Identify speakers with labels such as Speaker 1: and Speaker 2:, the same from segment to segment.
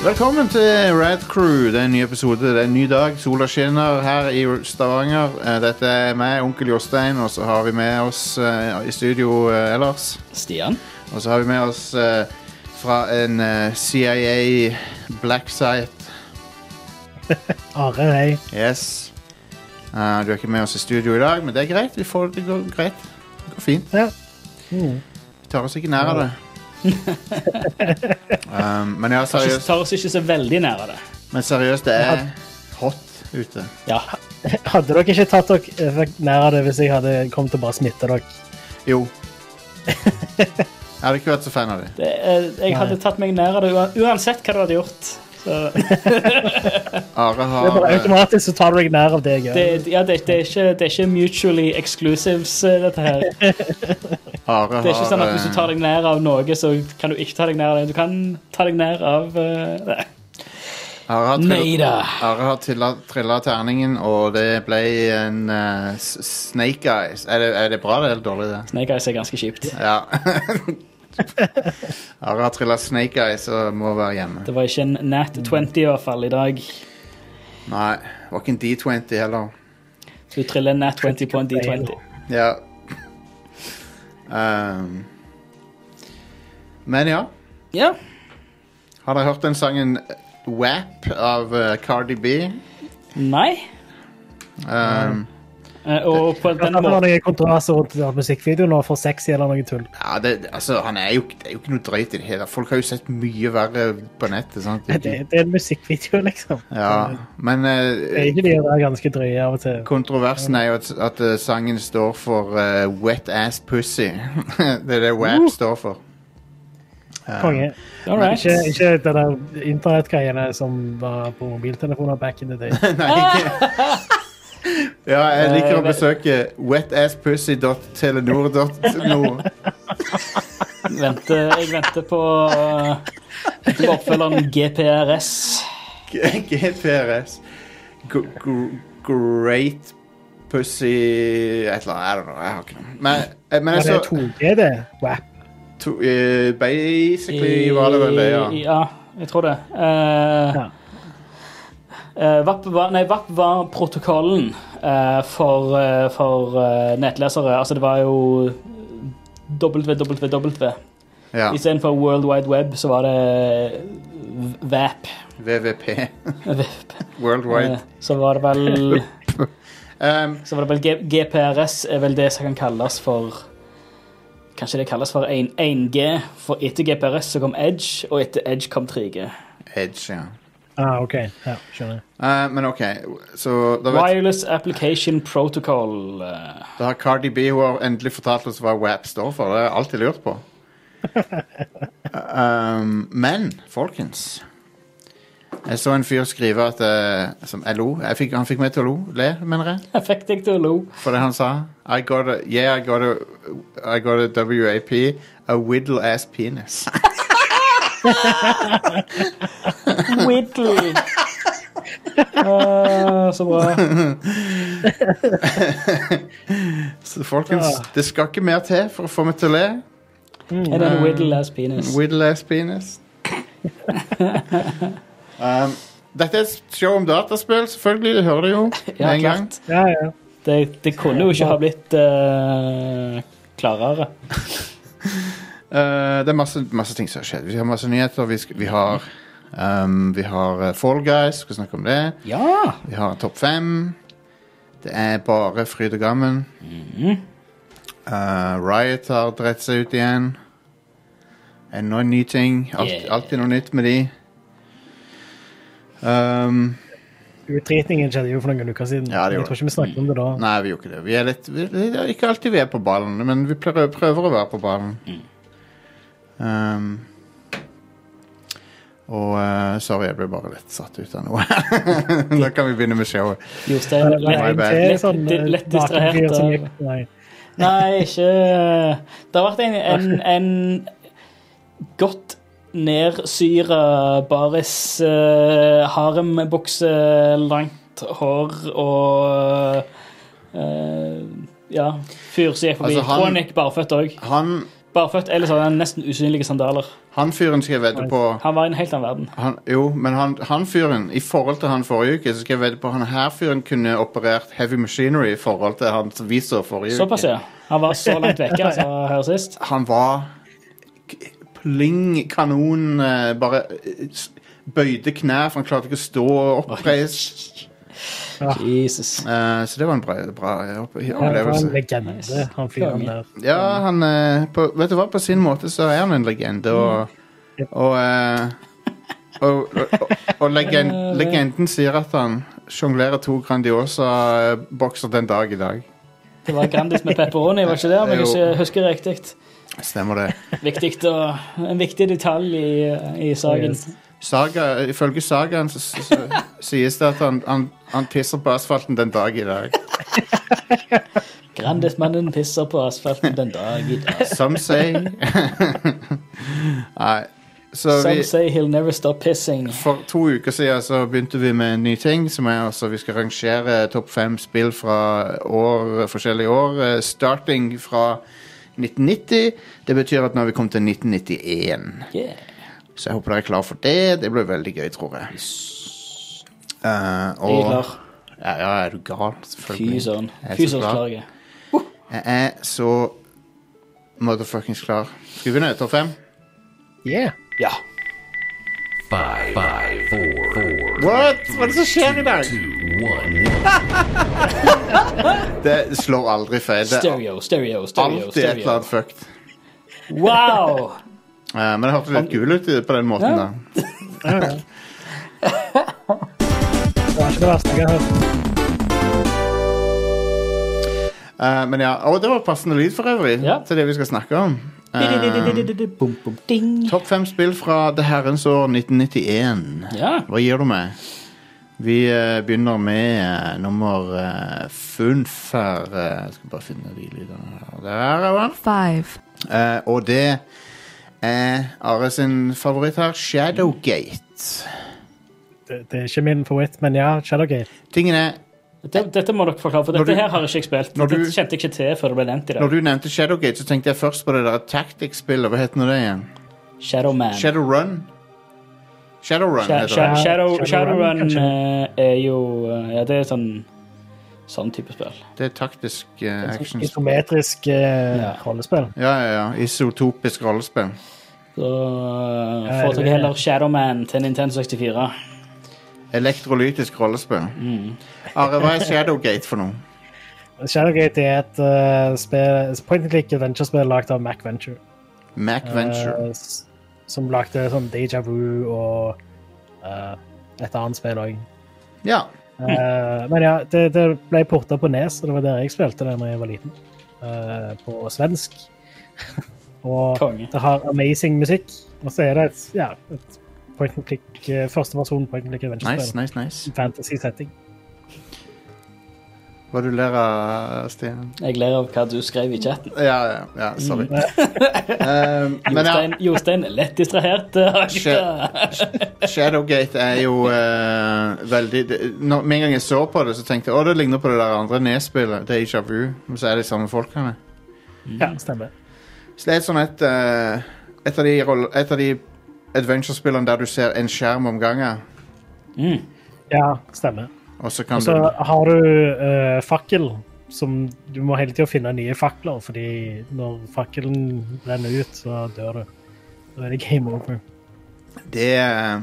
Speaker 1: Velkommen til Rad Crew. Det er en ny episode, det er en ny dag. Sola skinner her i Stavanger. Eh, Dette er meg, onkel Jostein, og så har vi med oss eh, i studio eh, ellers.
Speaker 2: Stian?
Speaker 1: Og så har vi med oss eh, fra en eh, CIA black site.
Speaker 3: Are, hei.
Speaker 1: Yes. Eh, du er ikke med oss i studio i dag, men det er greit. Vi får, det går greit. Det går fint.
Speaker 3: Ja.
Speaker 1: Vi tar oss ikke nær av det. um, men ja,
Speaker 2: Ikke,
Speaker 1: seriøst,
Speaker 2: tar oss ikke så veldig nær av det.
Speaker 1: men seriøst, det er hot ute.
Speaker 2: Ja.
Speaker 3: Hadde dere ikke tatt dere fikk nær av det hvis jeg hadde kommet og bare smitta dere?
Speaker 1: Jo. Jeg hadde ikke vært så fan av det.
Speaker 2: Det, eh, jeg hadde tatt meg nær av det ua- uansett hva du hadde gjort. Så,
Speaker 1: Are
Speaker 3: Det er
Speaker 1: har eh,
Speaker 3: bare automatisk så tar du deg nær av det jeg
Speaker 2: det,
Speaker 3: gjør.
Speaker 2: ja, det, det, er ikke, det er ikke mutually exclusives, eh, dette her.
Speaker 1: Are
Speaker 2: Det er ikke sånn at hvis du
Speaker 1: har,
Speaker 2: tar deg nær av noe, så kan du ikke ta deg nær av det. Du kan ta deg nær av eh, det.
Speaker 1: eh, Are har,
Speaker 2: Nei
Speaker 1: trill,
Speaker 2: da.
Speaker 1: Are har trilla, trilla terningen, og det ble en eh, s- snake eyes. Er det, er det bra det, eller dårlig, det?
Speaker 2: Snake Eyes er ganske kjipt.
Speaker 1: Ja. Are har trilla snake eyes og må være hjemme.
Speaker 2: Det var ikke en Nat 20 i hvert fall i dag.
Speaker 1: Nei, det var ikke en D20 heller.
Speaker 2: Du triller en Nat 20 på en D20.
Speaker 1: Ja. Ehm. men ja.
Speaker 2: Ja.
Speaker 1: Har dere hørt den sangen WAP av eh, Cardi B?
Speaker 2: Nei.
Speaker 3: Mm.
Speaker 1: Ehm,
Speaker 2: Eh, Og på
Speaker 3: Det
Speaker 2: den
Speaker 3: var
Speaker 2: måten
Speaker 3: noen kontroverser rundt den musikkvideoen og for sexy eller noe tull.
Speaker 1: ja, det, altså, han er jo, det er jo ikke noe drøyt i det hele. Folk har jo sett mye verre på nettet. sant?
Speaker 3: Det, det er en musikkvideo, liksom.
Speaker 1: Ja, men
Speaker 3: Det er
Speaker 1: eh,
Speaker 3: ikke de å være ganske drøye av og til.
Speaker 1: kontroversen er jo at, at eh, sangen står for eh, wet ass pussy. det er det WAP
Speaker 3: Uh!
Speaker 1: står for. Eh,
Speaker 3: Konge.
Speaker 2: All right.
Speaker 3: Ikke, ikke den der internettgreiene som var på mobiltelefoner back in the day.
Speaker 1: Nei, ikke. Ja,
Speaker 3: Eh,
Speaker 1: jeg liker å besøke wetasspussy.telenor.no.
Speaker 2: Vente, jeg venter på venter på oppfølgeren GPRS.
Speaker 1: GPRS. G- gr- Great pussy Et eller annet. I don't know. Jeg har ikke noe. Men, eh, men
Speaker 3: Men
Speaker 1: jeg
Speaker 3: det er
Speaker 1: så
Speaker 3: 2G, det. Wow.
Speaker 1: to, eh, Basically var det vel det, ja.
Speaker 2: ja jeg tror det. Eh,
Speaker 3: Ja.
Speaker 2: eh, VAP var, nei, VAP var protokollen eh, for, eh, for eh, nettlesere. Altså, det var jo WWW.
Speaker 1: ja.
Speaker 2: Istedenfor World Wide Web så var det VAP.
Speaker 1: VVP.
Speaker 2: VAP.
Speaker 1: Worldwide.
Speaker 2: Eh, Så var det vel
Speaker 1: Um,
Speaker 2: Så var det vel G GPRS er vel det som kan kalles for Kanskje det kalles for 1, 1G, for etter GPRS så kom Edge, og etter Edge kom 3G.
Speaker 1: Edge, ja.
Speaker 3: Ah, OK. Ja, skjønner.
Speaker 1: Eh, men OK, så da, vet,
Speaker 2: Wireless Application Protocol. eh,
Speaker 1: da har Cardi B hun har endelig fortalt oss hva WAP står for. Det har jeg alltid lurt på. Um, men, folkens Jeg så en fyr skrive at eh, Som jeg lo. Jeg fikk, han fikk meg til å lo. Le, mener jeg.
Speaker 2: Jeg fikk deg til å lo.
Speaker 1: For det han sa. I got a, yeah, I got a, I got a WAP. A whiddle ass penis.
Speaker 2: Whittle! Eh, så bra.
Speaker 1: Så
Speaker 2: Ah.
Speaker 1: folkens, det skal ikke mer til for å få meg til å le.
Speaker 2: Er det en whittle as penis?
Speaker 1: Mm. Whittle ass penis. um, dette er et show om dataspill, selvfølgelig. Det hører du jo med
Speaker 2: Ja,
Speaker 1: en gang.
Speaker 2: klart.
Speaker 3: Ja, ja.
Speaker 2: Det, det kunne jo ikke ha blitt eh, klarere.
Speaker 1: Uh, det er masse, masse ting som har skjedd. Vi har masse nyheter. Vi, sk vi har, um, vi har uh, Fall Guys, skal snakke om det.
Speaker 2: Ja!
Speaker 1: Vi har Topp fem. Det er bare fryd og gammen.
Speaker 2: Mm.
Speaker 1: Uh, Riot har drett seg ut igjen. Enda en ny ting. Alt,
Speaker 2: Yeah.
Speaker 1: Alltid noe nytt med de. Um,
Speaker 3: Utdritningen skjedde jo for noen uker siden.
Speaker 1: Ja, det gjorde
Speaker 3: jeg tror ikke vi snakket om det da.
Speaker 1: Nei, vi gjorde ikke det. Vi er litt, vi, det er ikke alltid vi er på ballen, men vi prøver, prøver å være på ballen. Um, og eh, sorry, jeg ble bare litt satt ut av noe. da kan vi begynne med showet.
Speaker 2: Jostein,
Speaker 3: Det var
Speaker 2: lett,
Speaker 3: en
Speaker 1: bad.
Speaker 3: til
Speaker 2: lett,
Speaker 3: sånn,
Speaker 2: lett, lett
Speaker 3: nakenfyr
Speaker 2: distrahert eh,
Speaker 3: som
Speaker 2: av
Speaker 3: gikk- Nei.
Speaker 2: Nei, ikke eh, Det har vært en, en, en godt nedsyra baris, eh, harembukse, langt hår og eh, Ja, fyr som gikk forbi.
Speaker 1: Altså, han-
Speaker 2: Og han gikk barføtt òg.
Speaker 1: Han
Speaker 2: Barføtt eller sånne nesten usynlige sandaler.
Speaker 1: Han fyren skal jeg vedde på
Speaker 2: Han var i en helt annen verden.
Speaker 1: han, Jo, men han, han fyren, i forhold til han forrige uke, så skal jeg vedde på han her fyren kunne operert heavy machinery i forhold til han som vi så forrige uke.
Speaker 2: Såpass, ja. Han var så langt vekke altså, her sist.
Speaker 1: han var k- pling kanon, eh, bare eh, s- bøyde knær, for han klarte ikke å stå oppreist.
Speaker 2: Jesus.
Speaker 1: Eh, så det var en bra, bra opp-
Speaker 3: Han var en
Speaker 1: opplevelse.
Speaker 3: legende, han fyren der.
Speaker 1: Ja, han eh, på, Vet du hva, på sin måte så er han en legende, og Og, eh, og, og, og legen, legenden sier at han sjonglerer to Grandiosa-bokser den dag i dag.
Speaker 2: Det var Grandis med pepperoni, var ikke det? Om jeg ikke husker riktig.
Speaker 1: Stemmer det.
Speaker 2: Viktig å- en viktig detalj i, i saken.
Speaker 3: Yes.
Speaker 1: Saga, ifølge sagaen så, så, så sies det at han, han, han tisser på asfalten den dag i dag.
Speaker 2: Grandismannen pisser på asfalten den dag i dag.
Speaker 1: Some say. Nei. Så
Speaker 2: Some
Speaker 1: vi,
Speaker 2: say he'll never stop pissing.
Speaker 1: for to uker siden så begynte vi med en ny ting, som er altså vi skal rangere topp fem spill fra år, forskjellige år. eh, Starting fra 1990. Det betyr at nå har vi kommet til 1991.
Speaker 2: Yeah.
Speaker 1: Så jeg håper dere er klar for det. Det blir veldig gøy, tror jeg. Eh,
Speaker 2: Jeg er
Speaker 1: og,
Speaker 2: klar.
Speaker 1: Ja, ja, er du gal?
Speaker 2: Fy
Speaker 1: Selvfølgelig.
Speaker 2: søren.
Speaker 1: Jeg er
Speaker 2: Fy
Speaker 1: så
Speaker 2: søren
Speaker 1: glad.
Speaker 2: klager jeg.
Speaker 1: Jeg er så motherfuckings klar. Skal vi begynne? Topp fem?
Speaker 3: Yeah.
Speaker 2: Ja.
Speaker 4: Five, five, four, four,
Speaker 1: What? Hva er det som skjer i dag?
Speaker 4: two, one.
Speaker 1: Det slår aldri feil. Det er
Speaker 2: Stereo, stereo, stereo.
Speaker 1: alltid et eller
Speaker 2: stereo.
Speaker 1: annet fucked.
Speaker 2: Wow!
Speaker 1: Eh, men det hørtes litt kul ut i- på den måten,
Speaker 2: Ja.
Speaker 1: da.
Speaker 3: Det var ikke det verste jeg har hørt.
Speaker 1: Eh, men ja, Og det var passende lyd, for øvrig,
Speaker 2: Ja.
Speaker 1: til det vi skal snakke om. Eh,
Speaker 2: Bum, bum, ding.
Speaker 1: Topp fem spill fra det herrens år 1991.
Speaker 2: Ja.
Speaker 1: Hva gir du meg? Vi eh, begynner med eh, nummer uh, funf her. eh, jeg skal bare finne de lydene her. Der er den.
Speaker 5: Five.
Speaker 1: Eh, og det er Are sin favoritt her, Shadowgate.
Speaker 3: Det, det er ikke min favoritt, men ja, Shadowgate.
Speaker 1: Tingen er,
Speaker 2: Dette, dette må dere forklare, for dette
Speaker 1: du-
Speaker 2: her har ikke jeg spilt.
Speaker 1: når du-
Speaker 2: Dette kjente jeg ikke til før det ble nevnt i
Speaker 1: Når
Speaker 2: dag.
Speaker 1: du nevnte Shadowgate, så tenkte jeg først på det der tactics-spillet. Hva heter nå det igjen?
Speaker 2: Shadowman.
Speaker 1: Shadowrun? Shadowrun
Speaker 2: Sha-
Speaker 1: heter det.
Speaker 2: Sha- Shadow,
Speaker 3: Shadowrun,
Speaker 2: Shadowrun
Speaker 3: kanskje?
Speaker 2: eh, er jo eh, Ja, det er sånn Sånn type spill.
Speaker 1: Det er taktisk uh, action.
Speaker 3: Isometrisk eh,
Speaker 2: Ja.
Speaker 3: rollespill.
Speaker 1: Ja, ja, ja. Isotopisk rollespill.
Speaker 2: Så eh,
Speaker 3: Ja,
Speaker 2: foretrekker
Speaker 3: det
Speaker 2: jeg
Speaker 3: er-
Speaker 2: heller Shadowman til Nintendo 64.
Speaker 1: Elektrolytisk rollespill. Are, hva er Shadowgate for noe?
Speaker 3: Shadowgate er et eh, spill, point and click adventure-spill lagd av Mac Venture.
Speaker 1: Macventure.
Speaker 3: eh, s- som lagde sånn Deja Vu og eh, et annet spill òg.
Speaker 1: Ja.
Speaker 3: Eh, men ja, det, det ble porta på Nes, og det var der jeg spilte det da jeg var liten. Eh, på svensk. og
Speaker 2: Konge.
Speaker 3: det har amazing musikk. Og så er det et, ja, et point and click, eh, første versjon point and click
Speaker 1: Nice,
Speaker 3: adventure-spill.
Speaker 1: nice, nice.
Speaker 3: Fantasy setting.
Speaker 1: Hva du ler av, Stian?
Speaker 2: Jeg ler av hva du skrev i chatten.
Speaker 1: Ja, ja. ja sorry. Um, men ja,
Speaker 2: Jostein, Jostein er lett distrahert. eh,
Speaker 1: Sha- Shadowgate er jo eh, veldig det, når, Med en gang jeg så på det, så tenkte jeg å, det ligner på det der andre nedspillet. Deja vu. Men så er det de samme folkene. Mm.
Speaker 3: Ja, stemmer.
Speaker 1: Så det er et sånn et eh, Et av de, roll- et av de adventure-spillene der du ser en skjerm om gangen,
Speaker 2: Mm.
Speaker 3: Ja, stemmer.
Speaker 1: og så kan
Speaker 3: Og så har du eh, fakkel, som du må hele tida finne nye fakler, fordi når fakkelen brenner ut, så dør du. Da er det game over.
Speaker 1: du Det eh,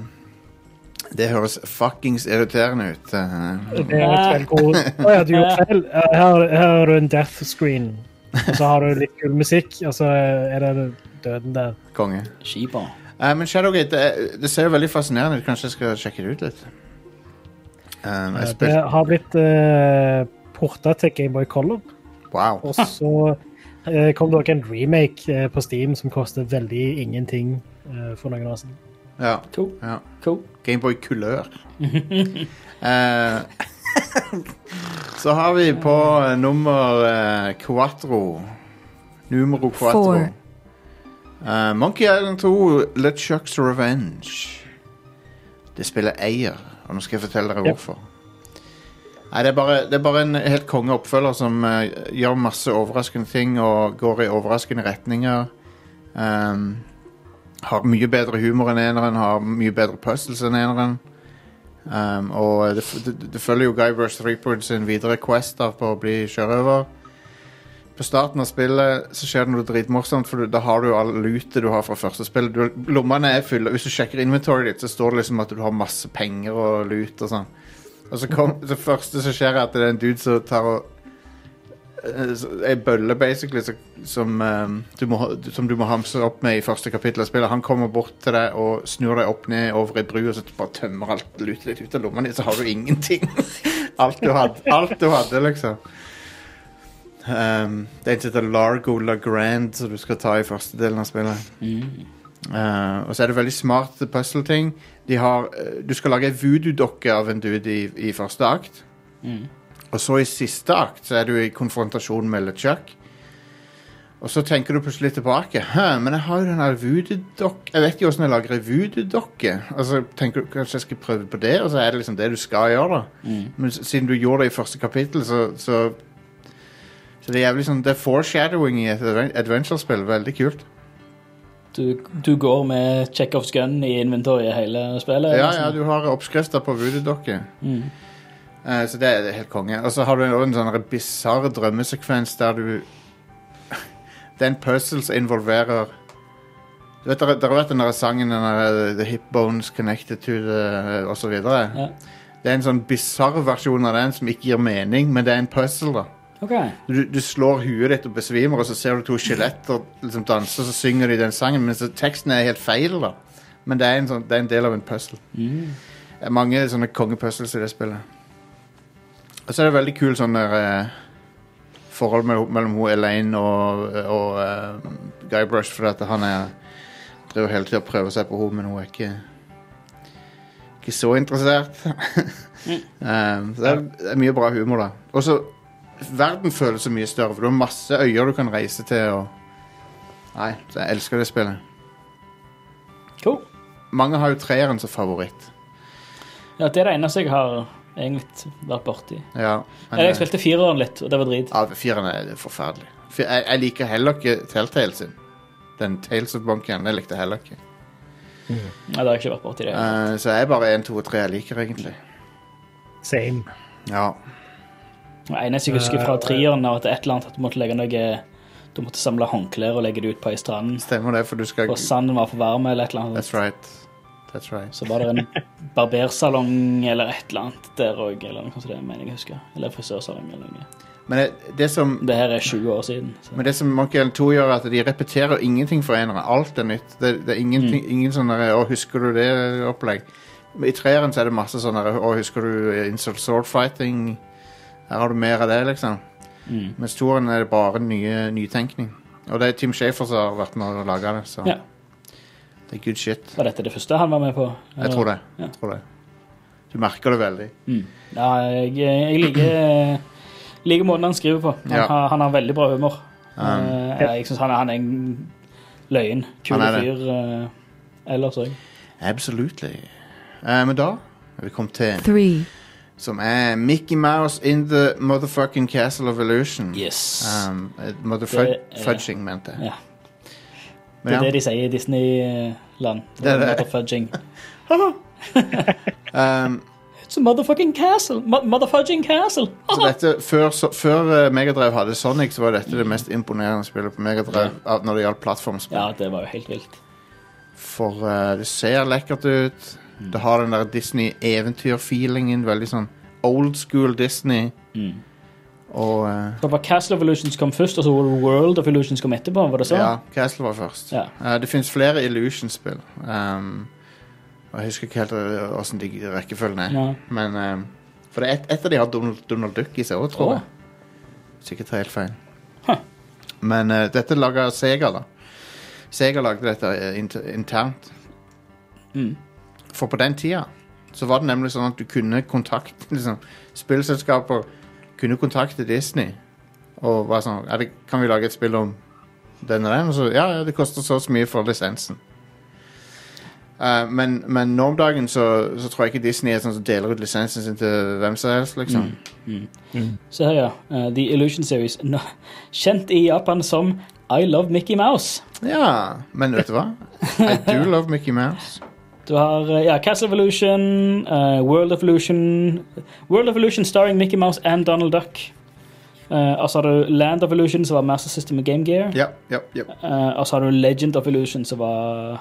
Speaker 1: Det høres fuckings irriterende ut. eh.
Speaker 3: Det er et veldig god Å ja, du gjorde feil. Eh, Her, her har du en death screen. Og så har du litt kul musikk, og så er det døden der.
Speaker 1: konge.
Speaker 2: Skipa.
Speaker 1: Eh, men Shadowgate, det, det ser jo veldig fascinerende ut. Kanskje jeg skal sjekke det ut litt. Um, jeg
Speaker 3: Eh, Det
Speaker 1: spilte
Speaker 3: har blitt uh, porta til Gameboy Color,
Speaker 1: Wow.
Speaker 3: og så eh, kom det også en remake eh, på Steam som koster veldig ingenting eh, for noen år siden.
Speaker 1: Ja.
Speaker 2: Cool.
Speaker 1: ja.
Speaker 2: cool.
Speaker 1: Gameboy Kulør. Eh, så har vi på eh, nummer eh, quattro Numero quattro.
Speaker 5: Four.
Speaker 1: Eh, Monkey Island 2, LeChucks Revenge. Det spiller eier, og nå skal jeg fortelle dere
Speaker 3: Ja.
Speaker 1: hvorfor. Nei, det er, bare, det er bare en helt konge oppfølger som eh, gjør masse overraskende ting og går i overraskende retninger. Um, har mye bedre humor enn eneren, har mye bedre puzzles enn eneren. Um, og det, f- det, det følger jo Guy Brush Threepwood sin videre quest der på å bli sjørøver. På starten av spillet så skjer det noe dritmorsomt, for du, da har du jo all lootet du har fra første spill. Du, lommene er fulle. Hvis du sjekker inventoryet ditt, så står det liksom at du har masse penger og loot og sånn. Og så kom, det første som skjer, er at det er en dude som tar og eh, så- Ei bølle, basically, som, som, eh, du må, ha- som du må hamse opp med i første kapittel av spillet. Han kommer bort til deg og snur deg opp ned over ei bru og så bare tømmer alt lutet litt ut av lomma di, så har du ingenting. alt, du hadde, alt du hadde, liksom. Um, det er en som heter Largo Lagrand, som du skal ta i første delen av spillet.
Speaker 2: Mm.
Speaker 1: Eh, og så er det veldig smarte puzzle-ting. De har, eh, Du skal lage ei voodoo-dokke av en dude i, i første akt. Og så i siste akt så er du i konfrontasjon med LeChuck. Og så tenker du plutselig tilbake. Hæ, men jeg har jo den her voodoo-dokka Jeg vet jo åssen jeg lager ei voodoo-dokke. Og så tenker du kanskje jeg skal prøve på det, og så er det liksom det du skal gjøre. da Men s- siden du gjorde det i første kapittel, så, så Så det er jævlig sånn Det er foreshadowing i et adven- adventure-spill. Veldig kult.
Speaker 2: Du, du går med Chekhovs gun i inventoriet hele spillet?
Speaker 1: Ja,
Speaker 2: liksom.
Speaker 1: ja, du har oppskrifter på voodoo-dokker.
Speaker 2: Mm.
Speaker 1: Eh, Så det er helt konge. Og så har du også en sånn bisarr drømmesekvens der du Det er en puzzle som involverer Du vet, Dere dere vet den der sangen den der, eh, The hip bones connected to the eh, Og så videre.
Speaker 2: Ja.
Speaker 1: Det er en sånn bisarr versjon av den som ikke gir mening, men det er en puzzle. da
Speaker 2: OK.
Speaker 1: du, du slår huet ditt og besvimer, og så ser du to skjeletter liksom danse, og så synger de den sangen, men så teksten er helt feil, da. Men det er en, sånn, det er en del av en puzzle.
Speaker 2: Mm.
Speaker 1: Det er mange sånne kongepuzzles i det spillet. Og så er det veldig kul sånn der eh, forhold mellom, mellom hun Elaine og, og eh, Guy Brush, for at han er driver hele tida og prøver seg på henne, men hun er ikke ikke så interessert. um, så det er, det er mye bra humor, da. Og så verden føles så mye større, for du har masse øyer du kan reise til. Og... Nei, så jeg elsker det spillet.
Speaker 2: Cool.
Speaker 1: Mange har jo treeren som favoritt.
Speaker 2: Ja, det er det eneste jeg har egentlig vært borti.
Speaker 1: Ja, men
Speaker 2: Eller jeg
Speaker 1: eh,
Speaker 2: spilte fireren litt, og det var drit.
Speaker 1: ja, fireren er forferdelig. Fi- Jeg, jeg liker heller ikke Telltale sin. Den Tales of Bunken, jeg likte jeg heller ikke.
Speaker 2: Nei, det har jeg ikke vært borti det.
Speaker 1: Eh, så jeg er bare 1, 2 og 3 jeg liker, egentlig.
Speaker 3: Same.
Speaker 1: Ja.
Speaker 2: Det eneste jeg husker
Speaker 1: Eh,
Speaker 2: fra treeren, var at det er et eller annet at du måtte legge noe Du måtte samle håndklær og legge det ut på ei strand,
Speaker 1: Stemmer det, for du skal
Speaker 2: og sanden var for varm, eller et eller annet.
Speaker 1: That's right. That's right.
Speaker 2: Så var det en barbersalong eller et eller annet der òg, eller noe sånt, det mener jeg jeg husker. Eller frisørsalong eller noe.
Speaker 1: Men det, det som
Speaker 2: Det her er 20 år siden. Så.
Speaker 1: Men det som Monkey Island 2 gjør, er at de repeterer ingenting for enere. Alt er nytt. Det, det er ingenting, ingen sånn der, Å, husker du det? opplegg. I treeren så er det masse sånn der, Å, husker du Insult Sword Fighting? Her har du mer av det, liksom.
Speaker 2: Mm.
Speaker 1: Mens toeren er det bare nye, nytenkning. Og det er Tim Shafer som har vært med og laga det, så
Speaker 2: Ja.
Speaker 1: det er good shit.
Speaker 2: Var dette det første han var med på?
Speaker 1: Jeg tror det.
Speaker 2: Ja.
Speaker 1: Jeg tror det. Du merker det veldig.
Speaker 2: Mm. Ja, jeg, jeg liker, liker måten han skriver på. Han,
Speaker 1: Ja.
Speaker 2: har, han har veldig bra humor.
Speaker 1: Um,
Speaker 2: Eh, jeg syns han, er- han er en løyen. Kul
Speaker 1: Han er det.
Speaker 2: fyr eh, ellers òg.
Speaker 1: Absolutely. Eh, men da er vi kommet til
Speaker 5: three,
Speaker 1: som er Mickey Mouse in the motherfucking Castle of Illusion.
Speaker 2: Yes.
Speaker 1: Um, eh,
Speaker 2: Det
Speaker 1: motherfud-
Speaker 2: er-
Speaker 1: fudging, mente jeg.
Speaker 2: Ja.
Speaker 1: Men
Speaker 2: Det er
Speaker 1: ja,
Speaker 2: det de sier i Disneyland.
Speaker 1: Det er det.
Speaker 2: Mother Fudging.
Speaker 1: um,
Speaker 2: It's a motherfucking castle! Mo- Motherfudging castle!
Speaker 1: så dette, før så, før eh, Megadrive hadde Sonic, så var dette det mest imponerende spillet på Megadrive av- når det gjaldt plattformspill.
Speaker 2: Ja, det var jo helt vilt.
Speaker 1: For eh, det ser lekkert ut. Det har den der Disney-eventyr-feelingen. Veldig sånn old school Disney.
Speaker 2: Mm.
Speaker 1: Og eh,
Speaker 2: Det var Castle of Illusions kom først, og så var det World of Illusions kom etterpå. var det så?
Speaker 1: Ja, Castle var først.
Speaker 2: Ja.
Speaker 1: Eh, det fins flere Illusion-spill. Um, og jeg husker ikke helt eh, åssen de rekkefølgen er.
Speaker 2: Nei.
Speaker 1: Men eh, For det er et, et av de har Donald, Donald Duck i seg òg, tror
Speaker 2: Åh.
Speaker 1: jeg. Sikkert helt feil.
Speaker 2: Huh.
Speaker 1: Men eh, dette laga Sega, da. Sega lagde dette eh, inter internt.
Speaker 2: Mm.
Speaker 1: For på den tida så var det nemlig sånn at du kunne kontakte liksom, Spillselskaper kunne kontakte Disney og var sånn er det, Kan vi lage et spill om den og den? Og så, ja, ja, det koster så og så mye for lisensen. Eh, men, men nå om dagen så, så tror jeg ikke Disney er sånn som deler ut lisensen sin til hvem som helst, liksom.
Speaker 2: Se her, ja. Eh, The Illusion Series. Nå- Kjent i Japan som I Love Mickey Mouse.
Speaker 1: Ja, men vet du hva? I do love Mickey Mouse.
Speaker 2: Du har eh, ja, Castle Evolution, eh, World Evolution World Evolution starring Mickey Mouse and Donald Duck. Eh, og så har du Land of Illusion, som var Master System og Game Gear.
Speaker 1: Ja, ja, ja.
Speaker 2: Eh, og så har du Legend of Illusion, som var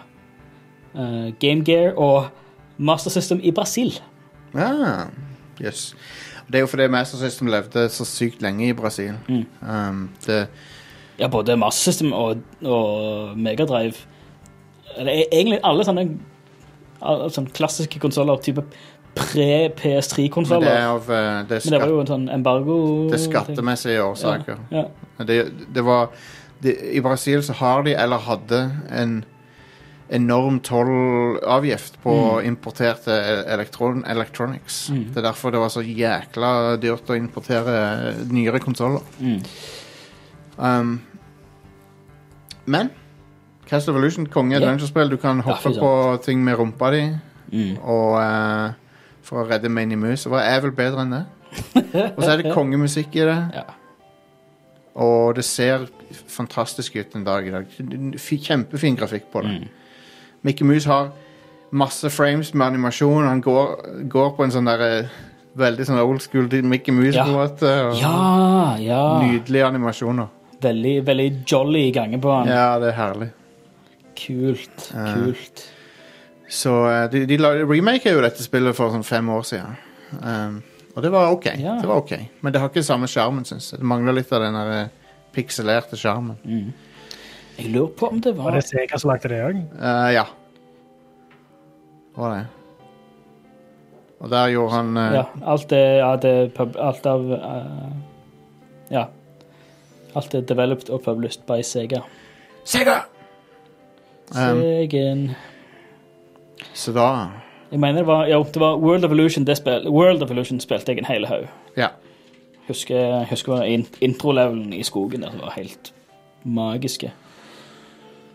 Speaker 2: eh, Game Gear og Master System i Brasil.
Speaker 1: Ah, yes. Det er jo fordi Master System levde så sykt lenge i Brasil. Um, det,
Speaker 2: Ja, både Master System og, og Megadrive. Eller e- egentlig alle sånne, alle sånne klassiske konsoller, type
Speaker 1: men det er
Speaker 2: pre-PS3-konsoller.
Speaker 1: av eh, det er
Speaker 2: Men det var
Speaker 1: skatt,
Speaker 2: jo en sånn embargo
Speaker 1: det er skattemessige årsaker.
Speaker 2: Ja, ja.
Speaker 1: Det, det var det, I Brasil så har de, eller hadde, en enorm tollavgift på
Speaker 2: Mm.
Speaker 1: importerte e- elektron, electronics. Det er derfor det var så jækla dyrt å importere nyere konsoller.
Speaker 2: Mm.
Speaker 1: Um, men Castle Evolution, konge
Speaker 2: Ja.
Speaker 1: dungeon-spill. Du kan
Speaker 2: fy
Speaker 1: hoppe
Speaker 2: søren.
Speaker 1: på ting med rumpa di
Speaker 2: Mm.
Speaker 1: og, eh, for å redde Mini Mouse. Hva er vel bedre enn det? Og så er det kongemusikk i det.
Speaker 2: Ja.
Speaker 1: Og det ser fantastisk ut en dag i dag. F- Kjempefin grafikk på det.
Speaker 2: Mm.
Speaker 1: Mickey Mouse har masse frames med animasjon. Han går, går på en sånn der eh, veldig sånn old school Mickey Mouse
Speaker 2: Ja.
Speaker 1: på en måte. Og
Speaker 2: ja, ja.
Speaker 1: Nydelige animasjoner.
Speaker 2: Veldig, veldig jolly i gangen på han.
Speaker 1: Ja, det er herlig.
Speaker 2: Kult, kult.
Speaker 1: Så eh, de, de la- remaker jo dette spillet for sånn fem år siden. Um, og det var ok.
Speaker 2: Ja.
Speaker 1: Det var ok. Men det har ikke samme sjarmen, syns jeg. Det mangler litt av den der eh, pikselerte sjarmen.
Speaker 2: Jeg lurer på om det
Speaker 3: Og
Speaker 2: var
Speaker 3: det er Sega som lagde det òg.
Speaker 1: Eh, ja. Hva var det? Og der gjorde han eh,
Speaker 2: Ja, alt det, ja, det pub, Alt av eh, Ja. Alt er developed og published by Sega.
Speaker 1: Sega! Um,
Speaker 2: Segen
Speaker 1: så da
Speaker 2: Jeg mener det var, jo, det var World Evolution det spil, World Evolution spilte jeg en hel haug.
Speaker 1: Ja.
Speaker 2: Husker, husker det var in, introlevelen i skogen der som var helt magiske.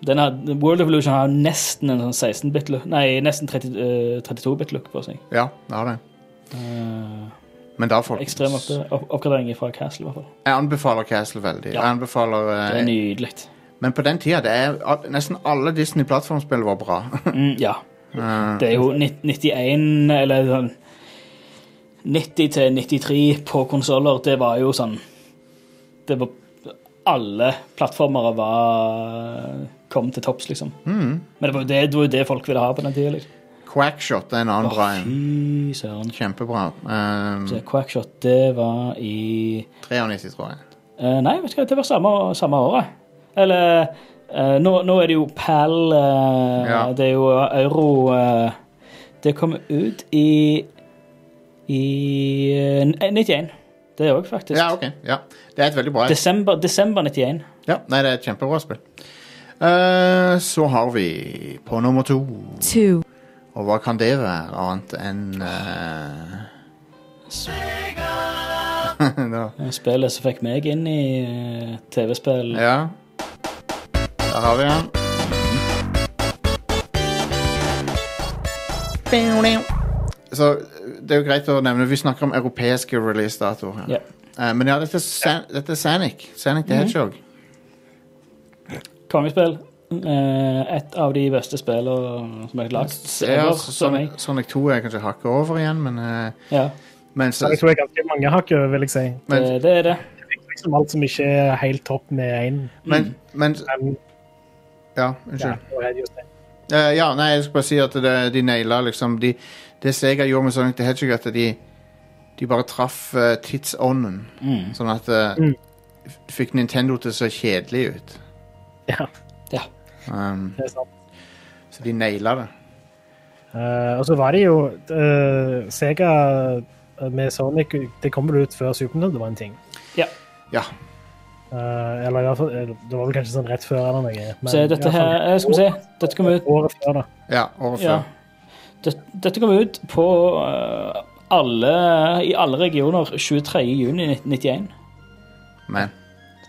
Speaker 2: Den hadde, World Evolution har nesten en sånn 16-bit look Nei, nesten 30, eh, 32-bit look på seg.
Speaker 1: Ja, det har det.
Speaker 2: Eh,
Speaker 1: Men da, folkens
Speaker 2: ekstrem oppda- opp, oppgradering fra Castle, i hvert fall.
Speaker 1: Jeg anbefaler Castle veldig.
Speaker 2: Ja.
Speaker 1: Jeg anbefaler
Speaker 2: Det
Speaker 1: eh,
Speaker 2: er nydelig.
Speaker 1: Men på den tida det er, al- Nesten alle Disney-plattformspill var bra.
Speaker 2: Mm, ja.
Speaker 1: Eh,
Speaker 2: Det er jo nitt- 91 eller sånn 90 til 93 på konsoller, det var jo sånn Det var Alle plattformer var kom til topps, liksom.
Speaker 1: Mm.
Speaker 2: Men det var jo det, det, var jo det folk ville ha på den tida. Liksom.
Speaker 1: Quackshot er en annen bra en.
Speaker 2: Fy søren.
Speaker 1: Kjempebra. Um,
Speaker 2: Så Quackshot, det var i
Speaker 1: 93, tror jeg.
Speaker 2: Eh, Nei, vet du hva, det var samme, samme året. Eller eh, nå, nå er det jo PAL eh,
Speaker 1: Ja.
Speaker 2: Det er jo euro eh, Det kom ut i i eh, 91. Det òg, faktisk.
Speaker 1: Ja, ok. Ja. Det er et veldig bra et.
Speaker 2: desember, desember 91.
Speaker 1: Ja, nei, det er et kjempebra spill. Eh, så har vi på nummer to
Speaker 5: two,
Speaker 1: Og hva kan det være annet enn eh, nå.
Speaker 2: eh, Spillet som fikk meg inn i eh, TV-spill.
Speaker 1: Ja. Der har vi han. Så det er jo greit å nevne Vi snakker om europeiske releasedatoer. her.
Speaker 2: Ja.
Speaker 1: Eh, men ja, Mhm. dette er, San dette er Sanic. Sanic the Hedgehog.
Speaker 2: Kongespill. Eh, et av de beste spillene som er lagd.
Speaker 1: Ja, sånn.
Speaker 2: ever, for
Speaker 1: Sonic,
Speaker 2: meg.
Speaker 1: Sonic 2 er kanskje hakket over igjen, men, eh,
Speaker 2: Ja,
Speaker 1: men, så,
Speaker 3: Jeg tror jeg har ganske mange hakk over, vil jeg si.
Speaker 1: men,
Speaker 2: det, det er det.
Speaker 3: Liksom alt som ikke er helt topp med én.
Speaker 2: Mm.
Speaker 1: men, men
Speaker 3: Men
Speaker 1: Ja,
Speaker 3: ja,
Speaker 1: unnskyld.
Speaker 3: nå er det jo det.
Speaker 1: Eh, ja, nei, jeg skal bare si at det, de naila liksom de, Det Sega gjorde med Sonic the Hedgehog, at de, de bare traff eh, tidsånden.
Speaker 2: Mm.
Speaker 1: Sånn at eh,
Speaker 3: Mm.
Speaker 1: f- Fikk Nintendo til å se kjedelig ut.
Speaker 3: Ja,
Speaker 2: Ja.
Speaker 1: Um,
Speaker 3: det er sant.
Speaker 1: så de naila det.
Speaker 3: Eh, og så var det jo eh, Sega eh, med Sonic Det kom vel ut før Super Nintendo var en ting.
Speaker 2: Ja.
Speaker 1: Ja.
Speaker 3: Eh, eller i hvert fall, eller det var vel kanskje sånn rett før eller noe. men
Speaker 2: Så
Speaker 3: i hvert
Speaker 2: dette
Speaker 3: fall
Speaker 2: her eh, Skal vi se. Dette kom ut
Speaker 3: Året før, da.
Speaker 1: ja året
Speaker 2: Ja.
Speaker 1: før.
Speaker 2: Dette, dette kom ut på eh, alle, i alle regioner 23.6.1991.
Speaker 1: Men,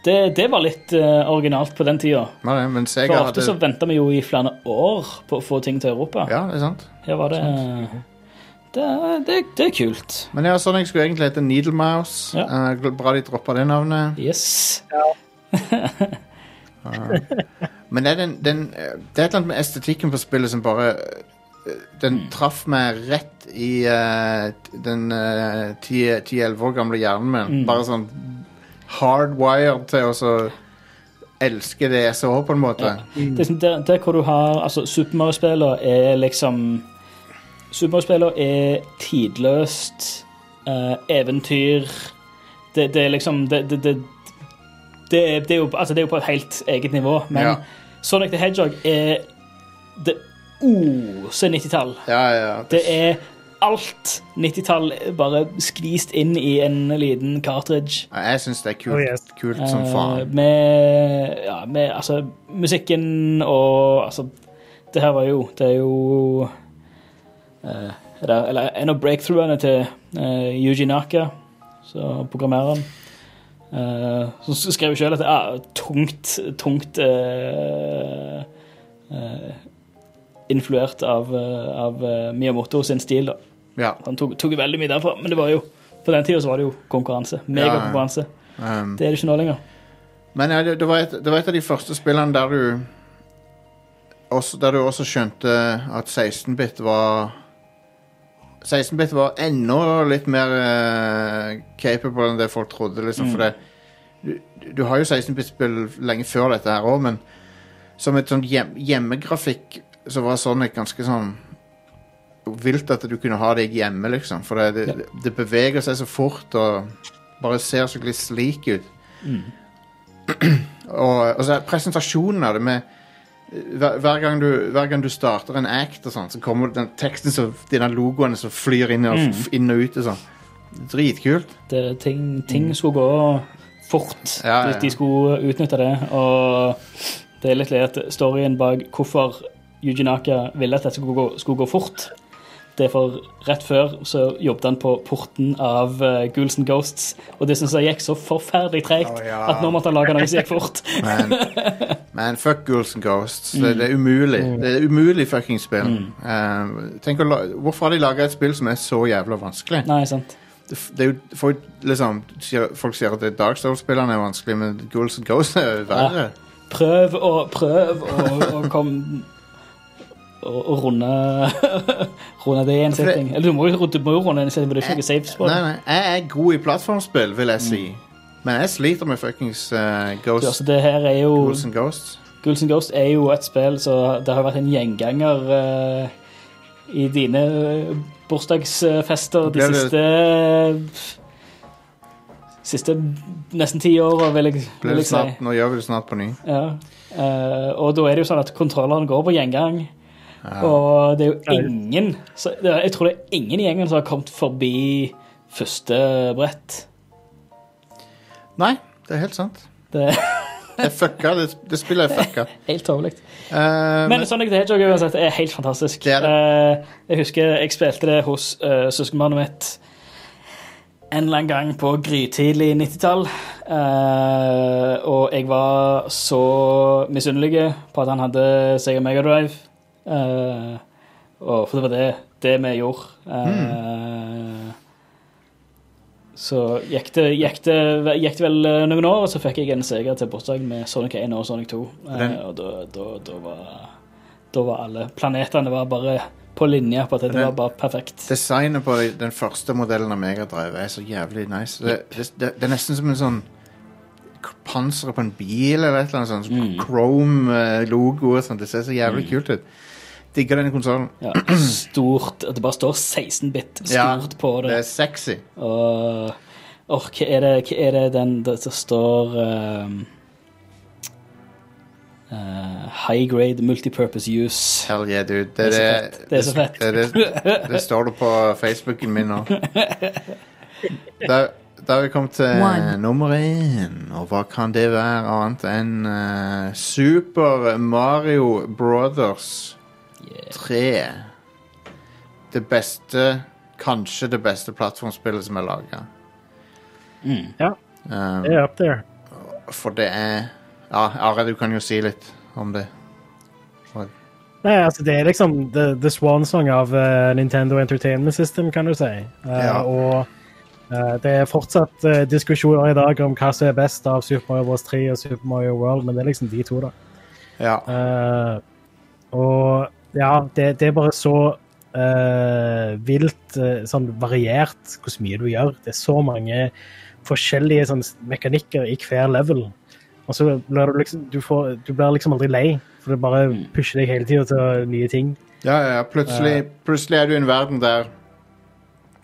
Speaker 2: Det, det var litt eh, originalt på den tida.
Speaker 1: var det, men
Speaker 2: For
Speaker 1: Sega
Speaker 2: ofte så
Speaker 1: hadde
Speaker 2: venta vi jo i flere år på å få ting til Europa.
Speaker 1: Ja, Sånn. det er sant.
Speaker 2: Her var det eh, det, er- det, det er kult.
Speaker 1: Men ja, Sonic skulle egentlig hete Needlemouse.
Speaker 2: Ja.
Speaker 1: Eh, gl- bra de droppa det navnet.
Speaker 2: Yes.
Speaker 1: Men det er, den, den, eh, det er et eller annet med estetikken på spillet som bare eh, Den traff meg rett i eh, den eh, 10 10-11 år gamle hjernen min. Bare sånn hardwired til å så elske det jeg så, på en måte.
Speaker 2: Det er som der, der hvor du har altså Super Mario-spillene er liksom Super Mario-spillene er tidløst eh, eventyr. Det, det er liksom det, det, det, det, er- det, er jo, altså det er jo på et helt eget nivå, men
Speaker 1: Ja.
Speaker 2: Sonic the Hedgehog er det ose 90-tall.
Speaker 1: Ja, ja.
Speaker 2: Det er alt 90-tall bare skvist inn i en liten cartridge.
Speaker 1: Ja, Jeg syns det er kult,
Speaker 3: Oh, yes.
Speaker 1: kult som
Speaker 2: Eh,
Speaker 1: faen.
Speaker 2: Med, ja, med altså, musikken og altså, Det her var jo Det er jo eh, er det, Eller en av breakthroughene til eh, Yuji Naka, så programmereren. eh, som s- skrev sjøl at det er tungt, tungt eh, eh, Influert av, eh, av eh, Miyamoto sin stil. da.
Speaker 1: Ja.
Speaker 2: Han tok, tok veldig mye derfra, men det var jo på den tida så var det jo konkurranse. Megakonkurranse.
Speaker 1: Um,
Speaker 2: Det er det ikke nå lenger.
Speaker 1: men ja, det, det, var et, det var et av de første spillene der du også, Der du også skjønte at 16-bit var 16-bit var enda litt mer eh, capable enn det folk trodde, liksom. For det, du, du har jo 16-bit-spill lenge før dette her òg, men som et sånn hjem, hjemmegrafikk så var Sonic ganske sånn vilt at du kunne ha deg hjemme, liksom. For det, det, det beveger seg så fort og bare ser skikkelig slik ut. og, og så er presentasjonen av det med eh, hver, hver, gang du, hver gang du starter en act, og sånn, så kommer den teksten som de der logoene som flyr inn og, inn og ut. Og sånn. Dritkult.
Speaker 2: det, eh, ting, ting skulle gå fort.
Speaker 1: Mm. Ja, ja, ja.
Speaker 2: De, de skulle utnytte det. Og det er litt leit storyen bak hvorfor Yuji Naka ville at dette skulle gå, skulle gå fort. Det er for Rett før så jobbet han på porten av eh, Ghouls and Ghosts, og det syns jeg gikk så forferdelig tregt
Speaker 1: Å, ja.
Speaker 2: at nå måtte han lage noe som gikk fort.
Speaker 1: Men, men fuck Ghouls and Ghosts. Det, det er umulig. Det er umulig fucking spill. Eh, tenk å la, hvorfor har de laga et spill som er så jævla vanskelig?
Speaker 2: Nei, sant.
Speaker 1: det, f- det er jo for, liksom, sier- Folk sier at det er Dark Souls-spillene er vanskelig, men Ghouls and Ghosts er jo verre.
Speaker 2: Prøv og prøv og, og kom og, og runde Runde det i en
Speaker 1: For det-
Speaker 2: setting. Eller du må jo du må jo runde en setting, men det er ikke noe safe spot.
Speaker 1: Nei, nei, jeg er god i plattformspill, vil
Speaker 2: Mm.
Speaker 1: jeg si. Men jeg sliter med fuckings eh,
Speaker 2: Du,
Speaker 1: Ghosts
Speaker 2: altså, det her er jo
Speaker 1: Ghouls and Ghosts.
Speaker 2: Ghouls and Ghosts er jo et spill, så det har vært en gjenganger eh, i dine eh, bursdagsfester de
Speaker 1: Blir det-
Speaker 2: siste eh, Siste nesten ti åra, vil jeg,
Speaker 1: Blir
Speaker 2: vil
Speaker 1: det
Speaker 2: jeg si.
Speaker 1: snart, nå gjør vi det snart på ny.
Speaker 2: Ja. Eh, og da er det jo sånn at kontrolleren går på gjengang. Og det er jo ingen så, det er- Jeg tror det er ingen i gjengen som har kommet forbi første brett.
Speaker 1: Nei, det er helt sant.
Speaker 2: Det er
Speaker 1: Det er fucka. Det, det spillet er fucka.
Speaker 2: helt overlegt.
Speaker 1: Eh,
Speaker 2: Men Sonic the Hedgehog uansett, er helt fantastisk.
Speaker 1: Det er det.
Speaker 2: Eh, jeg husker jeg spilte det hos uh, søskenbarnet mitt en eller annen gang på grytidlig 90-tall. Eh, og jeg var så misunnelig på at han hadde Sega Megadrive. Uh, og for det var det, det vi gjorde. Eh, Så gikk det, gikk, det, gikk det vel eh, noen år, og så fikk jeg en seger til bursdagen med Sonic 1 og Sonic 2. Eh,
Speaker 1: Den-
Speaker 2: og da, da, da, var, da var alle planetene var bare på linje på at det
Speaker 1: Den-
Speaker 2: var bare perfekt.
Speaker 1: Designet på den første modellen av Megadrive er så jævlig nice. Det, det, det, det er nesten som en sånn k- panser på en bil eller et eller annet sånt.
Speaker 2: Mm.
Speaker 1: sånn Chrome-logo og sånt. Det ser så jævlig kult ut. Digger denne konsollen.
Speaker 2: Ja, stort. at Det bare står 16-bit stort
Speaker 1: Ja,
Speaker 2: på
Speaker 1: Det
Speaker 2: det.
Speaker 1: er sexy.
Speaker 2: Og, og hva, er det, hva er det den det som står ehm, eh, High grade multipurpose use.
Speaker 1: Hell yeah, dude. Det,
Speaker 2: Det er så
Speaker 1: det-
Speaker 2: fett. Det er så fett.
Speaker 1: Det, det, det står det på Facebooken min nå. Da, da har vi kommet til
Speaker 5: One.
Speaker 1: nummer én, og hva kan det være annet enn eh, Super Mario Brothers 3. Det beste, kanskje det beste plattformspillet som er laga.
Speaker 3: Ja, det er up there.
Speaker 1: For det er Ja, Are, du kan jo si litt om det. Hva-
Speaker 3: Nei, altså det er liksom the, the swan song av eh, Nintendo Entertainment System, kan du si. Eh,
Speaker 1: Ja.
Speaker 3: Og Eh, Det er fortsatt eh, diskusjoner i dag om hva som er best av Super Mario Bros. 3 og Super Mario World, men det er liksom de to, da.
Speaker 1: Ja.
Speaker 3: Eh, og ja, det, det er bare så eh, vilt eh, sånn variert hvor mye du gjør. Det er så mange forskjellige sånn, mekanikker i hver level. Og så blir du liksom du, får, du blir liksom aldri lei, for det bare
Speaker 1: Mm.
Speaker 3: pusher deg hele tida til nye ting.
Speaker 1: Ja, ja, ja. Plutselig, plutselig er du i en verden der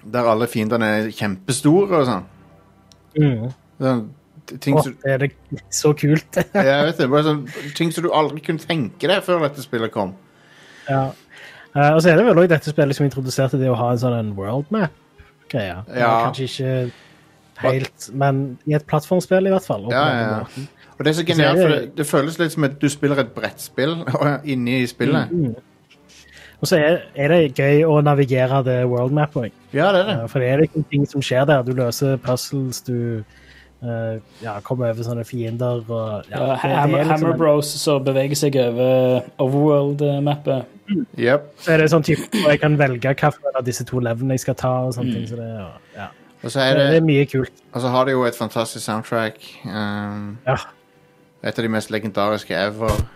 Speaker 1: Der alle fiendene er kjempestore og sånn. sånn t- ting
Speaker 3: Åh,
Speaker 1: som
Speaker 3: det er det så kult.
Speaker 1: jeg vet det, bare sånn, ting som du aldri kunne tenke deg før dette spillet kom.
Speaker 3: ja. Eh, og så er det vel òg dette spillet som introduserte det å ha en sånn en world map-greie. Det var
Speaker 1: Ja.
Speaker 3: Kanskje ikke helt, men i et plattformspill i hvert fall. og på
Speaker 1: Ja,
Speaker 3: en
Speaker 1: ja,
Speaker 3: måte.
Speaker 1: ja. Og det er så genialt,
Speaker 3: Så er
Speaker 1: for
Speaker 3: det-
Speaker 1: det, det føles litt som at du spiller et brettspill inni spillet.
Speaker 3: Og så er, er det gøy å navigere det worldmappet.
Speaker 1: Ja, det er det.
Speaker 3: Uh, for det er liksom ting som skjer der. Du løser puzzles, du eh, ja, kommer over sånne fiender og ja,
Speaker 2: Ja,
Speaker 3: det- det er
Speaker 2: Hammer,
Speaker 3: liksom
Speaker 2: Hammer
Speaker 3: en-
Speaker 2: Bros som beveger seg over Overworld-mappet.
Speaker 1: Yep.
Speaker 3: Så er det sånn type hvor jeg kan velge hvilken av disse to levelene jeg skal ta. og sånne
Speaker 2: Mm.
Speaker 3: ting. Så det, er- ja.
Speaker 1: Og så
Speaker 3: det,
Speaker 1: er
Speaker 3: det
Speaker 1: det,
Speaker 3: er mye kult.
Speaker 1: og så har det jo et fantastisk soundtrack. Um,
Speaker 3: Ja.
Speaker 1: et av de mest legendariske ever.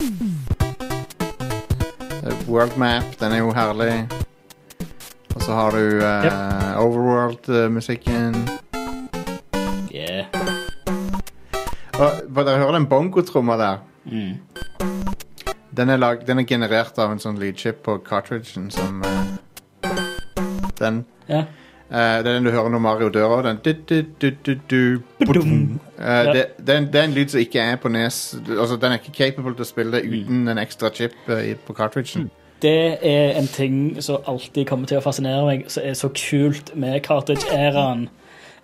Speaker 1: Eh, World Map, den er jo herlig. Og så har du eh, Overworld-musikken.
Speaker 2: Yeah.
Speaker 1: Og hva, Dere hører den bongotromma der?
Speaker 2: Mm.
Speaker 1: Den er, lag, den er generert av en sånn lydchip på cartridgen som eh, Den.
Speaker 2: Ja.
Speaker 1: Eh, det er den du hører når Mario dør òg. Den du, du, du, du, du, ba-dum. Eh,
Speaker 2: Ja.
Speaker 1: det, det, er en- det er en lyd som ikke er på nes Altså, Den er ikke capable til å spille
Speaker 2: Mm.
Speaker 1: det uten en ekstra chip eh, i- på cartridgen.
Speaker 2: Det er en ting som alltid kommer til å fascinere meg, som er så kult med cartridge-æraen.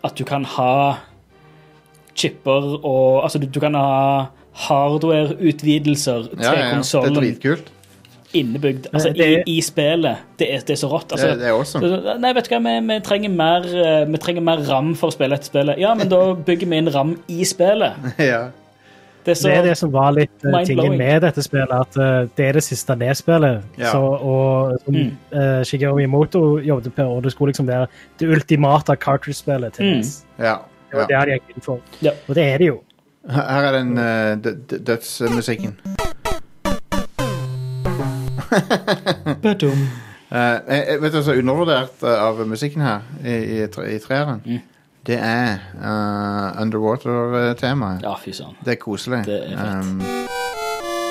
Speaker 2: At du kan ha chipper og Altså, du, du kan ha hardware-utvidelser til
Speaker 1: Ja, ja, ja. Det er
Speaker 2: konsollen
Speaker 1: dritkult.
Speaker 2: innebygd altså,
Speaker 3: Det- det-
Speaker 2: i, i spillet. Det er, det er så rått. Altså,
Speaker 1: det, det er awesome.
Speaker 2: Så- Nei, vet du hva, vi, vi, trenger mer, eh, vi trenger mer ram for å spille dette spillet. Ja, men da bygger vi inn ram i spillet.
Speaker 1: ja.
Speaker 2: Det er så,
Speaker 3: det er det som var litt eh, tingen
Speaker 2: Mind-blowing.
Speaker 3: med dette spillet, at eh, det er det siste nedspillet.
Speaker 1: Ja.
Speaker 3: Så, og som
Speaker 2: Mm.
Speaker 3: eh, Shigeru Miyamoto jobbet med, og det skulle liksom være det ultimate cartridge-spillet til
Speaker 2: Mm.
Speaker 3: NES.
Speaker 1: ja,
Speaker 3: Det var
Speaker 1: ja.
Speaker 3: det de gikk inn for.
Speaker 2: Ja.
Speaker 3: Og det er det jo.
Speaker 1: Her her er den eh, d- d- dødsmusikken.
Speaker 2: Badum.
Speaker 1: Eh, jeg, jeg vet du hva som er undervurdert eh, av musikken her i, i, tre- i treeren?
Speaker 2: Mm.
Speaker 1: Det er eh, underwater-temaet.
Speaker 2: Ja, fy søren.
Speaker 1: Det er koselig.
Speaker 2: Det er fett.
Speaker 1: Um,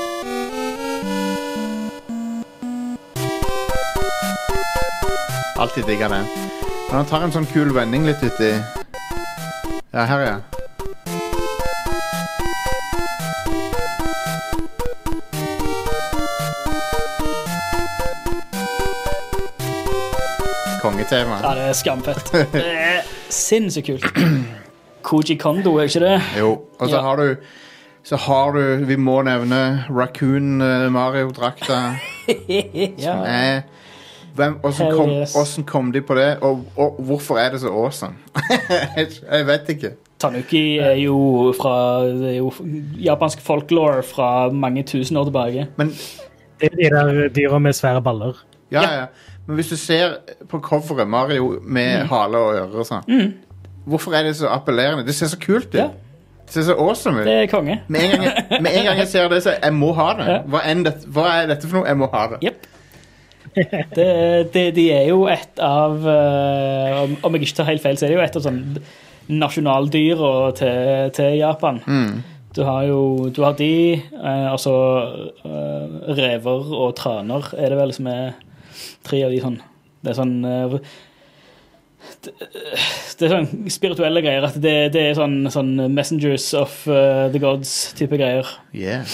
Speaker 1: Alltid digger den. Men han tar en sånn kul vending litt uti Ja, her, ja. Kongetema.
Speaker 2: Ja, det er skamfett. Det er sinnssykt kult. Koji Kondo, er ikke det?
Speaker 1: Jo, og så
Speaker 2: Ja.
Speaker 1: har du så har du, vi må nevne Raccoon eh, Mario-drakta.
Speaker 2: Ja.
Speaker 1: Eh, hvem- Åssen
Speaker 2: Hell
Speaker 1: kom,
Speaker 2: yes.
Speaker 1: åssen kom de på det, og, og hvorfor er det så awesome? jeg, jeg vet ikke.
Speaker 2: Tanuki er jo fra det er jo japansk folklore fra mange tusen år tilbake.
Speaker 1: Men
Speaker 3: Det er de der dyra med svære baller.
Speaker 1: ja,
Speaker 2: Ja.
Speaker 1: ja. Men hvis du ser på coveret Mario med
Speaker 2: Mm.
Speaker 1: hale og ører og sånn, hvorfor er det så appellerende? Det ser så kult ut.
Speaker 2: Ja.
Speaker 1: Det ser så awesome ut.
Speaker 2: Det er konge.
Speaker 1: Med, en gang jeg, med en gang jeg ser det, så jeg må ha det.
Speaker 2: Ja.
Speaker 1: Hva, enn dette- hva er dette for noe? Jeg må ha det.
Speaker 2: Jepp. Det, det, de er jo et av eh, om- Om jeg ikke tar helt feil, så er det jo et av sånn nasjonaldyra til, til Japan.
Speaker 1: Mm.
Speaker 2: Du har jo du har de, eh, altså eh, rever og traner er det vel som er tre av de sånn. Det er sånn eh, det, det er sånn spirituelle greier. At det, det er sånn, sånn messengers of eh, the gods-type greier.
Speaker 1: Yeah.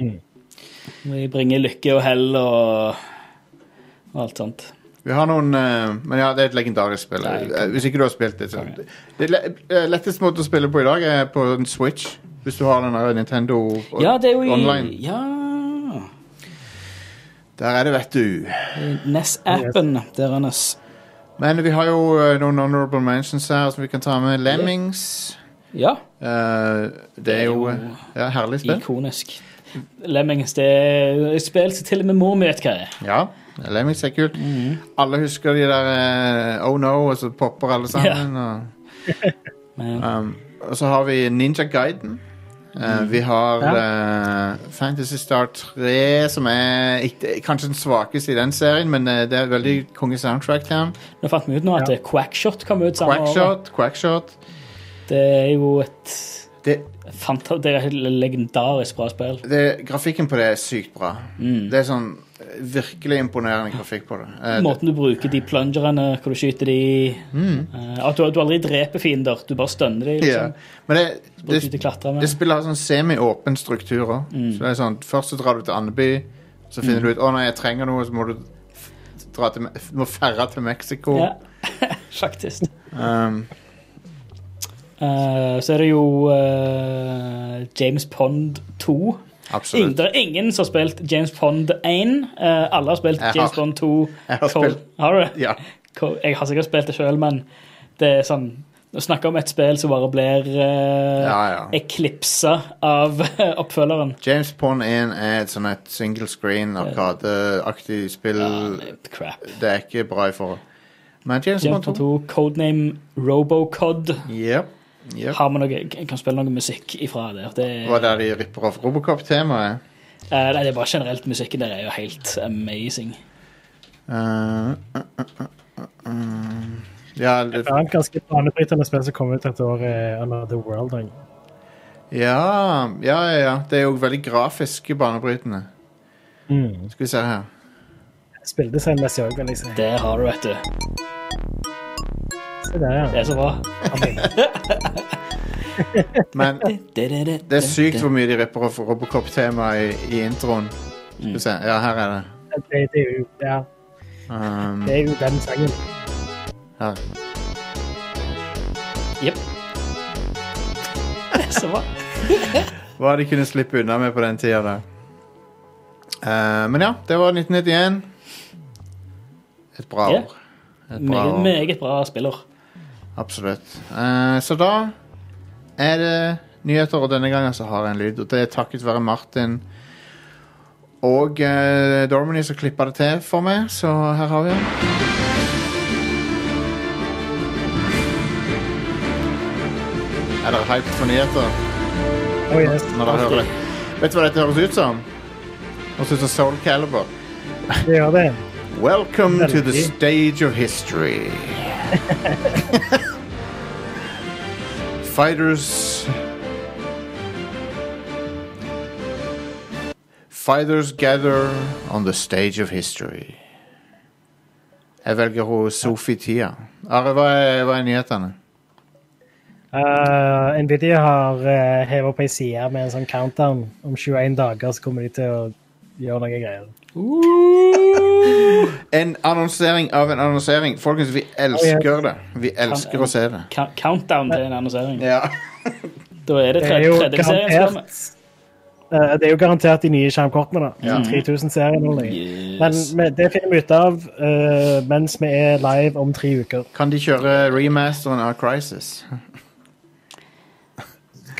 Speaker 2: De bringer lykke og hell og, og alt sånt.
Speaker 1: Vi har noen eh, Men ja, det er et legendarisk spill.
Speaker 2: Nei,
Speaker 1: Eh, Hvis ikke du har spilt det. Så. Det le- eh, letteste måte å spille på i dag er på en Switch. Hvis du har den der Nintendo o-
Speaker 2: Ja, det er jo i
Speaker 1: online.
Speaker 2: Ja.
Speaker 1: Der er det, vet du.
Speaker 2: i NES-appen der, Anders.
Speaker 1: Men vi har jo eh, noen honorable mentions her som vi kan ta med. Lemmings.
Speaker 2: Ja.
Speaker 1: Eh, det er jo eh, ja, herlig spill.
Speaker 2: Ikonisk. Lemmings, det er et spill som til og med mor mi vet hva er.
Speaker 1: Ja. Lemmings er kult. Alle husker de der eh, Oh no, og så popper alle sammen. Og,
Speaker 2: Men,
Speaker 1: um, og så har vi Ninja Guiden. Eh,
Speaker 2: Mm.
Speaker 1: vi har eh, Fantasy Star 3, som er ikke, kanskje den svakeste i den serien, men eh, det er veldig
Speaker 2: Mm.
Speaker 1: konge soundtrack til den.
Speaker 2: nå fant vi ut nå at
Speaker 3: Ja.
Speaker 2: eh, Quackshot kom ut samme år.
Speaker 1: Quackshot, Quackshot.
Speaker 2: Det er jo et
Speaker 1: Det,
Speaker 2: fanta det er et legendarisk bra spill.
Speaker 1: det, grafikken på det er sykt bra.
Speaker 2: Mm.
Speaker 1: Det er sånn eh, virkelig imponerende grafikk på det. Eh, det-
Speaker 2: Måten du bruker de plungerne, hvor du skyter de eh, At du, du aldri dreper fiender, du bare stønner de.
Speaker 1: ja.
Speaker 2: Liksom.
Speaker 1: Men det,
Speaker 2: Bruker de til å
Speaker 1: det,
Speaker 2: klatre
Speaker 1: det
Speaker 2: med.
Speaker 1: spillet har sånn semi-åpen struktur også.
Speaker 2: Mm.
Speaker 1: Så det er sånn, Først så drar du til Andeby, så finner du ut å nei, jeg trenger noe, så må du dra til, Me- må ferre til Mexico.
Speaker 2: Ja, faktisk.
Speaker 1: Um,
Speaker 2: Eh, så er det jo eh, James Pond 2. Ingen,
Speaker 1: absolutt.
Speaker 2: det er ingen som har spilt James Pond 1. Eh, alle har spilt
Speaker 1: Jeg har-
Speaker 2: James Bond 2.
Speaker 1: jeg har
Speaker 2: Col-
Speaker 1: spilt-
Speaker 2: Har du det?
Speaker 1: Ja.
Speaker 2: Col- Jeg har sikkert spilt det sjøl, men det er sånn Å snakke om et spill som bare blir uh,
Speaker 1: Ja, Mm. ja.
Speaker 2: eklipsa av oppfølgeren.
Speaker 1: James Pond 1 er et sånn et single screen arkadeaktig spill.
Speaker 2: Crap.
Speaker 1: Det er ikke bra i forhold. Men James,
Speaker 2: James Bond 2, codename Robocod.
Speaker 1: Yep. Yep.
Speaker 2: Har vi noe, kan spille noe musikk ifra der. Det,
Speaker 1: Det var der de ripper off Robocop-temaet.
Speaker 2: eh, nei, det er bare generelt musikken der er jo helt amazing.
Speaker 1: Eh, eh, eh, eh, eh. Ja, det,
Speaker 3: Et annet ganske banebrytende spill som kom ut et år, er Another World. da.
Speaker 1: ja, ja, ja, ja. Det er jo veldig grafisk banebrytende.
Speaker 3: Mm.
Speaker 1: Skal vi se her.
Speaker 3: Spilledesignmessig òg, vil jeg si.
Speaker 2: Der har du, vet du.
Speaker 3: Se der, ja.
Speaker 2: Det er så bra.
Speaker 1: Men
Speaker 2: Det
Speaker 1: det er sykt hvor mye de ripper off Robocop-temaet i, i introen. Skal vi se. Ja, her er det.
Speaker 3: Det, det, er jo, ja.
Speaker 1: Um,
Speaker 3: det er jo den sangen.
Speaker 1: her.
Speaker 2: Jepp. Det er så bra.
Speaker 1: Hva de kunne slippe unna med på den tida der. Eh, men ja, det var 1991. Et bra
Speaker 2: Ja.
Speaker 1: år. Et bra
Speaker 2: Meget,
Speaker 1: år.
Speaker 2: meget bra spiller.
Speaker 1: Absolutt. Eh, så da er det nyheter, og denne gangen så har jeg en lyd. Og det er takket være Martin og eh, Dormany som klippa det til for meg, så her har vi den. Er dere hyped for nyheter
Speaker 3: Oh, yes.
Speaker 1: når dere hører det? Vet du hva dette høres ut som? Det høres ut som Soul Calibur.
Speaker 3: Det gjør det.
Speaker 1: Welcome to the
Speaker 3: Veldig.
Speaker 1: stage of history. Fighters. Fighters gather on the stage of history. Jeg velger hun Sophie Tia. Are, hva er, hva er nyhetene?
Speaker 3: Eh, Nvidia har uh, heva på ei side med en sånn countdown. Om 21 dager så kommer de til å gjøre noe greier.
Speaker 1: En annonsering av en annonsering. Folkens, vi elsker det. Vi elsker å se det.
Speaker 2: Ka- Countdown til en annonsering.
Speaker 1: Ja.
Speaker 2: Da er det
Speaker 3: Det er
Speaker 2: tredje,
Speaker 3: jo
Speaker 2: tredje serien. som kommer.
Speaker 3: garantert Eh, Det er jo garantert de nye skjermkortene, da.
Speaker 1: Ja.
Speaker 3: 3000-serien. og noe. Men
Speaker 2: Yes.
Speaker 3: men det finner vi ut av eh, mens vi er live om tre uker.
Speaker 1: Kan de kjøre remasteren av Crisis?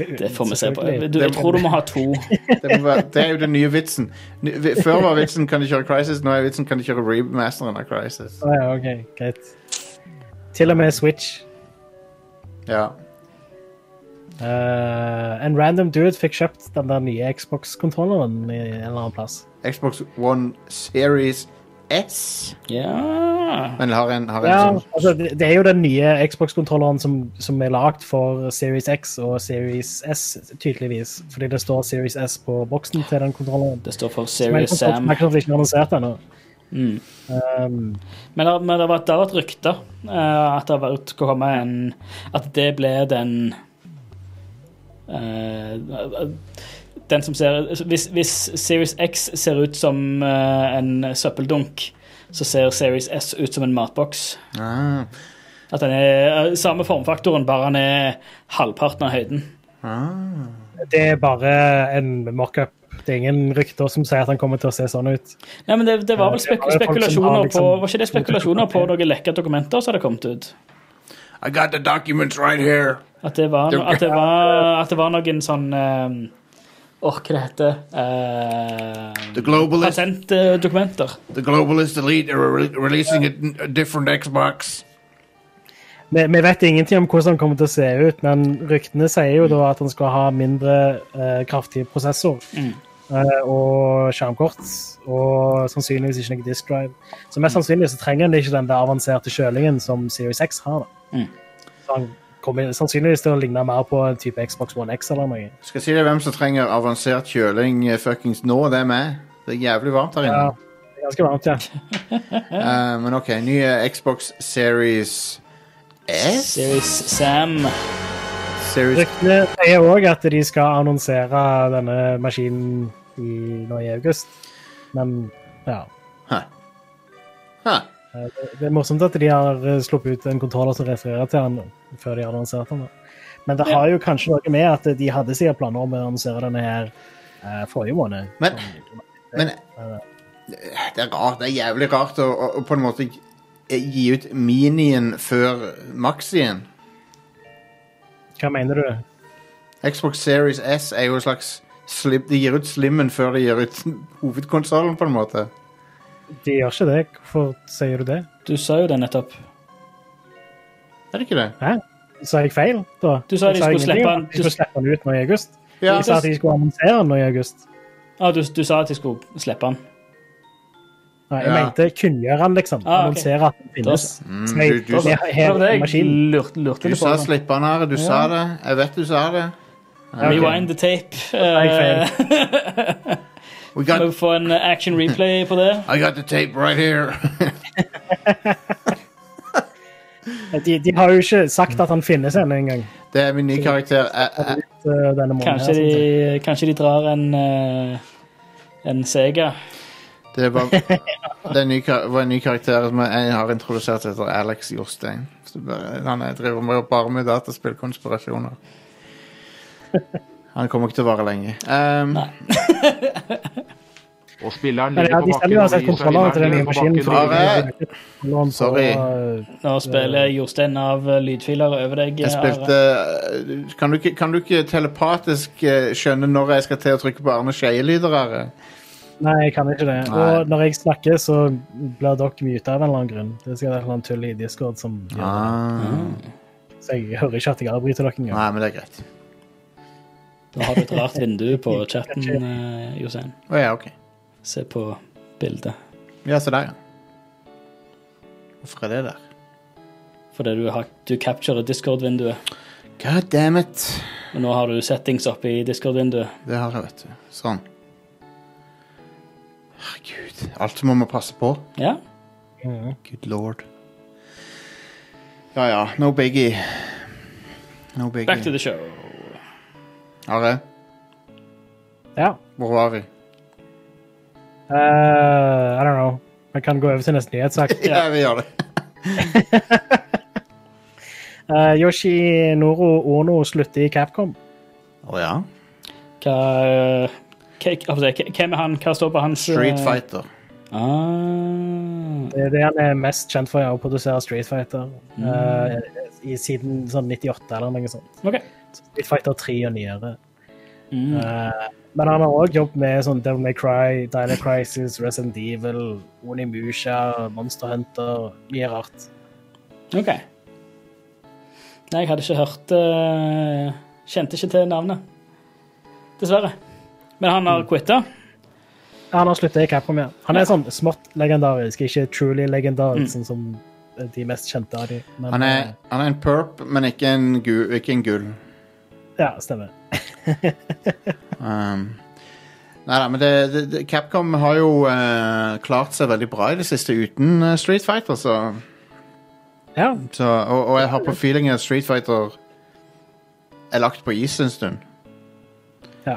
Speaker 2: Det får vi se på.
Speaker 3: Selvfølgelig.
Speaker 2: Du, jeg tror du må ha to.
Speaker 1: Det, må være, det er jo den nye vitsen. Ny- vi- Før var vitsen kan de kjøre Crisis, nå er vitsen kan de kjøre remasteren av Crisis.
Speaker 3: Ah, ja, ok, greit. Til og med Switch.
Speaker 1: Ja.
Speaker 3: Eh, en random dude fikk kjøpt den der nye Xbox-kontrolleren i en eller annen plass.
Speaker 1: Xbox One Series S.
Speaker 2: Ja.
Speaker 1: Men har en, har en
Speaker 3: Ja,
Speaker 1: sånn
Speaker 3: altså, det det er jo den nye Xbox-kontrolleren som, som er lagd for Series X og Series S, tydeligvis. Fordi det står Series S på boksen til den kontrolleren.
Speaker 2: Det står for
Speaker 3: Men
Speaker 2: Serious Sam.
Speaker 3: Microsoft har ikke annonsert ennå.
Speaker 2: Mm.
Speaker 3: Um,
Speaker 2: Men det, men det har vært- det har vært rykter eh, at det har vært skal komme en At det ble den eh, Den som ser hvis, hvis Series X ser ut som eh, en søppeldunk, så ser Series S ut som en matboks.
Speaker 1: ah,
Speaker 2: At den er eh, samme formfaktoren, bare den er halvparten av høyden.
Speaker 1: ah.
Speaker 3: det er bare en mockup. Det er ingen rykter som sier at han kommer til å se sånn ut.
Speaker 2: Nei, men det, det var vel
Speaker 3: Ja, det
Speaker 2: spek
Speaker 3: var jo folk som
Speaker 2: spekulasjoner
Speaker 3: har liksom-
Speaker 2: på Var ikke det spekulasjoner på noen lekka dokumenter som hadde kommet ut?
Speaker 1: I got the documents right here.
Speaker 2: At det var, no- at det var, at det var noen sånn eh, Åh, hva det heter eh,
Speaker 1: The Globalist,
Speaker 2: Patentdokumenter.
Speaker 1: the globalist Elite are re releasing a, a different Xbox.
Speaker 3: Vi, vi vet ingenting om hvordan han kommer til å se ut, men ryktene sier jo da at han skal ha mindre eh, kraftig prosessor
Speaker 2: Mm.
Speaker 3: eh, og skjermkort. Og sannsynligvis ikke noe disk drive. Så mest sannsynlig så trenger han ikke den der avanserte kjølingen som Series X har. da.
Speaker 2: Mm.
Speaker 3: Så han kommer sannsynligvis til å ligne mer på en type Xbox One X eller noe.
Speaker 1: Skal jeg si deg hvem som trenger avansert kjøling eh, fuckings nå? Det er meg. Det er jævlig varmt her inne.
Speaker 3: Ja, det er ganske varmt, ja.
Speaker 1: Eh, men OK, nye Xbox Series S?
Speaker 2: Series Sam.
Speaker 1: Series
Speaker 3: Ryktene sier òg at de skal annonsere denne maskinen i, nå i august, men ja.
Speaker 1: Hæ. Hæ.
Speaker 3: Eh, Det det er morsomt at de har eh, sluppet ut en kontroller som refererer til han før de har annonsert den. da. Men det har jo kanskje noe med at de hadde sikkert planer om å annonsere denne her eh, forrige måned.
Speaker 1: Men, men Det er rart. Det er jævlig rart å, å, å på en måte gi- gi ut minien før maxien.
Speaker 3: Hva mener du?
Speaker 1: Xbox Series S er jo en slags slim, De gir ut slimmen før de gir ut hovedkonsollen, på en måte.
Speaker 3: De gjør ikke det. Hvorfor sier du det?
Speaker 2: Du sa jo det nettopp.
Speaker 1: Er det ikke det?
Speaker 3: Hæ? Sa jeg feil, da?
Speaker 2: Du sa de
Speaker 3: jeg
Speaker 2: skulle
Speaker 3: ingenting
Speaker 2: slippe
Speaker 3: om
Speaker 2: den-
Speaker 3: at de skulle slippe den ut nå i august.
Speaker 1: Ja,
Speaker 3: Jeg sa at de skulle annonsere den nå i august.
Speaker 2: Ah, du, du sa at jeg skulle slippe den.
Speaker 3: Nei,
Speaker 1: Ja.
Speaker 3: jeg mente kunngjøre den, liksom.
Speaker 2: Ah, ok.
Speaker 3: Annonsere at den finnes. Så
Speaker 1: Mm,
Speaker 3: jeg-
Speaker 1: du- du sa-
Speaker 3: jeg-
Speaker 2: Det
Speaker 3: jeg-
Speaker 2: var det jeg
Speaker 3: maskinen.
Speaker 2: lurte, lurte
Speaker 1: du
Speaker 2: litt på.
Speaker 1: sa slippernare. Du sa det. Jeg vet du sa det.
Speaker 3: ok.
Speaker 2: Rewind the tape.
Speaker 3: jeg
Speaker 1: We
Speaker 2: Eh,
Speaker 1: got,
Speaker 2: må få en action replay på det.
Speaker 1: I got the tape right here.
Speaker 3: De, de har jo ikke sagt at han finnes ennå engang.
Speaker 1: det er min nye karakter. Jeg, jeg,
Speaker 3: eh, Denne måneden. her,
Speaker 2: Kanskje
Speaker 3: sånn sett.
Speaker 2: de, kanskje de drar en eh, en Sega.
Speaker 1: Det var, det er en ny, kar- var en ny karakter som jeg har introdusert etter Alex Jostein. Så bare- Han er- driver med å bare med dataspillkonspirasjoner. Han kommer ikke til å vare lenge. Ehm,
Speaker 5: Og spilleren
Speaker 3: Men ja, de
Speaker 5: ligger på bakken.
Speaker 3: selger jo altså
Speaker 5: og
Speaker 3: kontrollene til den nye
Speaker 5: spilleren
Speaker 3: maskinen.
Speaker 5: ligger på
Speaker 3: fordi
Speaker 5: bakken.
Speaker 3: de har
Speaker 1: Are.
Speaker 3: ikke kontrolleren på,
Speaker 1: Sorry.
Speaker 3: eh,
Speaker 2: Nå spiller Jostein av eh, lydfiler over deg.
Speaker 1: jeg spilte eh, kan du, ikke, kan du ikke telepatisk eh, skjønne når jeg skal til å trykke på Arne Skeie-lyder? Are?
Speaker 3: Nei, jeg kan ikke det.
Speaker 1: Nei.
Speaker 3: Og når jeg snakker, så blir dere muta av en eller annen grunn. Det er sikkert et eller annet tull i Discord som gjør det.
Speaker 1: Ah,
Speaker 3: Så jeg hører ikke at jeg avbryter dere engang.
Speaker 1: nei, men det er greit.
Speaker 2: Da har du et rart vindu på chatten, eh, Jostein.
Speaker 1: Å ja, ok.
Speaker 2: Se på bildet.
Speaker 1: Ja, se der, ja. Hvorfor er det der?
Speaker 2: Fordi du, har, du capturer Discord-vinduet.
Speaker 1: God damn it.
Speaker 2: Og nå har du settings oppe i Discord-vinduet.
Speaker 1: Det har jeg, vet du. Sånn. Herregud. Alt må man passe på.
Speaker 2: Ja.
Speaker 3: Mhm.
Speaker 1: Good lord. Ja ja, no biggie. No biggie.
Speaker 2: Back to the show.
Speaker 1: Are,
Speaker 3: Ja.
Speaker 1: hvor var vi?
Speaker 3: Eh, I don't know. Vi kan gå over til neste nyhetssak.
Speaker 1: Ja, vi gjør det.
Speaker 3: Eh, Yoshi Noro Ono slutter i Capcom.
Speaker 1: Å ja.
Speaker 2: Hva, eh, hva, hva- hva- hvem er han? Hva står på hans eh,
Speaker 1: Street Fighter.
Speaker 2: Ah.
Speaker 3: Det er det han er mest kjent for, er å produsere Street Fighter. eh, i, siden sånn 98 eller noe sånt.
Speaker 2: OK.
Speaker 3: Street Fighter 3 og nyere.
Speaker 2: Mm.
Speaker 3: Eh, men han har òg jobbet med sånn Devil May Cry, Dino Crisis, Resident Evil, Onimusha, Monster Hunter Mye rart.
Speaker 2: OK. Nei, jeg hadde ikke hørt eh, Kjente ikke til navnet. Dessverre. Men han
Speaker 1: Mm.
Speaker 2: har quitta.
Speaker 3: Ja, Han har sluttet i Capcom, ja. Han er sånn smått legendarisk, ikke truly legendarisk, sånn som de mest kjente av de. Men,
Speaker 1: Han er, han er en perp, men ikke en, gu, ikke en gull.
Speaker 3: eh, Ja, stemmer.
Speaker 1: Um, nei da, men det, det, det, Capcom har jo eh, klart seg veldig bra i det siste uten eh, Street Fighter, så,
Speaker 3: Ja,
Speaker 1: så og, og jeg har på feelingen at Street Fighter er lagt på is en stund.
Speaker 3: ja.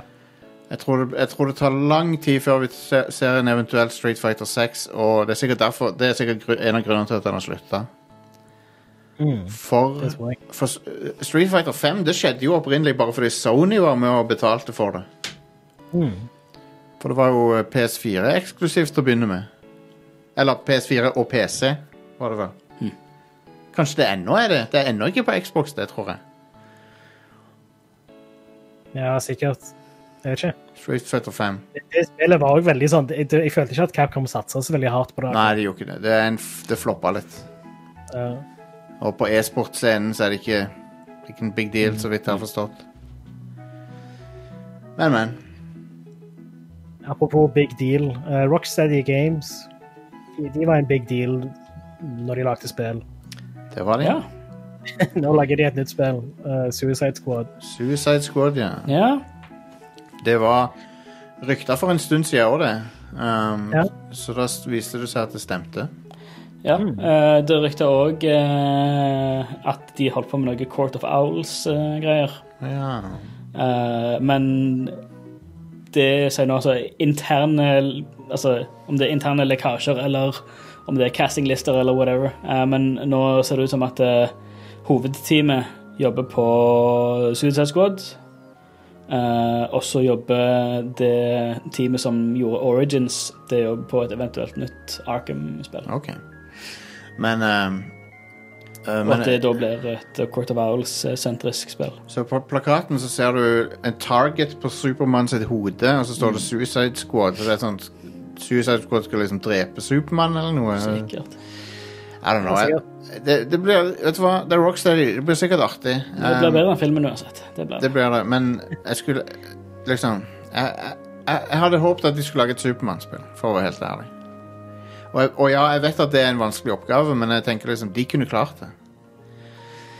Speaker 1: Jeg tror, det, jeg tror det tar lang tid før vi se- ser en eventuell Street Fighter 6, og det er sikkert, derfor, det er sikkert gru- en av grunnene til at den har slutta.
Speaker 3: Mm,
Speaker 1: For,
Speaker 3: det tror jeg.
Speaker 1: for s- øh, Street Fighter 5 det skjedde jo opprinnelig bare fordi Sony var med og betalte for det.
Speaker 3: Mm.
Speaker 1: For det var jo øh, PS4 eksklusivt til å begynne med. Eller PS4 og PC, var det vel. Kanskje det ennå er det? Det er ennå ikke på Xbox, det tror jeg.
Speaker 3: Ja, sikkert. Jeg vet ikke.
Speaker 1: Street Fighter 5.
Speaker 3: Det- Det spillet var også veldig sånn Jeg, jeg følte ikke at Capcom satsa så veldig hardt på det.
Speaker 1: Nei, det gjorde ikke det. Det, er en f det floppa litt.
Speaker 3: Ja.
Speaker 1: Og på e-sportscenen så er det ikke, ikke en big deal, så vidt jeg har forstått. Men, men.
Speaker 3: Apropos big deal. eh, Rocksteady Games de, de var en big deal når de lagde spill.
Speaker 1: Det var det.
Speaker 2: Ja.
Speaker 3: Nå lager de et nytt spill, eh, Suicide Squad.
Speaker 1: Suicide Squad, ja.
Speaker 2: ja.
Speaker 1: Det var rykter for en stund siden òg, det. Um,
Speaker 3: Ja.
Speaker 1: Så da s- viste det seg at det stemte.
Speaker 2: ja. Eh, det rykta òg eh, at de holdt på med noe Court of Owls-greier.
Speaker 1: Ja.
Speaker 2: Eh, men det sier nå altså interne Altså om det er interne lekkasjer eller om det er castinglister eller whatever. Eh, men nå ser det ut som at eh, hovedteamet jobber på Suicide Squad. Eh, og så jobber det teamet som gjorde Origins, det jobber på et eventuelt nytt Arkham-spill.
Speaker 1: OK. Men, um, uh,
Speaker 2: Og at
Speaker 1: men
Speaker 2: det da blir et Court of Owls-sentrisk spill.
Speaker 1: Så på plakaten så ser du en target på Supermann sitt hode, og så står
Speaker 2: Mm.
Speaker 1: det Suicide Squad. Så det er sånn Suicide Squad skal liksom drepe Supermann eller noe.
Speaker 2: Sikkert.
Speaker 1: I don't know. Jeg, det, det blir Vet du hva, det er Rocksteady. Det blir sikkert artig.
Speaker 2: Det blir
Speaker 1: Um,
Speaker 2: bedre enn filmen uansett. Det blir.
Speaker 1: Det blir det, men jeg skulle Liksom Jeg, jeg- jeg, jeg hadde håpet at de skulle lage et Supermann-spill, for å være helt ærlig. Og, jeg- og ja, jeg vet at det er en vanskelig oppgave, men jeg tenker liksom de kunne klart det.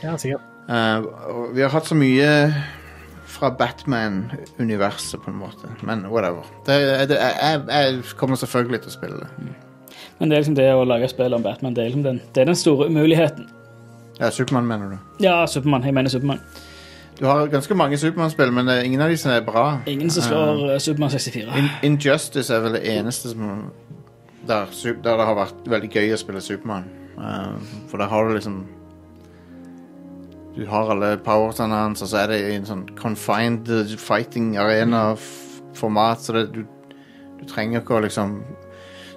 Speaker 3: Ja, sikkert.
Speaker 1: Eh, og vi har hatt så mye fra Batman-universet, på en måte, men whatever. Det, det, jeg, jeg- jeg kommer selvfølgelig til å spille det.
Speaker 2: Men det er liksom det å lage spill om Batman, det er liksom den, det er den store umuligheten.
Speaker 1: Ja, Supermann, mener du?
Speaker 2: Ja, Supermann. Jeg mener Supermann.
Speaker 1: Du har ganske mange Supermann-spill, men det er ingen av de som er bra. Eh,
Speaker 2: Ingen som
Speaker 1: Um,
Speaker 2: slår uh, Supermann 64.
Speaker 1: In Injustice er vel det eneste som der, su- der det har vært veldig gøy å spille Supermann. Eh, for der har du liksom Du har alle powersene hans, og så er det i en sånn confined fighting arena-format, så det, du, du trenger ikke å liksom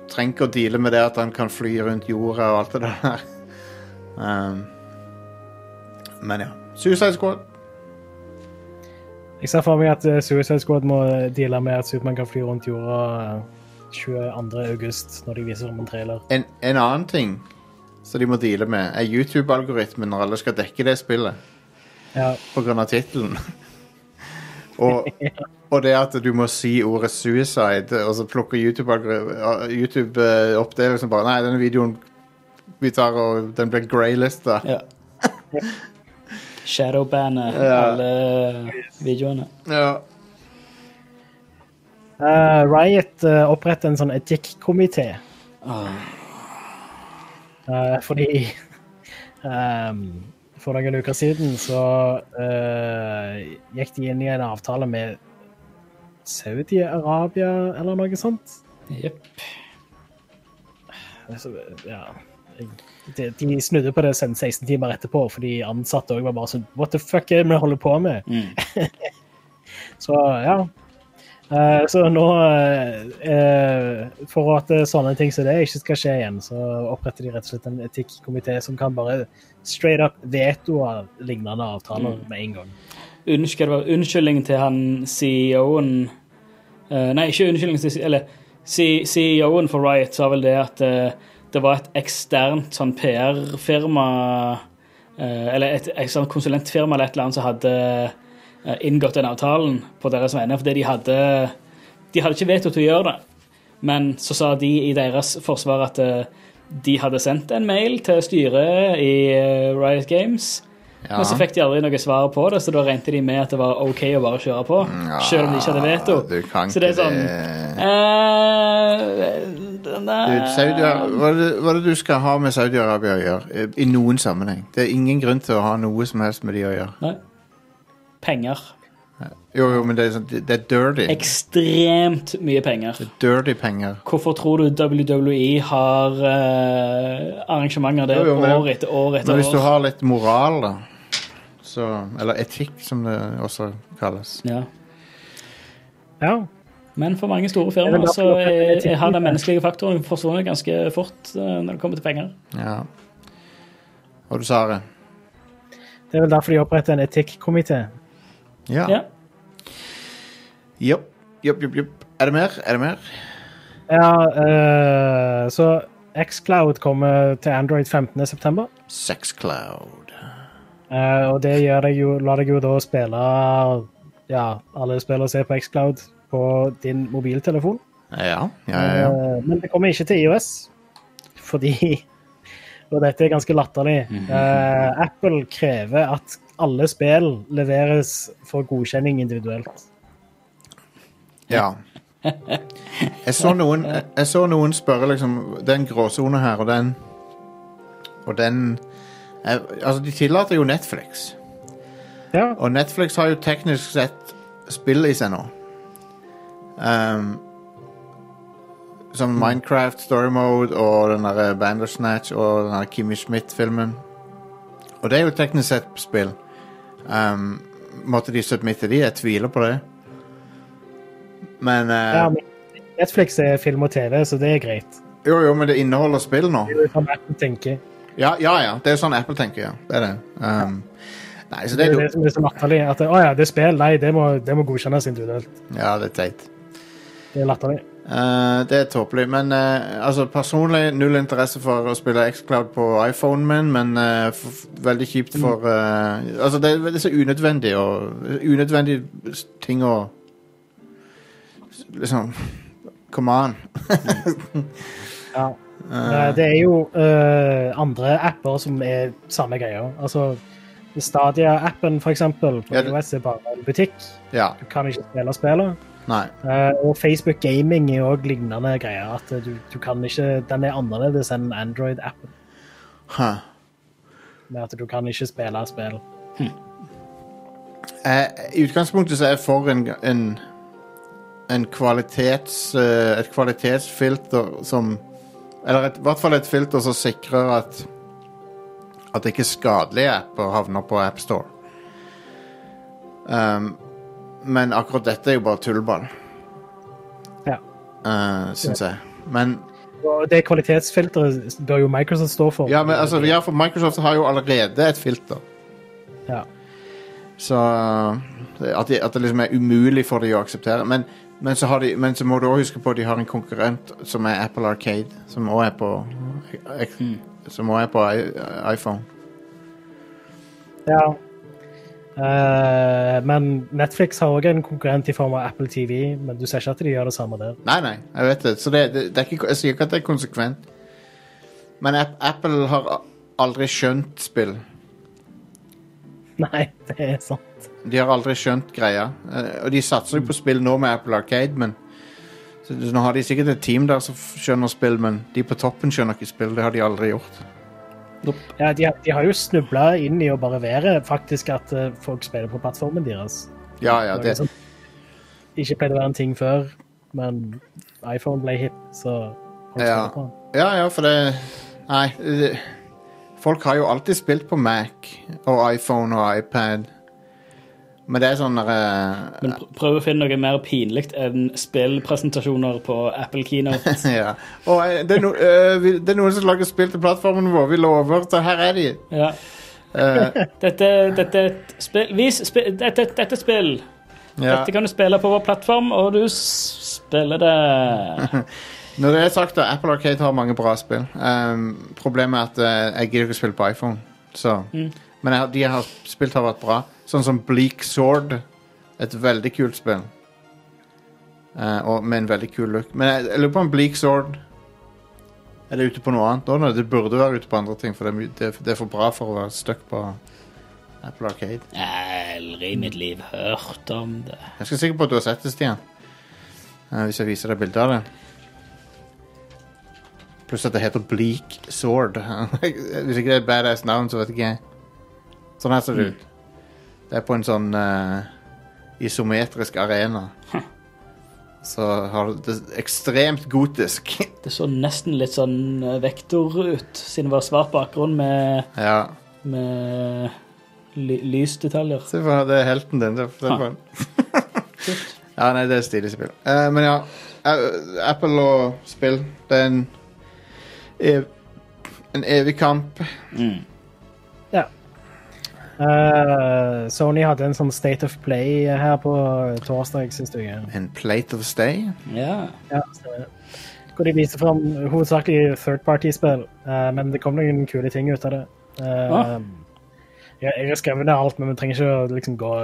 Speaker 1: Trenger ikke å deale med det at han kan fly rundt jorda og alt det der. Um, men ja. Suicide Squad.
Speaker 3: Jeg ser for meg at eh, Suicide Squad må deale med at Supermann kan fly rundt jorda eh, 22. august, når de viser fram en trailer.
Speaker 1: En, en annen ting som de må deale med, er YouTube-algoritmen når alle skal dekke det spillet.
Speaker 3: Ja,
Speaker 1: på grunn av tittelen. og, og det at du må si ordet 'suicide', og så plukker YouTube, algori- YouTube eh, opp det liksom bare Nei, denne videoen vi tar og den blir graylista.
Speaker 2: Ja. Shadowbandet,
Speaker 1: Ja.
Speaker 2: alle videoene.
Speaker 1: Ja.
Speaker 3: Eh, Riot eh, oppretter en sånn etikk-komité. Eh, fordi ehm, For noen uker siden så eh, gikk de inn i en avtale med Saudi-Arabia eller noe sånt.
Speaker 2: Jepp.
Speaker 3: Altså, ja. de, de snudde på det sen- 16 timer etterpå, for de ansatte òg var bare sånn What the fuck er det vi holder på med? så ja. Eh, så nå, eh, eh, for at sånne ting som det ikke skal skje igjen, så oppretter de rett og slett en etikkomité som kan bare straight up vetoe lignende avtaler med en gang.
Speaker 2: Unnskyld, skal det være unnskyldning til han CEO-en eh, Nei, ikke unnskyldning til Eller C- CEO-en for Riot sa vel det at eh, det var et eksternt sånn PR-firma eh, Eller et eksternt konsulentfirma eller et eller annet som hadde eh, inngått den avtalen på deres vegne, fordi de hadde De hadde ikke veto til å gjøre det. Men så sa de i deres forsvar at eh, de hadde sendt en mail til styret i eh, Riot Games.
Speaker 1: ja.
Speaker 2: Men så fikk de aldri noe svar på det, så da regnet de med at det var OK å bare kjøre på. Selv om de ikke hadde veto.
Speaker 1: Ah, Du kan
Speaker 2: Så det er
Speaker 1: ikke
Speaker 2: sånn
Speaker 1: det.
Speaker 2: eh, nei.
Speaker 1: Du, Saudi-Ar- hva, er det, hva er det du skal ha med Saudi-Arabia å gjøre? eh, I noen sammenheng. Det er ingen grunn til å ha noe som helst med de å gjøre.
Speaker 2: Nei. Penger.
Speaker 1: Jo, jo, men det er, sånn, det det er dirty.
Speaker 2: Ekstremt mye penger.
Speaker 1: Dirty penger.
Speaker 2: Hvorfor tror du WWE har eh, arrangementer der
Speaker 1: Jo, jo, men-
Speaker 2: år etter år etter
Speaker 1: Men hvis du
Speaker 2: år?
Speaker 1: har litt moral, da så, Eller etikk, som det også kalles.
Speaker 2: Ja.
Speaker 3: Ja.
Speaker 2: Men for mange store
Speaker 3: Det er vel
Speaker 2: firmaer
Speaker 3: derfor
Speaker 2: så
Speaker 3: det er
Speaker 2: er,
Speaker 3: teknikk,
Speaker 2: er- har den
Speaker 3: ja.
Speaker 2: menneskelige faktoren forsvunnet ganske fort eh, når det kommer til penger.
Speaker 1: Ja. Og du sa det?
Speaker 3: Det er vel derfor de oppretter en etikkomité.
Speaker 1: Ja.
Speaker 2: Ja.
Speaker 1: Jopp, jopp, jopp, jopp. Er det mer? Er det mer?
Speaker 3: Ja, eh, så Xcloud kommer til Android 15.9.
Speaker 1: Sexcloud.
Speaker 3: Eh, og det gjør deg jo, lar deg jo da spille ja, alle spiller se på Xcloud på din mobiltelefon.
Speaker 1: Ja, ja, ja. ja.
Speaker 3: Eh, men det kommer ikke til iOS, fordi Og dette er ganske latterlig.
Speaker 1: Mhm.
Speaker 3: eh, Apple krever at alle spill leveres for godkjenning individuelt.
Speaker 1: Ja. Jeg så noen, jeg, jeg så noen spørre liksom Det er en gråsone her, og den Og den jeg, Altså, de tillater jo Netflix.
Speaker 3: Ja,
Speaker 1: Og Netflix har jo teknisk sett spill i seg nå. Ehm,
Speaker 3: Mm.
Speaker 1: som Minecraft Story Mode og den der Bandersnatch og den der Kimmy Schmidt-filmen. Og det er jo teknisk sett spill. Ehm, måtte de submitte de? Jeg tviler på det. Men eh,
Speaker 3: ja men Netflix er film og TV, så det er greit.
Speaker 1: Jo, jo, men det inneholder spill nå.
Speaker 3: Det er jo sånn Apple tenker.
Speaker 1: Ja, ja. ja. Det er jo sånn Apple tenker, ja. Det er det. Ehm, nei, så
Speaker 3: Det
Speaker 1: det er jo
Speaker 3: er det som er så latterlig. At å ja, det er spill. Nei, det må, det må godkjennes individuelt.
Speaker 1: Ja, det er teit.
Speaker 3: Det er latterlig.
Speaker 1: Eh, det er tåpelig, men eh, altså personlig null interesse for å spille Xcloud på iPhonen min, men eh, f f- veldig kjipt for eh, Altså, det, er- det er så unødvendig og Unødvendig s- ting å s- Liksom Come on.
Speaker 3: Ja. Eh, Det er jo eh, andre apper som er samme greia. Altså, Stadia-appen, for eksempel, på
Speaker 1: Ja, det-
Speaker 3: iOS er bare en butikk.
Speaker 1: Ja.
Speaker 3: Du kan ikke spille spillet.
Speaker 1: Nei.
Speaker 3: Eh, og Facebook Gaming er òg lignende greier. At du, du kan ikke, den er annerledes enn Android-appen.
Speaker 1: Huh.
Speaker 3: Med at du kan ikke spille spill.
Speaker 1: Eh, I utgangspunktet så er jeg for en, en, en kvalitets, eh, et kvalitetsfilter som Eller et, i hvert fall et filter som sikrer at at ikke skadelige apper havner på AppStore. Um, men akkurat dette er jo bare tullball,
Speaker 3: Ja.
Speaker 1: uh, syns jeg. Men,
Speaker 3: Og det kvalitetsfilteret bør jo Microsoft stå for.
Speaker 1: ja, men altså, ja, for Microsoft har jo allerede et filter.
Speaker 3: Ja.
Speaker 1: Så eh, at, de, at det liksom er umulig for dem å akseptere. Men, men, så har de, men så må du òg huske på at de har en konkurrent som er Apple Arcade, som òg er på Som også er på i- eh, iPhone.
Speaker 3: Ja. Eh, men Netflix har òg en konkurrent i form av Apple TV, men du ser ikke at de gjør det samme der.
Speaker 1: Nei, nei, jeg vet det. Så det, det, det er ikke, jeg sier ikke at det er konsekvent. Men App, Apple har a- aldri skjønt spill.
Speaker 3: Nei, det er sant.
Speaker 1: De har aldri skjønt greia. Eh, Og de satser jo på spill nå med Apple Arcade, men så Nå har de sikkert et team der som f- skjønner spill, men de på toppen skjønner ikke spill. Det har de aldri gjort.
Speaker 3: Ja, de, de har jo snubla inn i å bare være faktisk at eh, folk spiller på plattformen deres.
Speaker 1: Ja, ja,
Speaker 3: Det er
Speaker 1: det,
Speaker 3: sånn- ikke pleide å være en ting før, men iPhone ble hip, så
Speaker 1: Ja.
Speaker 3: folk spiller på den.
Speaker 1: Ja, ja, for det Nei. Det, folk har jo alltid spilt på Mac og iPhone og iPad. Men det er sånn der, eh,
Speaker 2: Men pr- prøv å finne noe mer pinlig enn spillpresentasjoner på Apple Keynote.
Speaker 1: ja. Og eh, det er, no, eh, vi, det er noen som lager spill til plattformen vår. Vi lover, så her er de.
Speaker 2: Ja.
Speaker 1: Eh,
Speaker 2: Dette, dette er et spill Vis spill. Dette, dette er et spill.
Speaker 1: ja.
Speaker 2: Dette kan du spille på vår plattform, og du s- spiller det.
Speaker 1: Når det er sagt, da, Apple Arcade har mange bra spill. Um, problemet er at eh, jeg gidder ikke spille på iPhone. Så. Men jeg, har- de jeg har spilt, har vært bra. Sånn som Bleak Sword. Et veldig kult spill. Eh, og med en veldig kul look. Men jeg, jeg lurer på om Bleak Sword er det ute på noe annet nå? nå? Det burde være ute på andre ting, for det er, my- det, er- det er for bra for å være stuck på Apple Arcade.
Speaker 2: Aldri i mitt liv hørt om det.
Speaker 1: Jeg er ganske sikker på at du har sett det, Stian. Eh, hvis jeg viser deg bilde av det. Pluss at det heter Bleak Sword. hvis ikke det er et badass navn, så vet ikke jeg. Sånn her ser det ut. Det er på en sånn eh, isometrisk arena. Så har det det er ekstremt gotisk.
Speaker 2: Det så nesten litt sånn eh, vektor ut, siden det var svart bakgrunn med,
Speaker 1: ja.
Speaker 2: med ly lysdetaljer.
Speaker 1: Se på det er helten din. Det er, det er
Speaker 2: Ha.
Speaker 1: bare- Ja, nei, det er stilig spill. Eh, men ja, eh, Apple og spill, det er en, ev en evig kamp.
Speaker 3: Ja. Eh, Sony hadde en sånn State of Play her på torsdag, syns du? Ja,
Speaker 1: En plate of stay?
Speaker 2: Ja.
Speaker 3: stemmer det. Hvor de viste fram hovedsakelig third party-spill, eh, men det kom noen kule ting ut av det. Eh,
Speaker 2: Ah.
Speaker 3: jeg, jeg har skrevet ned alt, men vi trenger ikke å liksom gå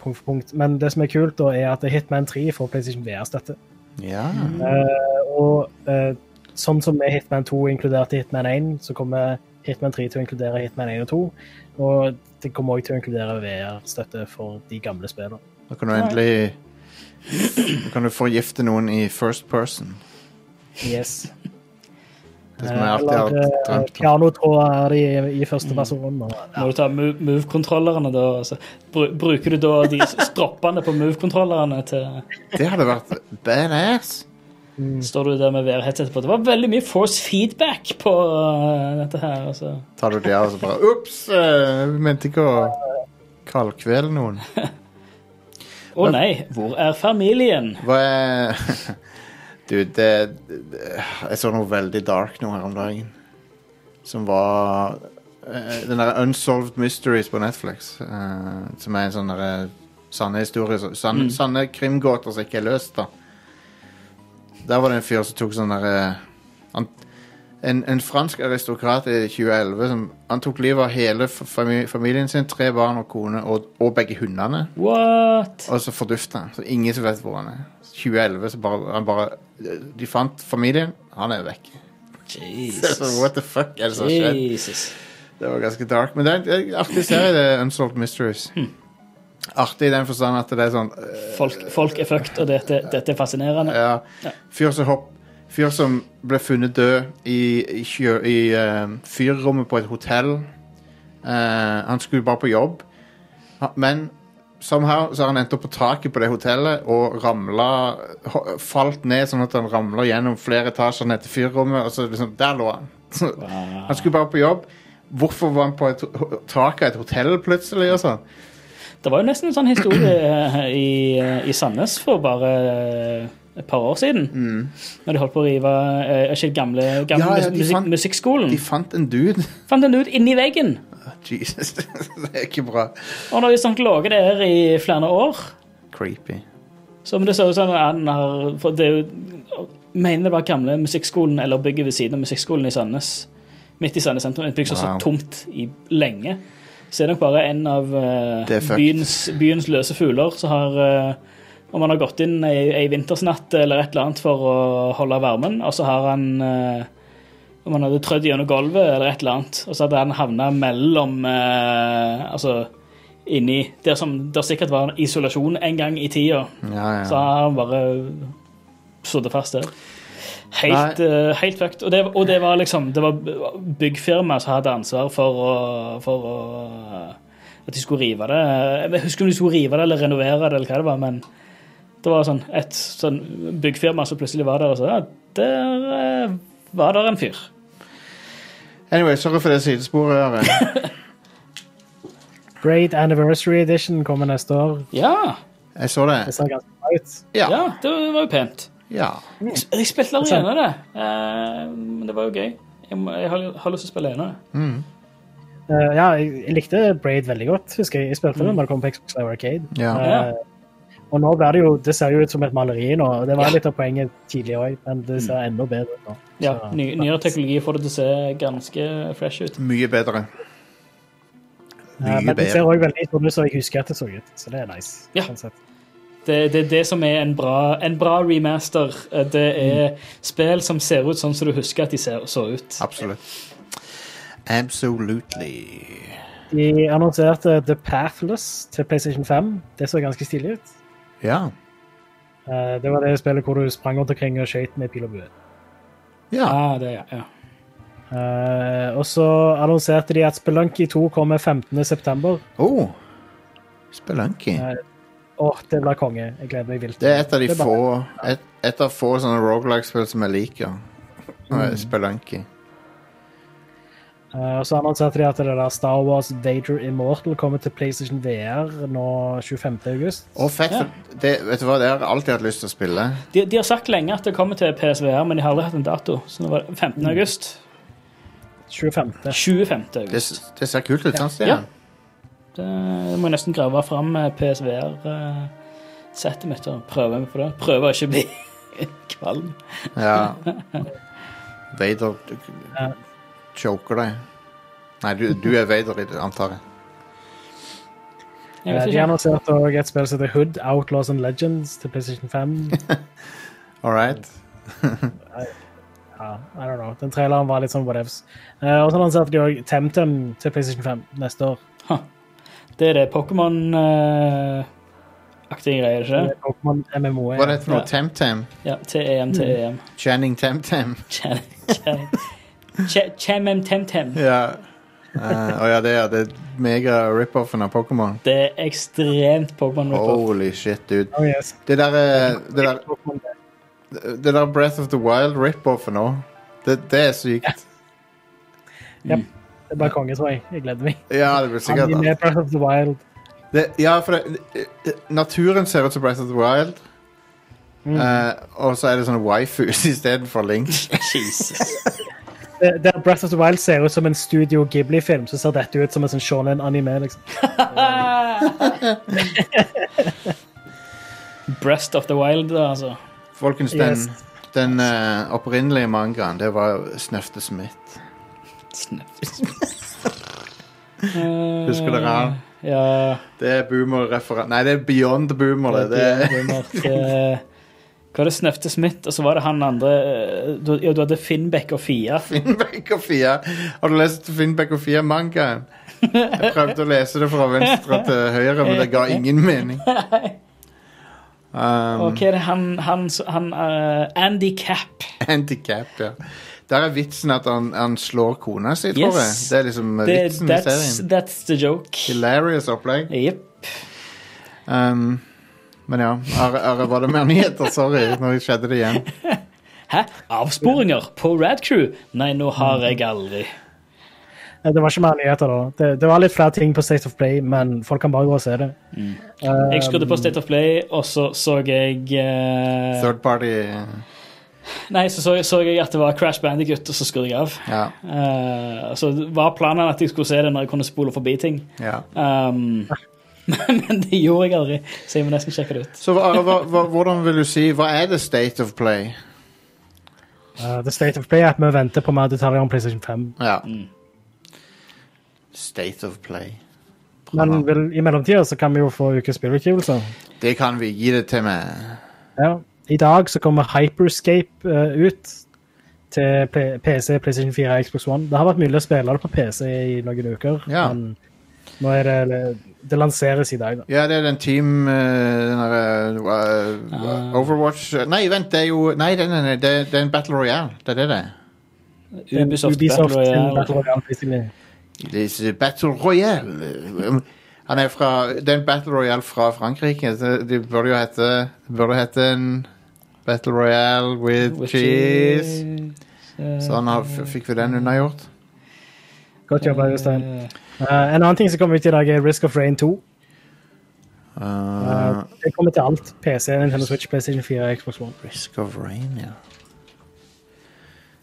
Speaker 3: punkt for punkt. Men det som er kult, da, er at Hitman 3 får PlayStation VR-støtte.
Speaker 1: Ja.
Speaker 3: Eh, og eh, sånn som med Hitman 2 inkluderte Hitman 1, så kommer Hitman 3 til å inkludere Hitman 1 og 2. Og det kommer òg til å inkludere VR-støtte for de gamle spillene.
Speaker 1: Da kan du endelig Da kan du forgifte noen i first person.
Speaker 3: Yes.
Speaker 1: Det som jeg alltid har drømt om.
Speaker 3: Eh, pianotråder i, i første person. Og, ja.
Speaker 2: Må du ta Mo- move-kontrollerne, da? og Så bru- bruker du da de s- stroppene på move-kontrollerne til
Speaker 1: Det hadde vært badass.
Speaker 2: Står du der med VR-headset på? Det var veldig mye force feedback på øh, dette her. Altså.
Speaker 1: Tar du det av og så bare Ops! eh, Vi mente ikke å kaldkvele noen.
Speaker 2: Å nei, hvor er familien?
Speaker 1: Hva er Du, det, det Jeg så noe veldig dark nå her om dagen. Som var eh, den derre Unsolved Mysteries på Netflix. eh, som er en sånn derre sanne historie som- Sanne, sanne krimgåter som ikke er løst, da. Der var det en fyr som tok sånn derre han- en, en fransk aristokrat i 2011 som Han tok livet av hele fami, familien sin, tre barn og kone, og, og begge hundene.
Speaker 2: What?
Speaker 1: Og så fordufta han. Så ingen som vet hvor han er. 2011 så bare, han bare De fant familien. Han er vekk. Så
Speaker 2: Jesus.
Speaker 1: what the fuck er det som har skjedd?
Speaker 2: Jesus.
Speaker 1: Det var ganske dark. Men det er en- det er en artig serie, det er Unsolved Mysteries. Artig i den forstand at det er sånn øh,
Speaker 2: Folk, folk er fucked, og dette, dette er fascinerende.
Speaker 1: Ja. Fyr som hopp Fyr som ble funnet død i, i, kjø- i øh, fyrrommet på et hotell. Eh, han skulle bare på jobb. Ha- Men somehow så har han endt opp på taket på det hotellet og ramla ho- Falt ned sånn at han ramla gjennom flere etasjer ned til fyrrommet, og så liksom Der lå han. Så, Han skulle bare på jobb. Hvorfor var han på et ho- tak av et hotell plutselig? og sånn?
Speaker 2: Det var jo nesten en sånn historie øh, i, øh, i Sandnes for bare øh, et par år siden. Når de holdt på å rive øh, er ikke gamle, gamle
Speaker 1: Mm. Ja, ja, de
Speaker 2: musikk,
Speaker 1: fant-
Speaker 2: musikkskolen.
Speaker 1: De fant en dude.
Speaker 2: Fant den ut inni veggen.
Speaker 1: Jesus, det er ikke bra.
Speaker 2: Og når de sånn lå der i flere år
Speaker 1: Creepy.
Speaker 2: Så men det ser ut som han har for det er jo, Mener det var gamle musikkskolen eller bygget ved siden av musikkskolen i Sandnes. Midt i Sandnes sentrum. Et bygg som har
Speaker 1: Wow.
Speaker 2: stått tomt i lenge. Så er det nok bare en av eh,
Speaker 1: Det er fucked.
Speaker 2: byens, byens løse fugler som har eh, Om han har gått inn ei, ei vintersnatt eller et eller annet for å holde varmen, og så har han eh, om han hadde trødd gjennom gulvet eller et eller annet, og så hadde han havna mellom eh, Altså inni Der som det sikkert var en isolasjon en gang i tida.
Speaker 1: Ja, ja.
Speaker 2: Så har han bare sittet fast der. Helt, eh, helt fucked. Og det, og det var liksom Det var byggfirmaet som hadde ansvar for å, for å At de skulle rive det. Jeg husker om de skulle rive det eller renovere det, eller hva det var, men det var sånn et sånn byggfirma som plutselig var der og sa ja, der eh, var der en fyr.
Speaker 1: Anyway, sorry for det sidesporet. Are.
Speaker 3: Great Anniversary Edition kommer neste år.
Speaker 2: Ja,
Speaker 1: Jeg så
Speaker 3: Det
Speaker 1: det.
Speaker 3: ser ganske bra ut.
Speaker 2: ja,
Speaker 1: Ja.
Speaker 2: det var jo pent.
Speaker 1: ja.
Speaker 2: Jeg, jeg spilte aldri gjennom det, eh, men det var jo gøy. Jeg, må- jeg har, har lyst til å spille gjennom det.
Speaker 3: Eh, ja, jeg, jeg likte Braid veldig godt, husker jeg. Jeg spilte det da det kom på Xbox Live Arcade. Eh,
Speaker 1: ja.
Speaker 2: Mm. Ja.
Speaker 3: Og nå blir det jo Det ser jo ut som et maleri nå. og Det var litt av poenget tidligere òg, men det ser enda bedre ut nå.
Speaker 2: Mm. Ja,
Speaker 3: Så- eh,
Speaker 2: ny, nyere teknologi får det til å se ganske fresh ut.
Speaker 1: Mye bedre.
Speaker 3: Eh,
Speaker 1: Mye
Speaker 3: men det ser
Speaker 1: bedre.
Speaker 3: òg veldig sånn ut som jeg husker at det så ut, så det er nice.
Speaker 2: Ja.
Speaker 3: sånn sett.
Speaker 2: Det er det, er det som er en bra, en bra remaster. Eh, Det er spill som ser ut sånn som du husker at de ser, så ut.
Speaker 1: Absolutt. Absolutely.
Speaker 3: De annonserte The Pathless til PlayStation 5. Det så ganske stilig ut.
Speaker 1: Ja.
Speaker 3: Eh, det var det spillet hvor du sprang rundt omkring og skøyt med pil og bue.
Speaker 1: Ja.
Speaker 2: Ah, det, ja, ja.
Speaker 3: Eh, og så annonserte de at Spelunky 2 kommer 15.9.
Speaker 1: Oh. Spelunky.
Speaker 3: Nei. Åh, det blir konge. Jeg gleder meg vilt.
Speaker 1: Det er et av de
Speaker 3: bare-
Speaker 1: få et, et av få sånne roguelike-spill som jeg liker. Mm. Spelunky.
Speaker 3: Eh, og så annonserte de at det der Star Wars Vader Immortal kommer til PlayStation VR nå 25. august.
Speaker 1: Å, fett.
Speaker 2: Ja.
Speaker 1: for Det, vet du hva, det har jeg alltid hatt lyst til å spille.
Speaker 2: De, de har sagt lenge at det kommer til PSVR, men de har aldri hatt en dato. Så det var 15. august.
Speaker 3: 25.
Speaker 2: 25.
Speaker 1: Det,
Speaker 2: august.
Speaker 1: s- det ser kult ut, sant, Stian?
Speaker 2: Ja. Det jeg må jeg nesten grave fram eh, PSVR-settet eh, mitt og prøve meg på det. Prøve å ikke bli kvalm.
Speaker 1: Ja. Vader du- choker deg. Nei, du, du er Vader, i det, antar jeg.
Speaker 2: Jeg vet
Speaker 3: Eh, De
Speaker 2: ikke.
Speaker 3: annonserte også et spill som heter Hood, Outlaws and Legends til PlayStation 5.
Speaker 1: All right.
Speaker 3: Ja, I don't know. Den traileren var litt sånn whatevs. Eh, og så lanserte de òg TemTem til PlayStation 5 neste år.
Speaker 2: Det er det Pokémon-aktige greier, ikke det?
Speaker 3: Det er Pokémon MMO.
Speaker 1: Hva er det for noe?
Speaker 2: Ja.
Speaker 1: Temtem?
Speaker 2: Ja. E TEM, TEM.
Speaker 1: Channing Temtem?
Speaker 2: Chemem Temtem.
Speaker 1: Ja. Eh, Å ja, det er det er mega rip-offen av Pokémon.
Speaker 2: Det er ekstremt Pokémon-ripper.
Speaker 1: Holy shit, dude.
Speaker 3: Oh, yes.
Speaker 1: Det der, eh, det der,
Speaker 3: Pokémon-
Speaker 1: det der Breath of the Wild rip-offen òg. Det, det er sykt.
Speaker 3: Det blir konge, tror jeg. Jeg gleder meg.
Speaker 1: Ja, det blir sikkert
Speaker 3: Anime Breath of the Wild.
Speaker 1: det, Ja, for det, det- naturen ser ut som Breath of the Wild. Eh, og så er det sånne waifus istedenfor Link.
Speaker 2: Jesus.
Speaker 3: Det- Der Breath of the Wild ser ut som en Studio Ghibli-film, så ser dette ut som en sånn shonen-anime. liksom.
Speaker 2: Ah! Breast of the Wild, da, altså.
Speaker 1: Folkens, den,
Speaker 3: Yes.
Speaker 1: den eh, opprinnelige mangaen, det var Snøfte Smith.
Speaker 2: Snøfs.
Speaker 1: Husker dere han?
Speaker 2: Eh, Ja.
Speaker 1: Det er boomer-referat... Nei, det er beyond boomer, det. det er,
Speaker 2: Boomer, det- eh, Hva var det Snøfte Smith, og så var det han andre eh, du, Ja, du hadde Finnbekk og Fia.
Speaker 1: Finnbekk og Fia. Har du lest Finnbekk og Fia-mangaen? Jeg prøvde å lese det fra venstre til høyre, men det ga ingen mening. Um,
Speaker 2: Og hva er det han, han, han eh, Andy Capp.
Speaker 1: Handicap, ja. Der er vitsen at han, han slår kona si, tror jeg.
Speaker 2: Yes.
Speaker 1: Det er liksom
Speaker 2: Det,
Speaker 1: vitsen i
Speaker 2: that's,
Speaker 1: serien.
Speaker 2: that's the joke.
Speaker 1: Hilarious opplegg.
Speaker 2: Jepp.
Speaker 1: Um, men ja, Are, Are, var det mer nyheter? Sorry, nå skjedde det igjen.
Speaker 2: Hæ? Avsporinger på Rad Crew? Nei, nå har jeg aldri.
Speaker 3: Eh, Det var ikke mer nyheter da. Det, det var litt flere ting på State of Play, men folk kan bare gå og se det. Eh,
Speaker 2: Jeg skrudde på State of Play, og så så jeg eh,
Speaker 1: Third party
Speaker 2: Nei, så så, så jeg at det var Crash Bandicut, og så skrudde jeg av.
Speaker 1: Ja.
Speaker 2: Eh, så var planen at jeg skulle se det når jeg kunne spole forbi ting.
Speaker 1: ja.
Speaker 2: Um, men det gjorde jeg aldri, så jeg må nesten sjekke det ut.
Speaker 1: Så hva, hva, hva, hvordan vil du si Hva er det State of Play?
Speaker 3: eh, The State of Play er at vi venter på mer detaljer om PlayStation 5.
Speaker 1: Ja.
Speaker 2: Mm.
Speaker 1: State of Play.
Speaker 3: Men vel, i mellomtida så kan vi jo få ukens spillutgivelser.
Speaker 1: Det kan vi gi det til meg.
Speaker 3: Ja. I dag så kommer Hyperscape eh, ut til P PC, PlayStation 4 og Xbox One. Det har vært mulig å spille det på PC i noen uker,
Speaker 1: Ja.
Speaker 3: men nå er det, det lanseres i dag. Da.
Speaker 1: Ja, det er den team eh, den der, eh, eh, Overwatch Nei, vent, det er jo Nei, nei, nei, nei det, det er en Battle Royale. Det er det det.
Speaker 2: Ubisoft,
Speaker 3: Ubisoft
Speaker 2: Battle
Speaker 3: sin
Speaker 2: Royale.
Speaker 3: Battle Royale, basically.
Speaker 1: This is Battle Royale. Um, Han er fra, det er en Battle Royale fra Frankrike. så Det burde jo hete, det burde hete en Battle Royale with,
Speaker 2: With
Speaker 1: cheese.
Speaker 2: cheese.
Speaker 1: Sånn har- f- fikk vi den unnagjort.
Speaker 3: Godt jobba, Jostein. Eh, en annen ting som kommer ut i dag, er Risk of Rain 2. Eh,
Speaker 1: Uh,
Speaker 3: det kommer til alt. PC, Nintendo Switch, PlayStation 4 og Xbox One.
Speaker 1: risk of rain, ja.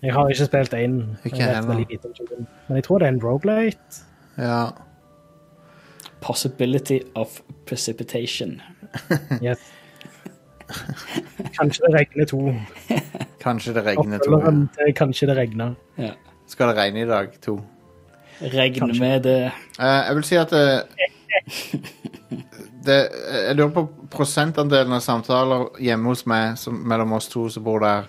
Speaker 3: Jeg har ikke spilt eh, én,
Speaker 1: Ikke
Speaker 3: jeg vet
Speaker 1: heller.
Speaker 3: veldig lite om den. men jeg tror det er en Roguelite
Speaker 1: ja.
Speaker 2: Possibility of precipitation.
Speaker 3: Yes. Kanskje det regner to.
Speaker 1: Kanskje det regner to. Ja.
Speaker 3: Oppfølgeren til Kanskje det regner.
Speaker 2: Ja.
Speaker 1: Skal det regne i dag, to?
Speaker 2: Regn med det.
Speaker 1: Eh, jeg vil si at eh, det, eh, Jeg lurer på prosentandelen av samtaler hjemme hos meg som, mellom oss to som bor der.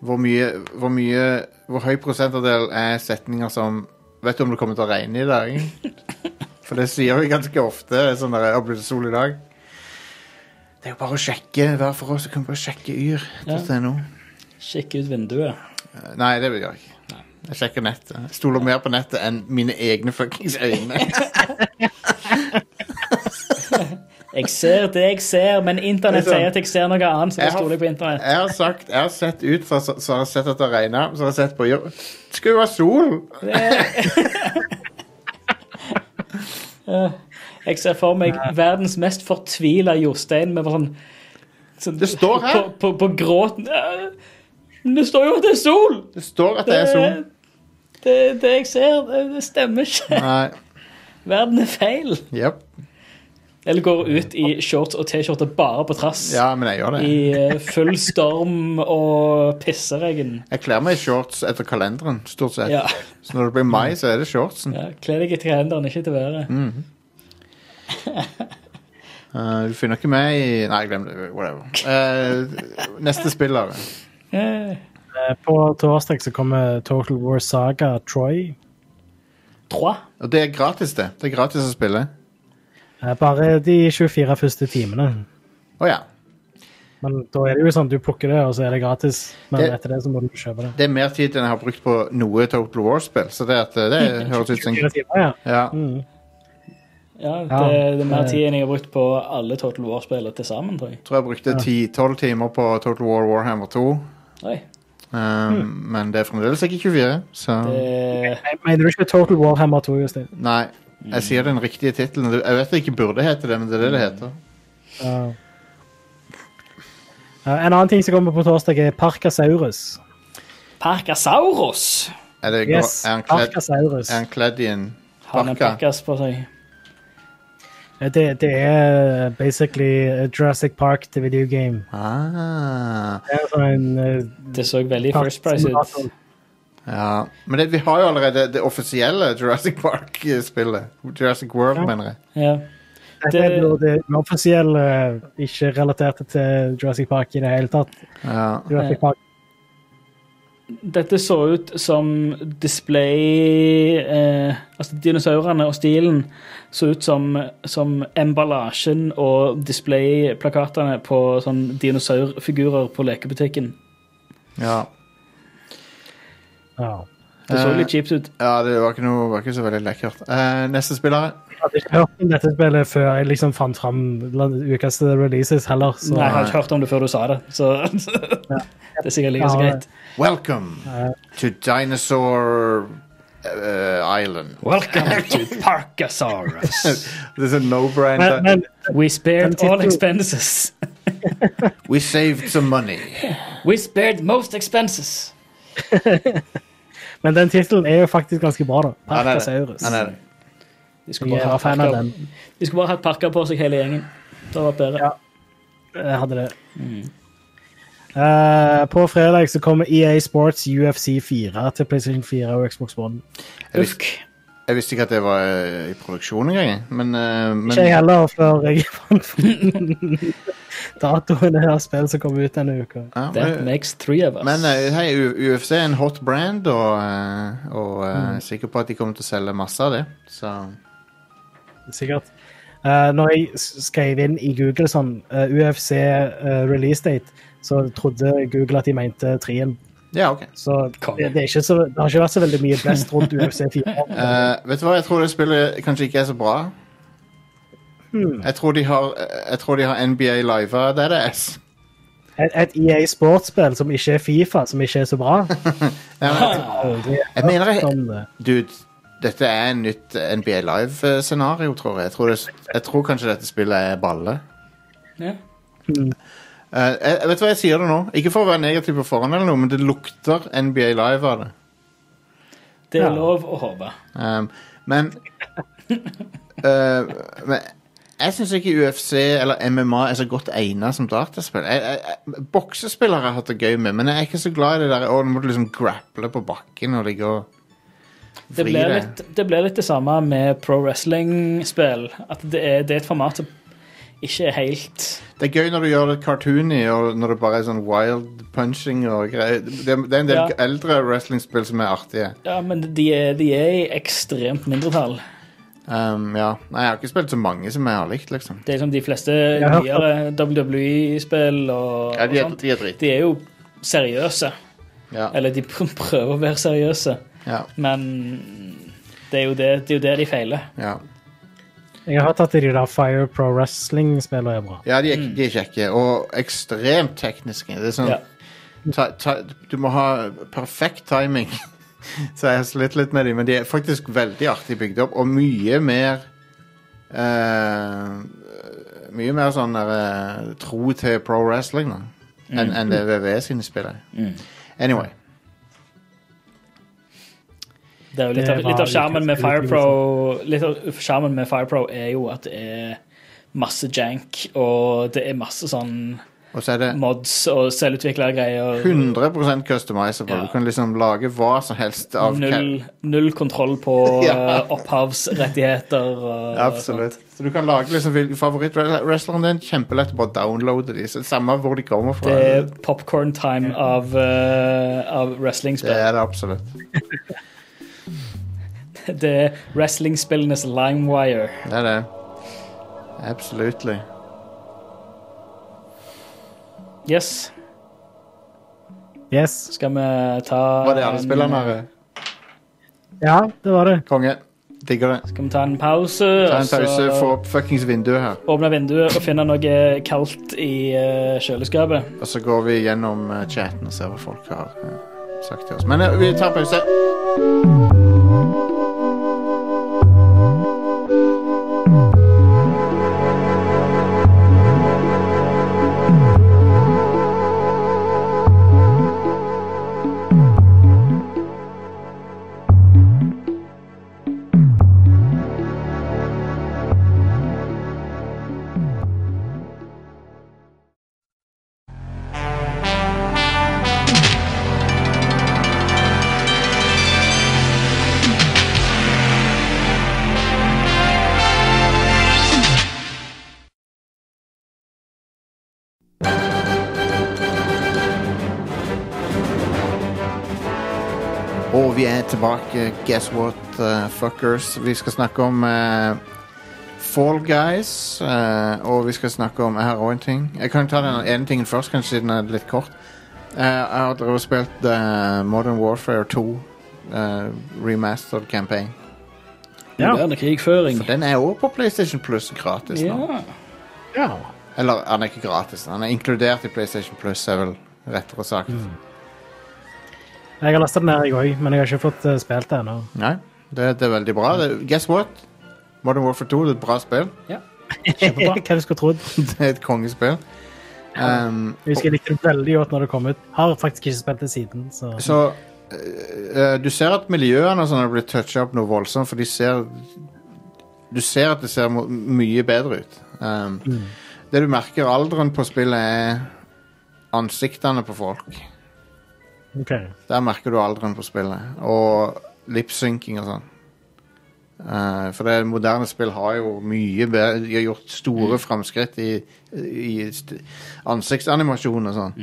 Speaker 1: Hvor mye, hvor mye Hvor høy prosentandel er setninger som Vet du om det kommer til å regne i dag? For det sier vi ganske ofte. Det er sånn der, «Å, blir det sol i dag? Det er jo bare å sjekke hver for oss. så kan vi bare sjekke yr.no.
Speaker 2: Sjekk ut vinduet.
Speaker 1: Eh, Nei, det vil jeg ikke. Jeg sjekker nettet. Jeg stoler mer på nettet enn mine egne fuckings øyne.
Speaker 2: Jeg ser det jeg ser, men internett
Speaker 1: Det er sånn.
Speaker 2: sier at jeg ser noe annet, så da
Speaker 1: Jeg har-
Speaker 2: stoler jeg på internett.
Speaker 1: Jeg har sagt, jeg har sett ut fra, så, så har jeg sett at det regner, så har jeg sett på jord. Det skulle jo være sol!
Speaker 2: Eh, Jeg ser for meg verdens mest fortvila Jostein med bare sånn, sånn
Speaker 1: Det står her.
Speaker 2: På, på, på gråten «Øh, Men det står jo at det er sol!
Speaker 1: Det står at det er sol.
Speaker 2: Det, det jeg ser, det, det stemmer ikke.
Speaker 1: Nei.
Speaker 2: Verden er feil.
Speaker 1: Jep.
Speaker 2: Eller går ut i shorts og T-skjorte bare på trass.
Speaker 1: Ja, men jeg gjør det.
Speaker 2: I eh, full storm og pisseregn.
Speaker 1: Jeg kler meg i shorts etter kalenderen, stort sett.
Speaker 2: Ja.
Speaker 1: Så når det blir mai, så er det shortsen.
Speaker 2: ja Kle deg etter hendene, ikke til været.
Speaker 1: Eh, du finner ikke meg i Nei, glem det. Whatever. Eh, neste spiller.
Speaker 2: Eh,
Speaker 3: Eh, På torsdag så kommer Total War Saga Troy.
Speaker 2: Trois.
Speaker 1: Og det er gratis, det. Det er gratis å spille.
Speaker 3: Eh, Bare de 24 første timene.
Speaker 1: Å ja.
Speaker 3: Men da er det jo sånn, du plukker det, og så er det gratis. Men
Speaker 1: Det-
Speaker 3: etter det så må du kjøpe det.
Speaker 1: Det er mer tid enn jeg har brukt på noe Total War-spill, så det, at, eh, det høres ut som
Speaker 3: 24 timer, ja.
Speaker 1: ja.
Speaker 3: Mm.
Speaker 2: Ja, det,
Speaker 3: Ja,
Speaker 2: det er mer
Speaker 3: det-
Speaker 2: tid enn jeg har brukt på alle Total War-spillene til sammen, tror jeg.
Speaker 1: Jeg tror jeg brukte 10-12 timer på Total War Warhammer 2.
Speaker 2: Oi,
Speaker 1: Um, Men det er fremdeles ikke 24, så
Speaker 2: det,
Speaker 3: Men- Mener du ikke Total Warhammer 2, Justin?
Speaker 1: Nei. Jeg sier den riktige tittelen. Jeg vet det ikke burde hete det, men det er det det heter.
Speaker 3: Ja. Eh, En annen ting som kommer på torsdag, er Parkasaurus.
Speaker 2: Parkasaurus!
Speaker 1: Er, det,
Speaker 3: Yes,
Speaker 1: er, han kledd,
Speaker 3: Parkasaurus.
Speaker 1: er han kledd i en
Speaker 2: Har en
Speaker 1: parka?
Speaker 2: parkas på seg.
Speaker 3: Eh, Det, det er eh, basically a Jurassic Park til videogame.
Speaker 1: Ah,
Speaker 3: Det er sånn en eh,
Speaker 2: Det så veldig First Price ut.
Speaker 1: ja. Men det, vi har jo allerede det offisielle Jurassic Park-spillet. Jurassic World,
Speaker 3: Ja.
Speaker 1: mener jeg.
Speaker 2: Ja.
Speaker 3: Dette er jo det uoffisielle, ikke relaterte til Jurassic Park i det hele tatt.
Speaker 1: Ja.
Speaker 3: Jurassic Park
Speaker 2: Dette så ut som display eh, Altså dinosaurene og stilen så ut som, som emballasjen og displayplakatene på sånn dinosaurfigurer på lekebutikken.
Speaker 1: Ja.
Speaker 3: ja.
Speaker 2: Det så
Speaker 1: Eh.
Speaker 2: litt kjipt ut.
Speaker 1: ja, det var ikke, noe, var ikke så veldig lekkert. Eh, neste spiller.
Speaker 3: Jeg hadde ikke hørt om dette spillet før jeg liksom fant fram blant ukas releases heller. Så
Speaker 2: Nei, jeg har ikke hørt om det før du sa det, så det er sikkert like så
Speaker 3: Ja,
Speaker 2: greit.
Speaker 1: Welcome to Dinosaur eh, Island.
Speaker 2: Welcome to Parkasaurus.
Speaker 1: Det er sånn no-brand.
Speaker 3: men, men
Speaker 2: We spared
Speaker 3: Den
Speaker 2: all
Speaker 3: tittelen-
Speaker 2: expenses.
Speaker 1: We saved some money.
Speaker 2: We spared most expenses.
Speaker 3: Men den tittelen er jo faktisk ganske bra, da.
Speaker 1: Ja, det er det.
Speaker 3: Parkasaurus.
Speaker 1: Han er det.
Speaker 2: De skulle
Speaker 3: Jeg
Speaker 2: bare
Speaker 3: var
Speaker 2: hatt
Speaker 3: fan av
Speaker 2: parker,
Speaker 3: den.
Speaker 2: de skulle bare hatt parker på seg hele gjengen. Det hadde vært bedre.
Speaker 3: Ja. Jeg hadde det. Eh, på fredag så kommer EA Sports UFC 4 til PlayStation 4 og Xbox One.
Speaker 1: Jeg visste,
Speaker 2: Ufk.
Speaker 1: jeg visste ikke at det var eh, i produksjon engang. Men, eh, men
Speaker 3: Ikke jeg heller, før jeg fant datoen av spillet som kom ut denne uka.
Speaker 1: Ja,
Speaker 2: That
Speaker 1: men,
Speaker 2: makes three of us.
Speaker 1: men eh, hei, U- UFC er en hot brand, og, eh, og eh,
Speaker 3: Mm.
Speaker 1: jeg er sikker på at de kommer til å selge masse av det. Så
Speaker 3: Sikkert. Eh, når jeg s- skrev inn i Google sånn eh, UFC eh, release date, så trodde Google at de mente trien.
Speaker 1: ja, OK.
Speaker 3: Så
Speaker 2: Konge.
Speaker 3: det, det, er ikke så, det har ikke vært så veldig mye blest rundt UFC 4.
Speaker 1: Eh, vet du hva, jeg tror det spillet kanskje ikke er så bra.
Speaker 3: Hmm.
Speaker 1: Jeg, tror de har, eh, jeg tror de har NBA live av det det er.
Speaker 3: Et, et EA Sports-spill som ikke er Fifa, som ikke er så bra. eh,
Speaker 1: Ja, men, jeg-
Speaker 3: Aldri
Speaker 1: jeg mener jeg,
Speaker 3: hørt om det.
Speaker 1: Dude, dette er en nytt NBA Live-scenario, eh, tror jeg. Jeg tror, det, jeg tror kanskje dette spillet er balle.
Speaker 2: Ja.
Speaker 1: Eh, jeg, vet du hva jeg sier det nå? Ikke for å være negativ på forhånd, eller noe, men det lukter NBA Live av det.
Speaker 2: Det er
Speaker 3: Ja.
Speaker 2: lov å håpe.
Speaker 1: Um, men eh, Men jeg syns ikke UFC eller MMA er så godt egnet som dataspill. Jeg, jeg, jeg, boksespill har jeg hatt det gøy med, men jeg er ikke så glad i det der Å, nå må du liksom grapple på bakken og ligge og
Speaker 2: Det
Speaker 1: vri
Speaker 2: blir,
Speaker 1: deg.
Speaker 2: litt, det blir litt det samme med pro wrestling-spill. At det er, det er et format som ikke er helt
Speaker 1: Det er gøy når du gjør det cartoony, og når det bare er sånn wild punching og greier. Det, det er en del
Speaker 2: Ja.
Speaker 1: eldre wrestlingspill som er artige.
Speaker 2: Ja, men de er, de er i ekstremt mindretall.
Speaker 1: Um, ja. Nei, jeg har ikke spilt så mange som jeg har likt, liksom.
Speaker 2: Det er som de fleste
Speaker 3: har hørt
Speaker 2: nyere WWE-spill og,
Speaker 1: Ja, de
Speaker 2: og
Speaker 1: er,
Speaker 2: sånt.
Speaker 1: de er drit.
Speaker 2: De er jo seriøse.
Speaker 1: Ja.
Speaker 2: Eller de pr- prøver å være seriøse,
Speaker 1: Ja.
Speaker 2: men det er jo det, det, er jo der de feiler.
Speaker 1: Ja.
Speaker 3: Jeg har hørt at de der Fire Pro Wrestling-spillene er bra.
Speaker 1: ja, de er, de er kjekke, og ekstremt tekniske. Det er sånn
Speaker 2: Ja.
Speaker 1: ta, ta, Du må ha perfekt timing. så jeg har slitt litt med dem, men de er faktisk veldig artig bygd opp, og mye mer eh, Mye mer sånn der, eh, tro til pro wrestling da, enn enn det VVE sine spill er. Anyway.
Speaker 2: Det er jo litt av,
Speaker 3: Det var
Speaker 2: litt av
Speaker 3: litt
Speaker 2: skjermen med
Speaker 3: vanskelig,
Speaker 2: FirePro Litt av skjermen med FirePro er jo at det er masse jank, og det er masse sånn
Speaker 1: Og så er det
Speaker 2: mods og selvutvikla greier.
Speaker 1: 100 customizable.
Speaker 2: Ja.
Speaker 1: Du kan liksom lage hva som helst av
Speaker 2: Null, null kontroll på
Speaker 1: Ja.
Speaker 2: eh, opphavsrettigheter. og
Speaker 1: Absolutt. Så du kan lage liksom hvil- favorittwrestleren din kjempelett. Bare downloade de. Så Samme hvor de kommer fra.
Speaker 2: Det er popcorn time av, eh, av
Speaker 1: Det
Speaker 2: wrestlingspill.
Speaker 1: er det absolutt.
Speaker 2: Det er wrestlingspillenes limewire.
Speaker 1: Det er det. Absolutely.
Speaker 2: Yes,
Speaker 3: Yes.
Speaker 2: skal vi ta
Speaker 1: Var det alle
Speaker 2: en-
Speaker 1: spillerne? her?
Speaker 3: Ja, det var det.
Speaker 1: Konge. Digger det.
Speaker 2: Skal vi ta en pause?
Speaker 1: Ta
Speaker 2: og
Speaker 1: en
Speaker 2: så-
Speaker 1: pause. Få opp fuckings vinduet her.
Speaker 2: Åpne vinduet og finne noe kaldt i eh, kjøleskapet.
Speaker 1: Og så går vi gjennom eh, chatten og ser hva folk har eh, sagt til oss. Men eh, vi tar pause. Og vi er tilbake. Guess what, eh, fuckers. Vi skal snakke om eh, Fall Guys. eh, og vi skal snakke om Jeg har òg en ting. Jeg kan ta den ene tingen først, kanskje siden den er litt kort. Eh, jeg har drevet og spilt eh, Modern Warfare 2 eh, Remastered Campaign.
Speaker 3: Ja.
Speaker 2: Moderne krigføring.
Speaker 1: For den er òg på PlayStation Plus gratis nå.
Speaker 2: Ja.
Speaker 3: Ja.
Speaker 1: Eller, han er ikke gratis. Han er inkludert i PlayStation Plus, er vel rettere sagt.
Speaker 3: Jeg har lasta den her, jeg òg, men jeg har ikke fått eh, spilt det ennå.
Speaker 1: Nei, det, det er veldig bra. Det, guess what? Modern Warfare 2 det er et bra spill.
Speaker 3: Kjempebra. Hva du skulle trodd.
Speaker 1: Det er et kongespill. Um,
Speaker 3: Jeg husker jeg likte det veldig godt når det kom ut. Har faktisk ikke spilt det siden, så
Speaker 1: så eh, eh, du ser at miljøene og sånn har blitt toucha opp noe voldsomt, for de ser Du ser at det ser mo- mye bedre ut. Um, Det du merker alderen på spillet, er ansiktene på folk.
Speaker 3: OK.
Speaker 1: Der merker du alderen på spillet. Og lipsynking og sånn. Eh, for det moderne spill har jo mye bedre De har gjort store framskritt i, i st- ansiktsanimasjon og sånn.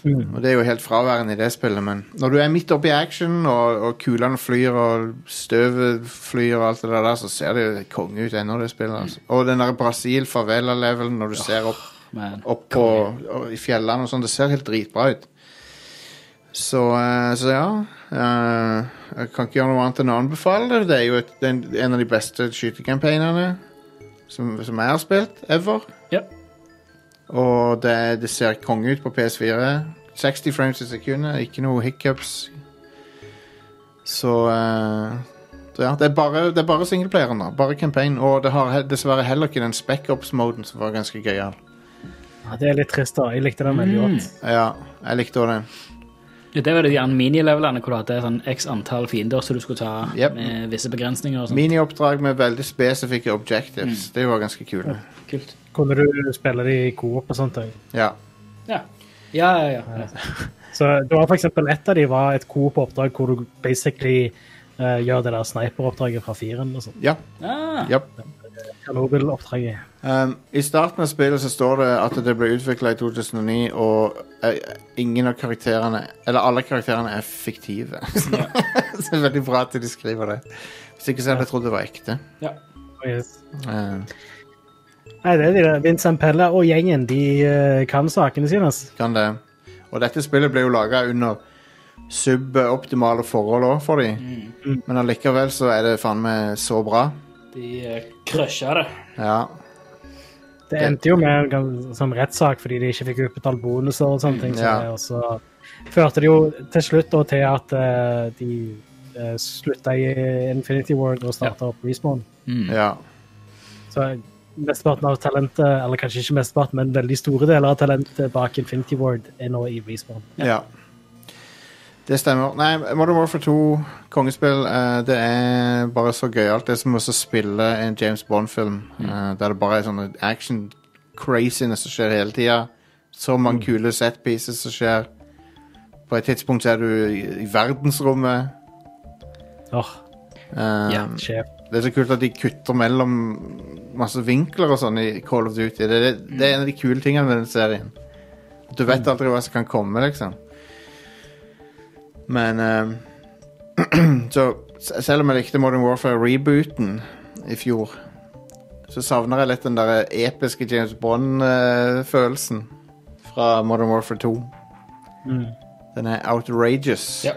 Speaker 3: Mm.
Speaker 1: Og det er jo helt fraværende i det spillet, men når du er midt oppe i action, og, og kulene flyr, og støvet flyr, og alt det der, så ser det jo konge ut ennå, det spillet. Altså. Og den der Brasil-favela-levelen, når du ser opp,
Speaker 2: Man.
Speaker 1: opp på, og, i fjellene og sånn, det ser helt dritbra ut. Så, eh, så ja eh, Jeg kan ikke gjøre noe annet enn å anbefale det. Det er jo et, det er en, en av de beste skytekampanjene som, som jeg har spilt ever.
Speaker 2: Ja.
Speaker 1: Og det, det ser konge ut på PS4. 60 frames i sekundet, ikke noe hiccups. Så eh, så ja, det er bare, det er bare singleplayeren, da. Bare campaign. Og det har he- dessverre heller ikke den spec-ops-moden som var ganske gøyal.
Speaker 3: Ja, det er litt trist, da. Jeg likte den veldig godt.
Speaker 1: Ja, jeg likte også den.
Speaker 2: Det var det de minilevelene hvor du hadde sånn x antall fiender som du skulle ta
Speaker 1: Yep.
Speaker 2: med visse begrensninger. og sånn. sånt.
Speaker 1: Minioppdrag med veldig spesifikke objectives. Det var ganske kult.
Speaker 2: Kult.
Speaker 3: Kunne du spille det i coop og sånt òg?
Speaker 1: Ja.
Speaker 2: Ja. Ja, ja, ja.
Speaker 3: Så det var for eksempel et av de var et coop-oppdrag hvor du basically eh, gjør det der sniper-oppdraget fra firen og sånn.
Speaker 1: ja.
Speaker 2: Ah,
Speaker 1: Japp.
Speaker 3: Kanobil-oppdraget.
Speaker 1: Um, I starten av spillet så står det at det ble utvikla i 2009, og eh, ingen av karakterene Eller alle karakterene er fiktive. så det er veldig bra at de skriver det. Hvis ikke så hadde jeg trodd det var ekte.
Speaker 2: ja.
Speaker 3: Oh, yes.
Speaker 1: Uh,
Speaker 3: Nei, det er de der. Vincent Pelle og gjengen, de eh, kan sakene sine. ass.
Speaker 1: kan det. Og dette spillet ble jo laga under suboptimale forhold òg for de. Men allikevel så er det faen meg så bra.
Speaker 2: De eh, crusha det.
Speaker 1: Ja.
Speaker 3: Det endte jo med en gans- sånn rettssak fordi de ikke fikk utbetalt bonuser og sånne ting. så
Speaker 1: Ja.
Speaker 3: det- Og så førte det jo til slutt da, til at eh, de eh, slutta i Infinity Ward og starta opp Respawn.
Speaker 1: ja.
Speaker 3: Så mesteparten av talentet, eller kanskje ikke mesteparten, men veldig store deler av talentet bak Infinity Ward er nå i Respawn.
Speaker 1: Ja. Det stemmer. Nei, Modern Warfare 2, kongespill, eh, det er bare så gøyalt. Det er som å spille en James Bond-film, eh, der det bare er sånne action-craziness som skjer hele tida. Så mange kule set pieces som skjer. På et tidspunkt så er du i, i verdensrommet.
Speaker 3: Åh,
Speaker 1: Eh,
Speaker 2: Ja.
Speaker 3: sjef.
Speaker 1: Det er så kult at de kutter mellom masse vinkler og sånn i Call of Duty. Det, det, det er en av de kule tingene med den serien. Du vet aldri hva som kan komme, liksom. Men eh, Så se- selv om jeg likte Modern Warfare-rebooten i fjor, så savner jeg litt den der episke James Bond-følelsen fra Modern Warfare 2. Den er outrageous.
Speaker 2: Ja.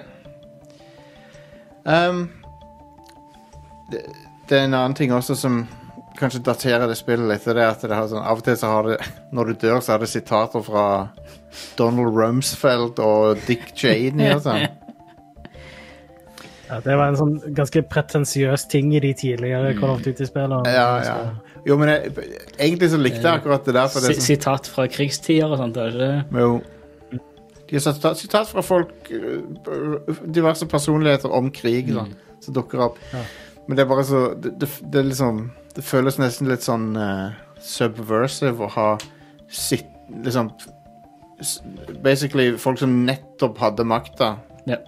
Speaker 1: Um, det, det er en annen ting også som kanskje daterer det spillet litt. Det er at det har sånn, av og til så har det Når du dør, så har det sitater fra Donald Rumsfeld og Dick Cheney og sånn.
Speaker 3: Ja, det var en sånn ganske pretensiøs ting i de tidligere Call of Duty-spillene.
Speaker 1: Mm. Ja, ja. Jo, men jeg, egentlig så likte jeg akkurat det der. For det
Speaker 2: Si-
Speaker 1: er sånn,
Speaker 2: Sitat fra krigstider og sånt. er det ikke?
Speaker 1: jo. De har satt sitat fra folk øh, Diverse personligheter om krig da,
Speaker 2: Mm.
Speaker 1: som dukker opp.
Speaker 3: Ja.
Speaker 1: Men det er bare så Det, det, det er liksom Det føles nesten litt sånn eh, subversive å ha sitt Liksom s- Basically folk som nettopp hadde makta.
Speaker 2: Ja.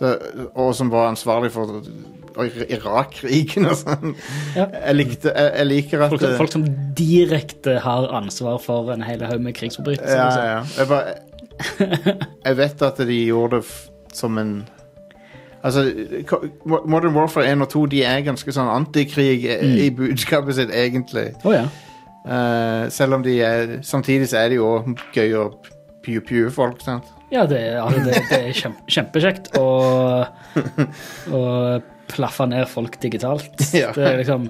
Speaker 1: Så, og som var ansvarlig for Ir- Irak-krigen og sånn.
Speaker 2: Ja.
Speaker 1: Jeg, likte, jeg, jeg liker at eh,
Speaker 2: Folk,
Speaker 1: det-
Speaker 2: folk som direkte har ansvar for en hel haug med krigsforbrytelser.
Speaker 1: Ja,
Speaker 2: altså.
Speaker 1: ja. Jeg, bare, jeg vet at de gjorde det f som en Altså, Ko- Mo- Modern Warfare 1 og 2 De er ganske sånn antikrig eh, i budskapet sitt, egentlig.
Speaker 2: Å ja.
Speaker 1: Eh, selv om de er Samtidig så er de jo gøy å pew-pew-folk, sant?
Speaker 2: Ja, det, er- altså, det, det er kjem, kjempekjekt å, å plaffe ned folk digitalt.
Speaker 1: Ja.
Speaker 2: Det er liksom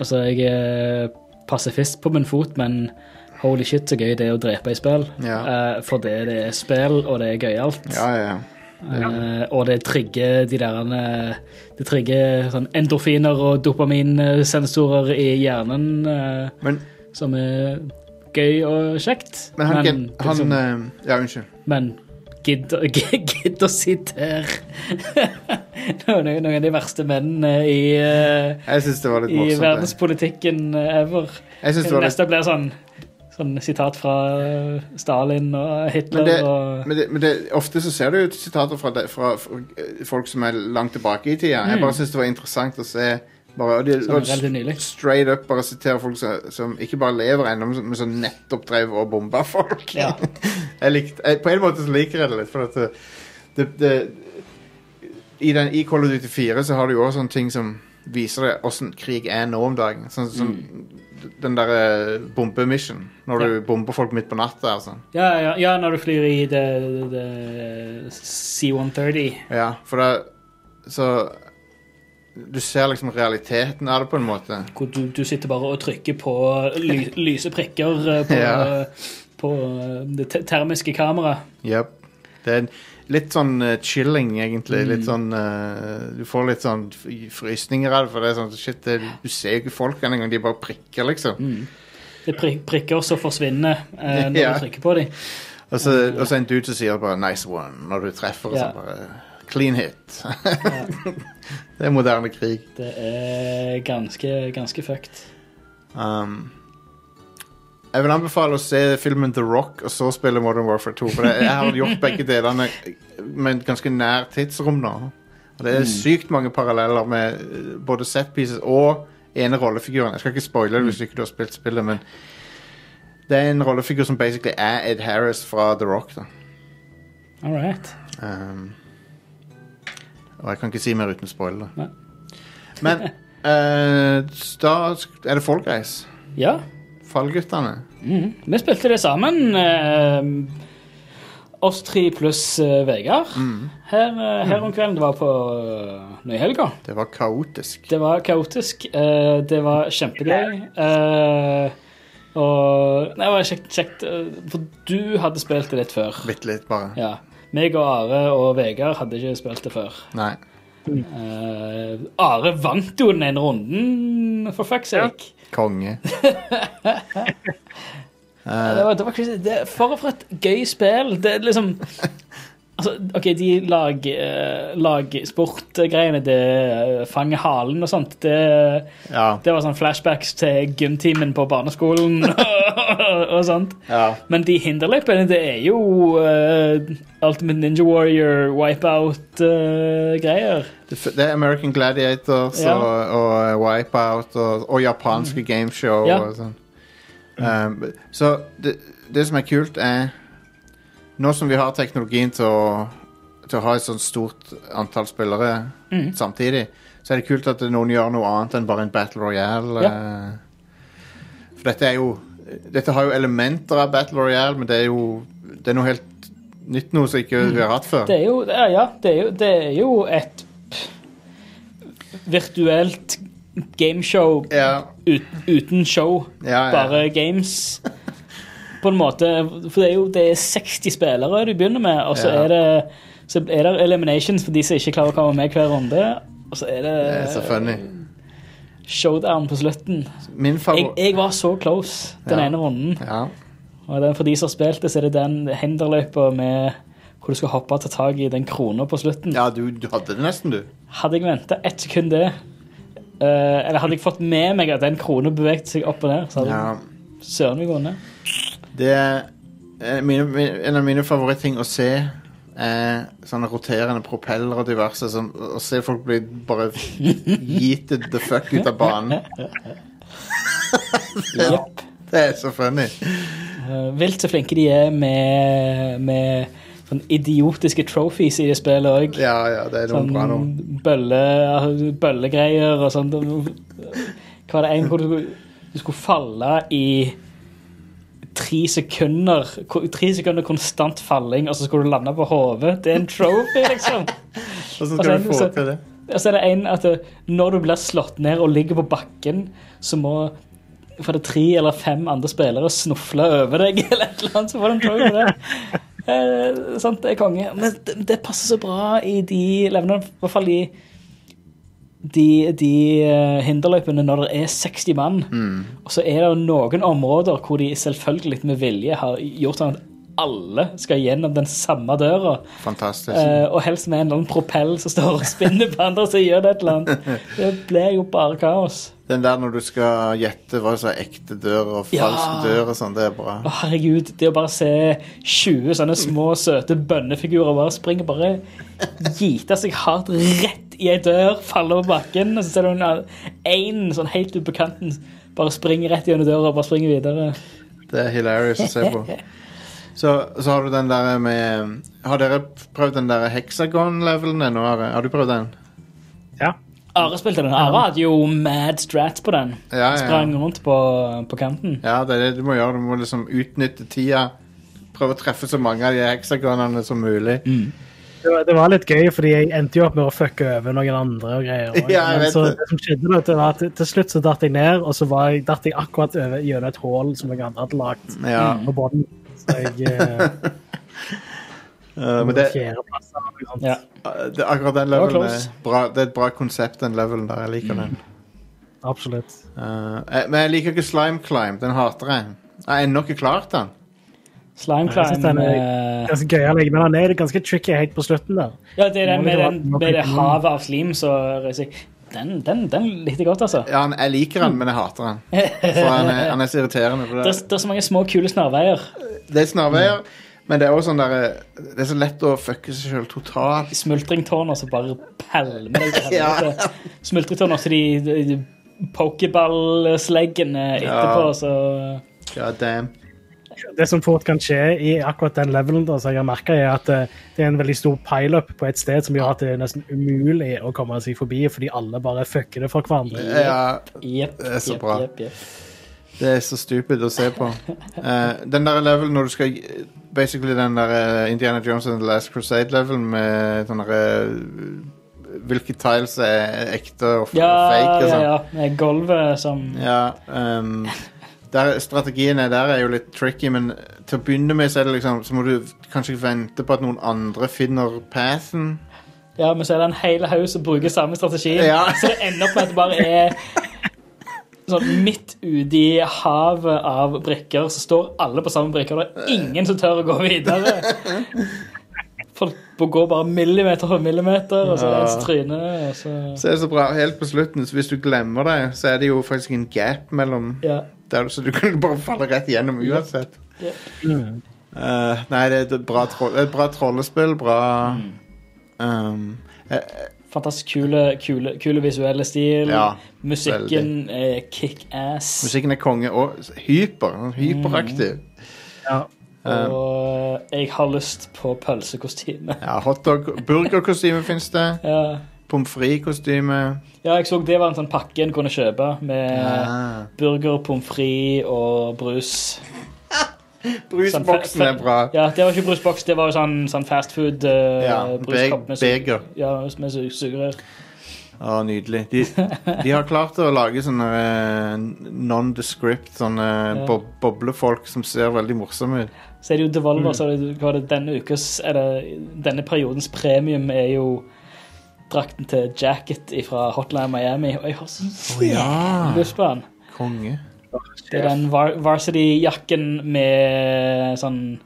Speaker 2: Altså, jeg er pasifist på min fot, men holy shit, så gøy det er å drepe i spill.
Speaker 1: Ja.
Speaker 2: Eh, for det, det er spill, og det er gøyalt.
Speaker 1: Ja, ja.
Speaker 2: Eh, og det trigger de der eh, Det trigger sånn endorfiner og dopaminsensorer i hjernen, eh,
Speaker 1: Men,
Speaker 2: som er gøy og kjekt.
Speaker 1: men han,
Speaker 2: men,
Speaker 1: han,
Speaker 2: liksom,
Speaker 1: eh, Ja, unnskyld.
Speaker 2: men gidd å- gidd å sitere noen, noen av de verste mennene i, eh,
Speaker 1: Jeg syns det var litt
Speaker 2: i
Speaker 1: morsomt.
Speaker 2: verdenspolitikken eh, ever.
Speaker 1: det. Jeg synes det var litt,
Speaker 2: Neste blir sånn, sånn sitat fra eh, Stalin og
Speaker 1: men,
Speaker 2: Hitler
Speaker 1: det,
Speaker 2: og
Speaker 1: men, det, men det, ofte så ser du jo sitater fra, de- fra, fra eh, folk som er langt tilbake i tida.
Speaker 2: Mm.
Speaker 1: Jeg bare syns det var interessant å se bare, og de,
Speaker 2: Sånn
Speaker 1: og
Speaker 2: veldig nylig.
Speaker 1: straight up bare sitere folk som, som ikke bare lever ennå, men som- men som nettopp drev og bomba folk.
Speaker 2: Ja.
Speaker 1: jeg likte, jeg, på en måte så liker jeg det litt, for at det, det, det i, den, I Call of Duty 4 så har du jo også sånne ting som viser deg åssen krig er nå om dagen. Sånn som den derre bombemission, når
Speaker 2: Mm. Ja.
Speaker 1: du bomber folk midt på natta og sånn.
Speaker 2: ja, ja, ja, når du flyr i det, det, det C-130.
Speaker 1: Ja, for da Så Du ser liksom realiteten av det, på en måte.
Speaker 2: Hvor du, du sitter bare og trykker på ly, lyse prikker eh, på,
Speaker 1: Ja.
Speaker 2: på eh, det te- termiske kameraet.
Speaker 1: Yep. Det er en- litt sånn eh, chilling, egentlig. Litt sånn eh, Du får litt sånn f- frysninger av det, for det er sånn shit, det, du ser jo ikke folkene engang. De bare prikker, liksom.
Speaker 2: Mm. Det er pri- prikker som forsvinner eh, når
Speaker 1: Ja.
Speaker 2: du trykker på dem.
Speaker 1: Og så og så en dude som sier bare 'nice one' når du treffer. Og
Speaker 2: Ja.
Speaker 1: sånn bare Clean hit. det er moderne krig.
Speaker 2: Det er ganske, ganske fucked.
Speaker 1: Um, jeg vil anbefale å se filmen The Rock og så spille Modern Warfare 2. For jeg, jeg har gjort begge delene med et ganske nær tidsrom nå. Og det er sykt mange paralleller med eh, både set pieces og ene rollefiguren. Jeg skal ikke spoile det hvis ikke du har spilt spillet, men det er en rollefigur som basically er Ed Harris fra The Rock. da
Speaker 2: All right.
Speaker 1: Um, og jeg kan ikke si mer uten å spoile det.
Speaker 2: Nei.
Speaker 1: Men eh, da sk- er det Fall Guys.
Speaker 2: Ja.
Speaker 1: Fallguttene.
Speaker 2: Mhm. Vi spilte det sammen. eh, oss tre pluss eh, Vegard.
Speaker 1: Mm.
Speaker 2: Her, eh, her om kvelden. Det var på uh, Nyhelga.
Speaker 1: Det var kaotisk.
Speaker 2: Det var kaotisk. eh, det var kjempegøy. eh, og Nei, det var kjekt, kjekt. eh, For du hadde spilt det litt før.
Speaker 1: Bitte litt, bare.
Speaker 2: Ja. Meg og Are og Vegard hadde ikke spilt det før.
Speaker 1: Nei.
Speaker 2: Eh, Are vant jo den ene runden, for fuck's sake.
Speaker 1: Konge. Eh,
Speaker 2: Det var, det var ikke, det, for, for et gøy spill. Det, er liksom, Altså, OK, de lag, eh, lagsportgreiene, det eh, fange halen og sånt, det,
Speaker 1: Ja.
Speaker 2: det var sånn flashbacks til gymtimen på barneskolen og sånt.
Speaker 1: ja.
Speaker 2: Men de hinderløypene, det er jo eh, Ultimate Ninja Warrior, eh, Wipeout-greier.
Speaker 1: Det, f- det er American Gladiators
Speaker 2: Ja. Mm.
Speaker 1: og, og eh, Wipeout og, og japanske gameshow
Speaker 2: Ja.
Speaker 1: og sånn. Um, så det, det som er kult, er Nå som vi har teknologien til å, til å ha et sånt stort antall spillere Mm.
Speaker 2: Mm.
Speaker 1: samtidig, så er det kult at noen gjør noe annet enn bare en Battle Royale. eh. for dette er jo Dette har jo elementer av Battle Royale, men det er jo det er noe helt nytt noe som ikke vi har hatt før.
Speaker 2: Det er jo, ja, ja, det er jo, det er jo et pff, virtuelt gameshow
Speaker 1: Ja,
Speaker 2: ut, uten show,
Speaker 1: ja, ja.
Speaker 2: bare games. På en måte, for det er jo det er 60 spillere du begynner med, og så
Speaker 1: Ja.
Speaker 2: er det så er det eliminations for de som ikke klarer å komme med hver runde. Og så er det,
Speaker 1: Det er så funny.
Speaker 2: showdown på slutten.
Speaker 1: Min
Speaker 2: Jeg,
Speaker 1: favoritt
Speaker 2: jeg var så close den
Speaker 1: Ja.
Speaker 2: ene runden.
Speaker 1: ja.
Speaker 2: Og den, for de som har spilt det, så er det den hinderløypa med hvor du skal hoppe og ta tak i den krona på slutten.
Speaker 1: ja, du, du hadde det nesten, du.
Speaker 2: Hadde jeg venta ett sekund det eh, Eller hadde jeg fått med meg at den krona beveget seg opp og ned, så hadde
Speaker 1: Ja.
Speaker 2: jeg søren meg gått ned.
Speaker 1: Det er eh, mine, mi- en av mine favoritting å se er sånne roterende propeller og diverse. Sånn, å se folk bli bare yeeted the fuck ut av banen. det, er-
Speaker 2: Jepp.
Speaker 1: det er så funny.
Speaker 2: Eh, vilt så flinke de er med, med sånn idiotiske trophies i det spillet òg.
Speaker 1: Ja, ja, det er noen
Speaker 2: Sånn
Speaker 1: bra nå.
Speaker 2: bølle, eh, bøllegreier og sånn. Hva var det en hvor du, du skulle falle i tre sekunder? ko- Tre sekunder konstant falling, og så skulle du lande på hodet? Det er en trophy, liksom.
Speaker 1: Hvordan
Speaker 2: altså,
Speaker 1: skal du få
Speaker 2: så-
Speaker 1: til det?
Speaker 2: Og så er det en at eh, når du blir slått ned og ligger på bakken, så må for det er tre eller fem andre spillere snufle over deg eller et eller annet, så får du en trophy for det. Eh, sant, det er konge. Men det, det passer så bra i de levnene, i hvert fall i de, de eh, hinderløypene når det er 60 mann. Og så er det noen områder hvor de selvfølgelig med vilje har gjort sånn at alle skal gjennom den samme døra.
Speaker 1: Fantastisk.
Speaker 2: Eh, og helst med en eller annen propell som står og spinner på andre siden. av Et eller annet. Det blir jo bare kaos.
Speaker 1: Den der når du skal gjette hva som er ekte dør og
Speaker 2: Ja.
Speaker 1: falsk dør og sånn, det er bra.
Speaker 2: Å, herregud, det å bare se 20 sånne små, søte bønnefigurer bare springe og bare gite seg hardt rett i ei dør, falle på bakken, og så ser du én sånn helt ut på kanten bare springer rett gjennom døra og bare springer videre.
Speaker 1: Det er hilarious å se på. Så, så har du den der med Har dere prøvd den der hexagon-levelen ennå? Are? Har du prøvd den?
Speaker 3: Ja.
Speaker 2: Are spilte den. Are hadde jo mad strats på den.
Speaker 1: Ja, ja.
Speaker 2: Sprang rundt på, på kanten.
Speaker 1: ja, det er det du må gjøre. Du må liksom utnytte tida. Prøve å treffe så mange av de heksagonene som mulig.
Speaker 2: Mm.
Speaker 3: Det var, det var litt gøy, fordi jeg endte jo opp med å fucke over noen andre og greier. også.
Speaker 1: Ja, jeg
Speaker 3: Men
Speaker 1: vet
Speaker 3: så
Speaker 1: det.
Speaker 3: det som skjedde, da, det var at til slutt så datt jeg ned, og så var jeg, datt jeg akkurat over gjennom et hull som noen andre hadde lagd
Speaker 1: Ja,
Speaker 2: Mm.
Speaker 3: på båten. Så jeg eh,
Speaker 1: eh, men det,
Speaker 3: fjerdeplass eller noe sånt.
Speaker 2: Ja.
Speaker 1: det, akkurat den
Speaker 2: Mm. var
Speaker 1: levelen er
Speaker 2: close. Mm.
Speaker 1: bra. Det er et bra konsept, den levelen der. Jeg liker den.
Speaker 3: Absolutt.
Speaker 1: Eh, jeg- men jeg liker ikke Slime Climb. Den hater jeg. Jeg har ennå ikke klart den.
Speaker 2: Slime
Speaker 3: Jeg synes
Speaker 2: climb.
Speaker 3: den
Speaker 2: eh,
Speaker 3: er ganske gøyal, men han er ganske tricky helt på slutten der.
Speaker 2: Ja, det er den
Speaker 3: Må
Speaker 2: med,
Speaker 3: det være-
Speaker 2: den,
Speaker 3: må
Speaker 2: med det
Speaker 3: det være-
Speaker 2: havet av slim som reiser seg. Den, den, den likte jeg godt, altså.
Speaker 1: Ja, han- jeg liker den, men jeg hater den. For han er, han er så irriterende. for
Speaker 2: Det er, det er så mange små, kule snarveier.
Speaker 1: Det er snarveier, men det er også sånn der, Det er så lett å fucke seg sjøl totalt.
Speaker 2: Smultringtårner som bare pælmer deg til
Speaker 1: Ja.
Speaker 2: helvete. Smultringtårner som de, de, de pokeball-sleggene etterpå,
Speaker 1: Ja.
Speaker 2: så
Speaker 1: God damn.
Speaker 3: det som fort kan skje i akkurat den levelen, da, som jeg har merket er at eh, det er en veldig stor pileup på et sted som gjør at det er nesten umulig å komme seg forbi, fordi alle bare fucker det for hverandre.
Speaker 1: Ja,
Speaker 2: Jepp.
Speaker 1: Det er så
Speaker 2: jepp,
Speaker 1: bra.
Speaker 2: jepp, jepp.
Speaker 1: det er så stupid å se på. Eh, den der levelen når du skal Basically den der eh, Indiana Jones and the Last Crusade-levelen med sånn derre Hvilke tiles er ekte og f-
Speaker 2: Ja,
Speaker 1: fake og
Speaker 2: ja,
Speaker 1: sånn.
Speaker 2: ja. Med Gulvet som
Speaker 1: Ja, ehm, der, strategien er der er jo litt tricky, men til å begynne med så, er det liksom, så må du kanskje vente på at noen andre finner pathen.
Speaker 2: Ja, men så er det en hel haug som bruker samme strategi.
Speaker 1: Ja.
Speaker 2: Så det ender opp med at det bare er sånn midt ute i havet av brikker, så står alle på samme brikker. Det er ingen som tør å gå videre. Folk går bare millimeter for millimeter, og så er det ens tryne, og så
Speaker 1: Så er det så bra, helt på slutten, så hvis du glemmer det, så er det jo faktisk en gap mellom
Speaker 2: Ja.
Speaker 1: der, Så du kan bare falle rett gjennom uansett.
Speaker 2: Ja.
Speaker 1: Eh, nei, det er et bra, troll, det er et bra trollespill. Bra um, eh, eh,
Speaker 2: Fantastisk kule, kule, kule visuelle stil.
Speaker 1: Ja,
Speaker 2: Musikken er kickass.
Speaker 1: Musikken er konge og hyper. Hyperaktiv.
Speaker 3: Ja.
Speaker 2: Og jeg har lyst på pølsekostyme.
Speaker 1: Ja, hotdog Burgerkostyme fins det.
Speaker 2: Ja.
Speaker 1: Pommes frites-kostyme.
Speaker 2: ja, jeg så det var en sånn pakke en kunne kjøpe med
Speaker 1: Ah.
Speaker 2: burger, pommes frites og brus.
Speaker 1: Brusboksen
Speaker 2: Sånn,
Speaker 1: er bra.
Speaker 2: Ja, det var ikke brusboks, det var jo sånn, sånn
Speaker 1: Ja,
Speaker 2: fastfood-bruskopp.
Speaker 1: be- beger.
Speaker 2: Ja, med su- sugerør.
Speaker 1: Å, nydelig. De, de har klart å lage sånne eh, nondescript, sånne
Speaker 2: Ja.
Speaker 1: bo boblefolk som ser veldig morsomme ut.
Speaker 2: Så er det jo
Speaker 1: Mm.
Speaker 2: Devolver, så er det, hva er det denne ukes Eller denne periodens premium er jo drakten til Jacket fra Hotline Miami. Og jeg har så
Speaker 1: ja.
Speaker 2: jævlig lyst på den.
Speaker 1: Konge.
Speaker 2: Det er den var varsity-jakken med sånn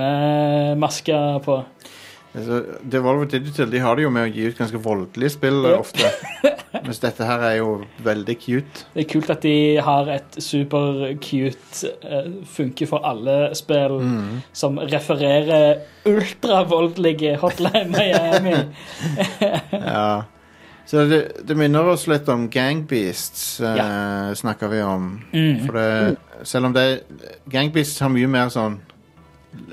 Speaker 2: hanemaske på.
Speaker 1: Altså, Devolver Digital de har det jo med å gi ut ganske voldelige spill eh,
Speaker 2: Ja.
Speaker 1: ofte. Mens dette her er jo veldig cute.
Speaker 2: Det er kult at de har et super-cute eh, funke for alle-spill
Speaker 1: Mm.
Speaker 2: som refererer ultravoldelige Hotline Miami.
Speaker 1: Ja. Så det, det minner oss litt om Gangbeasts, eh, snakker vi om.
Speaker 2: Mm.
Speaker 1: For det, selv om det Gangbeasts har mye mer sånn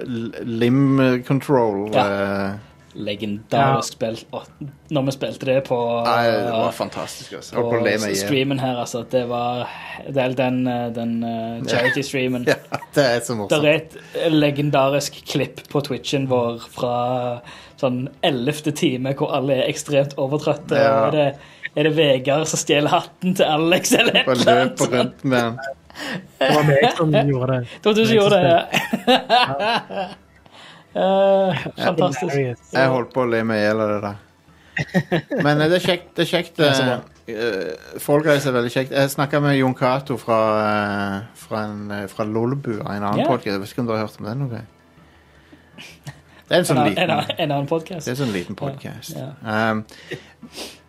Speaker 1: l- limb control.
Speaker 2: Ja.
Speaker 1: eh,
Speaker 2: Legendarisk spill. Og når vi spilte det på eh,
Speaker 1: Nei, det var fantastisk. Altså. Holdt på å le
Speaker 2: på
Speaker 1: meg i hjel.
Speaker 2: streamen her, altså. Det var det er den, eh, den eh, charity-streamen.
Speaker 1: Ja, det er så
Speaker 2: Der
Speaker 1: morsomt.
Speaker 2: er et legendarisk klipp på Twitchen vår fra sånn ellevte time, hvor alle er ekstremt overtrøtte.
Speaker 1: Ja.
Speaker 2: Og Er, det, er det Vegard som stjeler hatten til Alex, eller et
Speaker 1: Bare
Speaker 2: eller annet?
Speaker 1: løper rundt med den.
Speaker 3: Det var meg som gjorde det.
Speaker 2: Det var du som gjorde det. Eh, fantastisk.
Speaker 3: Hilarious.
Speaker 1: Jeg holdt på å le meg i hjel av det der. Men eh, det er kjekt. Det er kjekt
Speaker 2: er så
Speaker 1: eh, eh, Fall Guys er veldig kjekt. Jeg snakka med Jon Cato fra, eh, fra, en, eh, fra Lolbu, en annen
Speaker 2: Ja.
Speaker 1: podcast. Jeg vet ikke om dere har hørt om den noen gang. Det er en
Speaker 2: En,
Speaker 1: sånn
Speaker 2: annen- en,
Speaker 1: liten
Speaker 2: annen- en annen podkast.
Speaker 1: det er en sånn liten podcast.
Speaker 2: Ja.
Speaker 1: Um,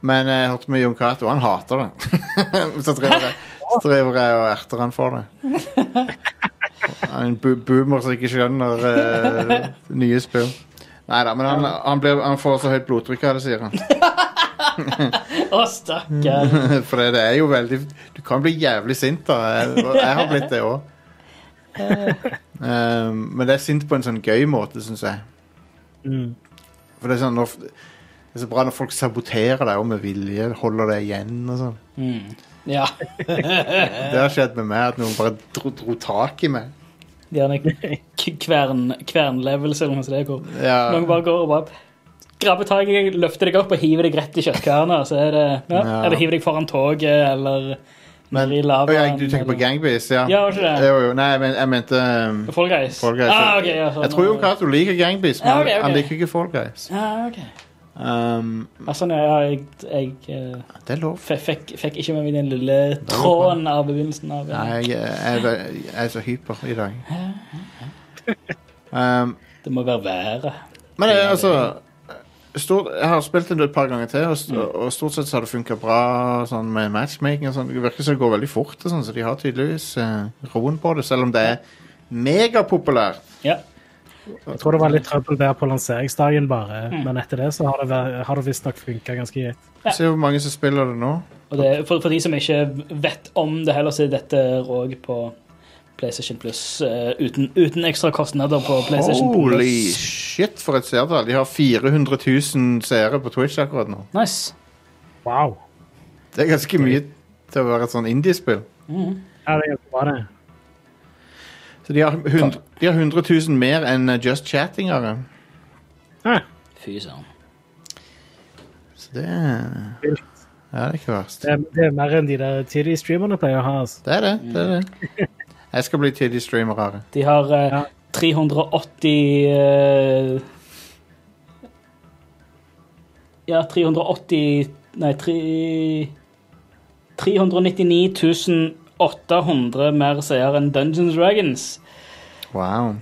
Speaker 1: men eh, jeg hørte med Jon Cato, han hater det. så driver jeg, så driver jeg og erter han for det. Han er en bo boomer som ikke skjønner eh, nye spill. Nei da, men han, han, blir, han får så høyt blodtrykk av det, sier han.
Speaker 2: Å, stakkar.
Speaker 1: For det er jo veldig Du kan bli jævlig sint, da. Jeg, og jeg har blitt det òg. Um, men det er sint på en sånn gøy måte, syns jeg.
Speaker 3: Mm.
Speaker 1: For det er sånn når, Det er så bra når folk saboterer deg og med vilje holder deg igjen og sånn.
Speaker 2: Mm. Ja.
Speaker 1: Det har skjedd med meg at noen bare dro, dro tak i meg.
Speaker 2: Gjerne k- kvern, kvernlevelse eller noe sånt. Hvor
Speaker 1: Ja,
Speaker 2: noen bare går og bare grabber tak i deg, løfter deg opp og hiver deg rett i kjøttkarene. Så er det, ja,
Speaker 1: Ja.
Speaker 2: Eller hiver deg foran toget, eller
Speaker 1: men,
Speaker 2: ned i
Speaker 1: Å,
Speaker 2: lavaen.
Speaker 1: ja, du tenker på
Speaker 2: eller-
Speaker 1: Gangbeast, ja?
Speaker 2: Ja, var ikke det?
Speaker 1: Jo, jo, nei, jeg, men, jeg mente um,
Speaker 2: Fall Guys.
Speaker 1: Fall Guys.
Speaker 2: Ah, ok, ja, sånn,
Speaker 1: Jeg tror jo Cato liker Gangbeast, men
Speaker 2: Ja, ok, ok.
Speaker 1: han liker ikke Fall Guys.
Speaker 2: Ja, ok.
Speaker 1: Um,
Speaker 2: Ja, sånn, ja, ja, jeg, jeg eh,
Speaker 1: det er lov.
Speaker 2: f- fikk, fikk ikke med meg den lille tråden av begynnelsen av
Speaker 1: Nei,
Speaker 2: ja.
Speaker 1: jeg, jeg, er ve- jeg er så hyper i dag. Um,
Speaker 2: Det må være været.
Speaker 1: men det, er altså stort, Jeg har spilt det et par ganger til, og, st
Speaker 3: Mm.
Speaker 1: og stort sett så har det funka bra sånn, med matchmaking. Og sånn. Det virker som det går veldig fort, og sånn, så de har tydeligvis eh, roen på det, selv om det er megapopulært.
Speaker 2: Ja.
Speaker 3: Jeg tror det var litt trøbbel der på lanseringsdagen, bare.
Speaker 2: Mm.
Speaker 3: Men etter det så har det, vært- har det visstnok funka ganske greit.
Speaker 1: Se hvor mange som spiller det nå.
Speaker 2: Og det, for, for de som ikke vet om det heller, så er dette råd på PlayStation Plus eh, uten, uten ekstra kostnader på PlayStation
Speaker 1: Holy
Speaker 2: Plus.
Speaker 1: shit, for et seertall. De har 400 000 seere på Twitch akkurat nå.
Speaker 2: Nice.
Speaker 3: Wow.
Speaker 1: Det er ganske mye til å være et sånn indiespill.
Speaker 3: Ja, det er ganske bra, det.
Speaker 1: Så de har 100, de har 100 000 mer enn eh, Just Chattingere.
Speaker 3: Ja,
Speaker 2: Fy søren.
Speaker 1: Så det er-
Speaker 3: vilt.
Speaker 1: Ja, det er ikke verst.
Speaker 3: det, er- det er mer enn de der tidlige streamerne pleier å ha. Altså.
Speaker 1: Det er det. det, er det. Jeg skal bli tidlig streamer. Are.
Speaker 2: De har eh,
Speaker 3: Ja.
Speaker 2: 380 eh, Ja, 380 Nei, tre- 399 800 mer seere enn Dungeons Dragons.
Speaker 1: Wow.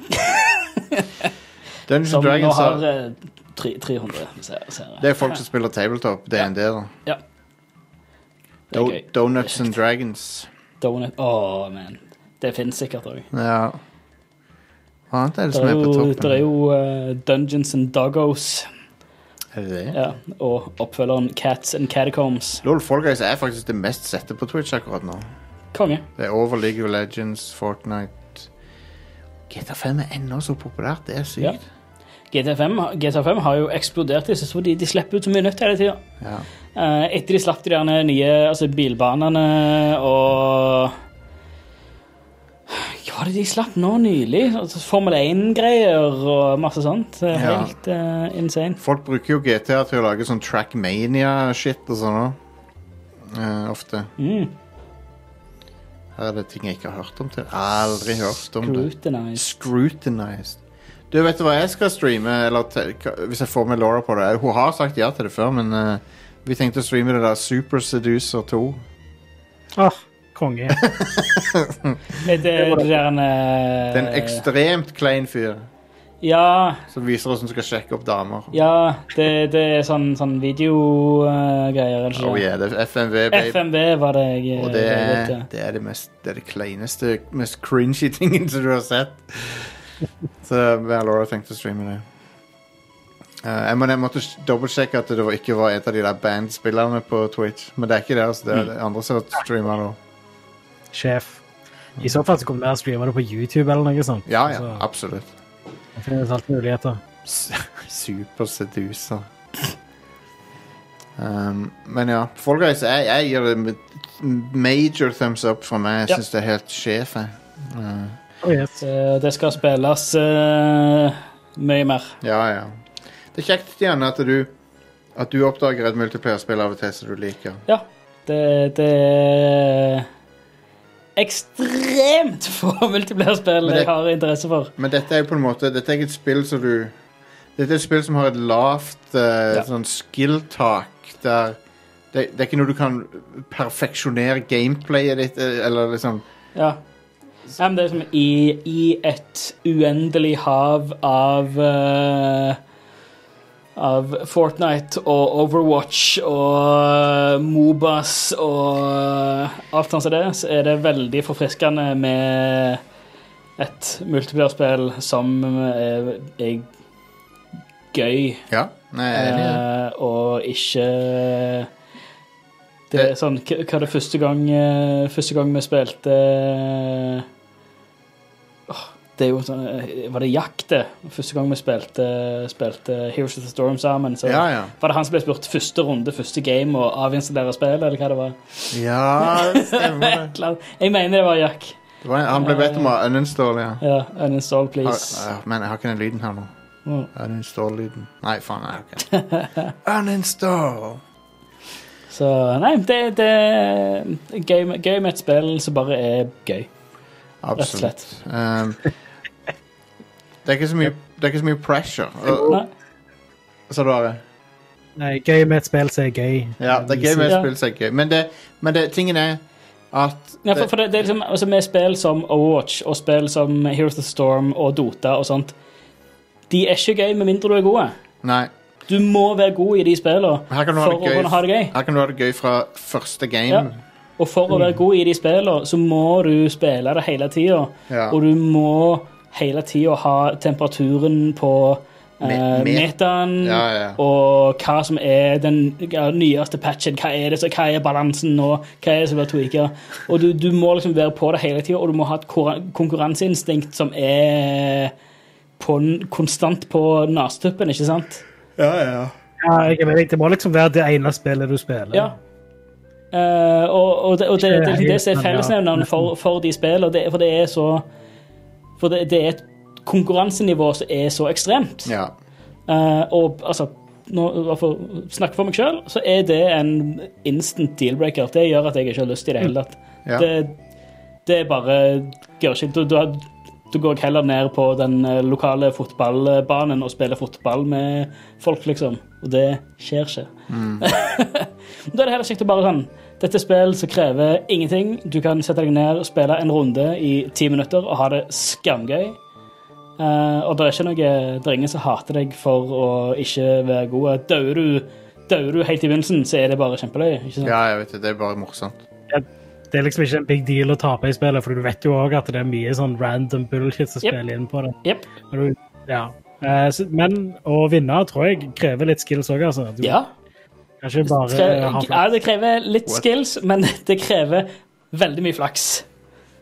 Speaker 1: Dungeons and
Speaker 2: Som nå
Speaker 1: Dragons
Speaker 2: har
Speaker 1: har
Speaker 2: eh, tre- 300 seere. seere.
Speaker 1: Det er folk som spiller tabletop. DND, da.
Speaker 2: Ja. Det er
Speaker 1: Do
Speaker 2: gøy.
Speaker 1: Donuts and Dragons.
Speaker 2: Donut. Åh, man. Det finnes sikkert òg.
Speaker 1: Ja. Hva annet er det
Speaker 2: Det
Speaker 1: som
Speaker 2: er
Speaker 1: er på
Speaker 2: jo,
Speaker 1: toppen?
Speaker 2: det er jo eh, Dungeons and Doggos
Speaker 1: Er det det?
Speaker 2: ja, og oppfølgeren Cats and Catacombs.
Speaker 1: LOL Fall Guys er faktisk det mest sette på Twitch akkurat nå.
Speaker 2: Konge.
Speaker 1: Det er over League of Legends, Fortnite GTA5 er ennå så populært. Det er
Speaker 2: Ja.
Speaker 1: sykt.
Speaker 2: GTA5, har- GTA5 har jo eksplodert i siste fordi de slipper ut så mye nytt hele tida.
Speaker 1: Ja.
Speaker 2: Eh, etter de slapp de der nye altså bilbanene og Hva var det de slapp nå nylig? Altså, Formel 1-greier og masse sånt. Det er
Speaker 1: Ja.
Speaker 2: Helt eh, insane.
Speaker 1: Folk bruker jo GTA til å lage sånn Trackmania-shit og sånn òg. Eh, ofte.
Speaker 2: Mm.
Speaker 1: Her er det ting jeg ikke har hørt om til. Aldri hørt om det.
Speaker 2: Scrutinized.
Speaker 1: Scrutinized. Du, vet du hva jeg skal streame? Eller te- ka- hvis jeg får med Laura på det. Hun har sagt ja til det før, men eh, vi tenkte å streame det der Super Seducer 2.
Speaker 3: Åh, konge.
Speaker 2: Er det det der en, eh,
Speaker 1: Det er en ekstremt klein fyr
Speaker 2: Ja,
Speaker 1: som viser oss som skal sjekke opp damer.
Speaker 2: ja det, det er sånn, sånn videogreier. Uh,
Speaker 1: Oh yeah, det er FMV, babe.
Speaker 2: FMV var det jeg
Speaker 1: Og det
Speaker 2: jeg
Speaker 1: er
Speaker 2: vet,
Speaker 1: det, er det, mest, det, er det kleineste, mest cringy tingen som du har sett. Så jeg og Laura tenkte å streame det. Eh, jeg, må, jeg måtte s- dobbeltsjekke at det var- ikke var et av de der bandspillerne på Twitch. Men det er ikke det. altså. Det er det andre som streamer nå.
Speaker 3: Sjef. I så fall så kommer vi og streamer det på YouTube eller noe sånt.
Speaker 1: Ja, ja,
Speaker 3: Så
Speaker 1: absolutt.
Speaker 3: det finnes alltid muligheter.
Speaker 1: S- Super seduser. Um, men ja, Fall Guys, jeg, jeg gir det med- major thumbs up for meg.
Speaker 2: Ja.
Speaker 1: Jeg syns det er helt sjef. jeg. Uh,
Speaker 3: Oh, yes.
Speaker 2: ja. Det skal spilles eh, mye mer.
Speaker 1: Ja, ja. Det er kjekt, Stian, at du, at du oppdager et multiplayerspill av og til som du liker.
Speaker 2: Ja, det, det er ekstremt få multiplierspill
Speaker 1: Men det-
Speaker 2: jeg har interesse for.
Speaker 1: Men dette er jo på en måte Dette er ikke et spill som du Dette er et spill som har et lavt eh,
Speaker 2: Ja.
Speaker 1: sånn skill-tak der det, det er ikke noe du kan perfeksjonere gameplayet ditt eh, eller liksom
Speaker 2: Ja. Ja, men det er som i, i et uendelig hav av eh, Av Fortnite og Overwatch og eh, Mobas og alt sånt som det, så er det veldig forfriskende med et multiplierspill som er, er gøy
Speaker 1: Ja. Nei, jeg er enig. i det.
Speaker 2: eh, og ikke Det
Speaker 1: Det-
Speaker 2: er sånn Hva hva er det første gang eh, Første gang vi spilte eh, Åh, Det er jo sånn eh, Var det jakt, det? Første gang vi spilte, spilte Heroes of the Storm sammen, så
Speaker 1: Ja, ja.
Speaker 2: var det han som ble spurt første runde, første game, og avinstallere spillet, eller hva det var?
Speaker 1: Ja, det stemmer det.
Speaker 2: Et eller annet. Jeg mener det var Jack.
Speaker 1: det var en, han ble bedt om å uninstalle, ja.
Speaker 2: Ja, uninstall, please.
Speaker 1: Har- eh, Men jeg har ikke den lyden her nå.
Speaker 2: Mm.
Speaker 1: Uninstall-lyden. Nei, faen, jeg har ikke den. Uninstall!
Speaker 2: Så nei, det, det er gøy, med- gøy med et spill som bare er gøy. Rett og
Speaker 1: Absolutt.
Speaker 2: slett.
Speaker 1: Um, det, er ikke så mye, det er ikke så mye pressure. Og-
Speaker 2: Nei.
Speaker 1: Sa du Are?
Speaker 3: Nei, gøy med et spill som er gøy.
Speaker 1: Ja, det er gøy med
Speaker 2: Ja.
Speaker 1: spill, så er det gøy. Men, det, men det, tingen er at
Speaker 2: Ja, for, for det, det er liksom, altså Med spill som Overwatch og spill som Heroes of the Storm og Dota og sånt De er ikke gøy med mindre du er gode.
Speaker 1: Nei.
Speaker 2: Du må være god i de spillene
Speaker 1: Her kan, du ha
Speaker 2: for
Speaker 1: det
Speaker 2: å
Speaker 1: gøy,
Speaker 2: kunne ha det gøy.
Speaker 1: her kan du ha det gøy fra første
Speaker 2: Ja.
Speaker 1: game.
Speaker 2: Og for å være god i de spillene så må du spille det hele tida.
Speaker 1: Ja.
Speaker 2: Og du må hele tida ha temperaturen på eh,
Speaker 1: Me- me-
Speaker 2: metaen
Speaker 1: Ja, ja.
Speaker 2: og hva som er den ja, nyeste patchen. Hva er, det, som- hva er balansen nå? Hva er det som blir tweaka? Og du, du må liksom være på det hele tida, og du må ha et kora- konkurranseinstinkt som er på, n- konstant på nastuppen, ikke sant?
Speaker 1: Ja, ja.
Speaker 3: Ja, jeg er med deg. Det må liksom være det ene spillet du spiller.
Speaker 2: Ja. Eh, og, og, det, og det, det, det, er det som er
Speaker 3: Ikke helt, men ja.
Speaker 2: fellesnevneren for, for de spillene, og det, for det er så For det, det er et konkurransenivå som er så ekstremt.
Speaker 1: ja.
Speaker 2: Eh, og altså nå, for å snakke for meg sjøl, så er det en instant deal-breaker. Det gjør at jeg ikke har lyst i det hele tatt.
Speaker 3: Mm.
Speaker 1: Ja.
Speaker 2: Det, det er bare gjør ikke du, du, du går jeg heller ned på den eh, lokale fotballbanen og spiller fotball med folk, liksom. Og det skjer ikke. da er det heller kjekt å bare sånn Dette er spill som krever ingenting. Du kan sette deg ned, spille en runde i ti minutter og ha det skamgøy. Eh, Eh, og det er ikke noe Det er ingen som hater deg for å ikke være god. Dauer du, dør du helt i begynnelsen, så er det bare kjempeløy. Ikke sant?
Speaker 1: Ja, jeg vet det. Det er bare morsomt.
Speaker 3: Det er liksom ikke en big deal å tape i spillet, for du vet jo òg at det er mye sånn random bullshit som
Speaker 2: Yep.
Speaker 3: spiller inn på det.
Speaker 2: Jep.
Speaker 3: Men du- Ja. Eh, så- Men å vinne tror jeg krever litt skills òg, altså. Du
Speaker 2: Ja.
Speaker 3: kan ikke bare ha
Speaker 2: Kre- ja.
Speaker 3: flaks.
Speaker 2: Det krever litt
Speaker 1: What?
Speaker 2: skills, men det krever veldig mye flaks.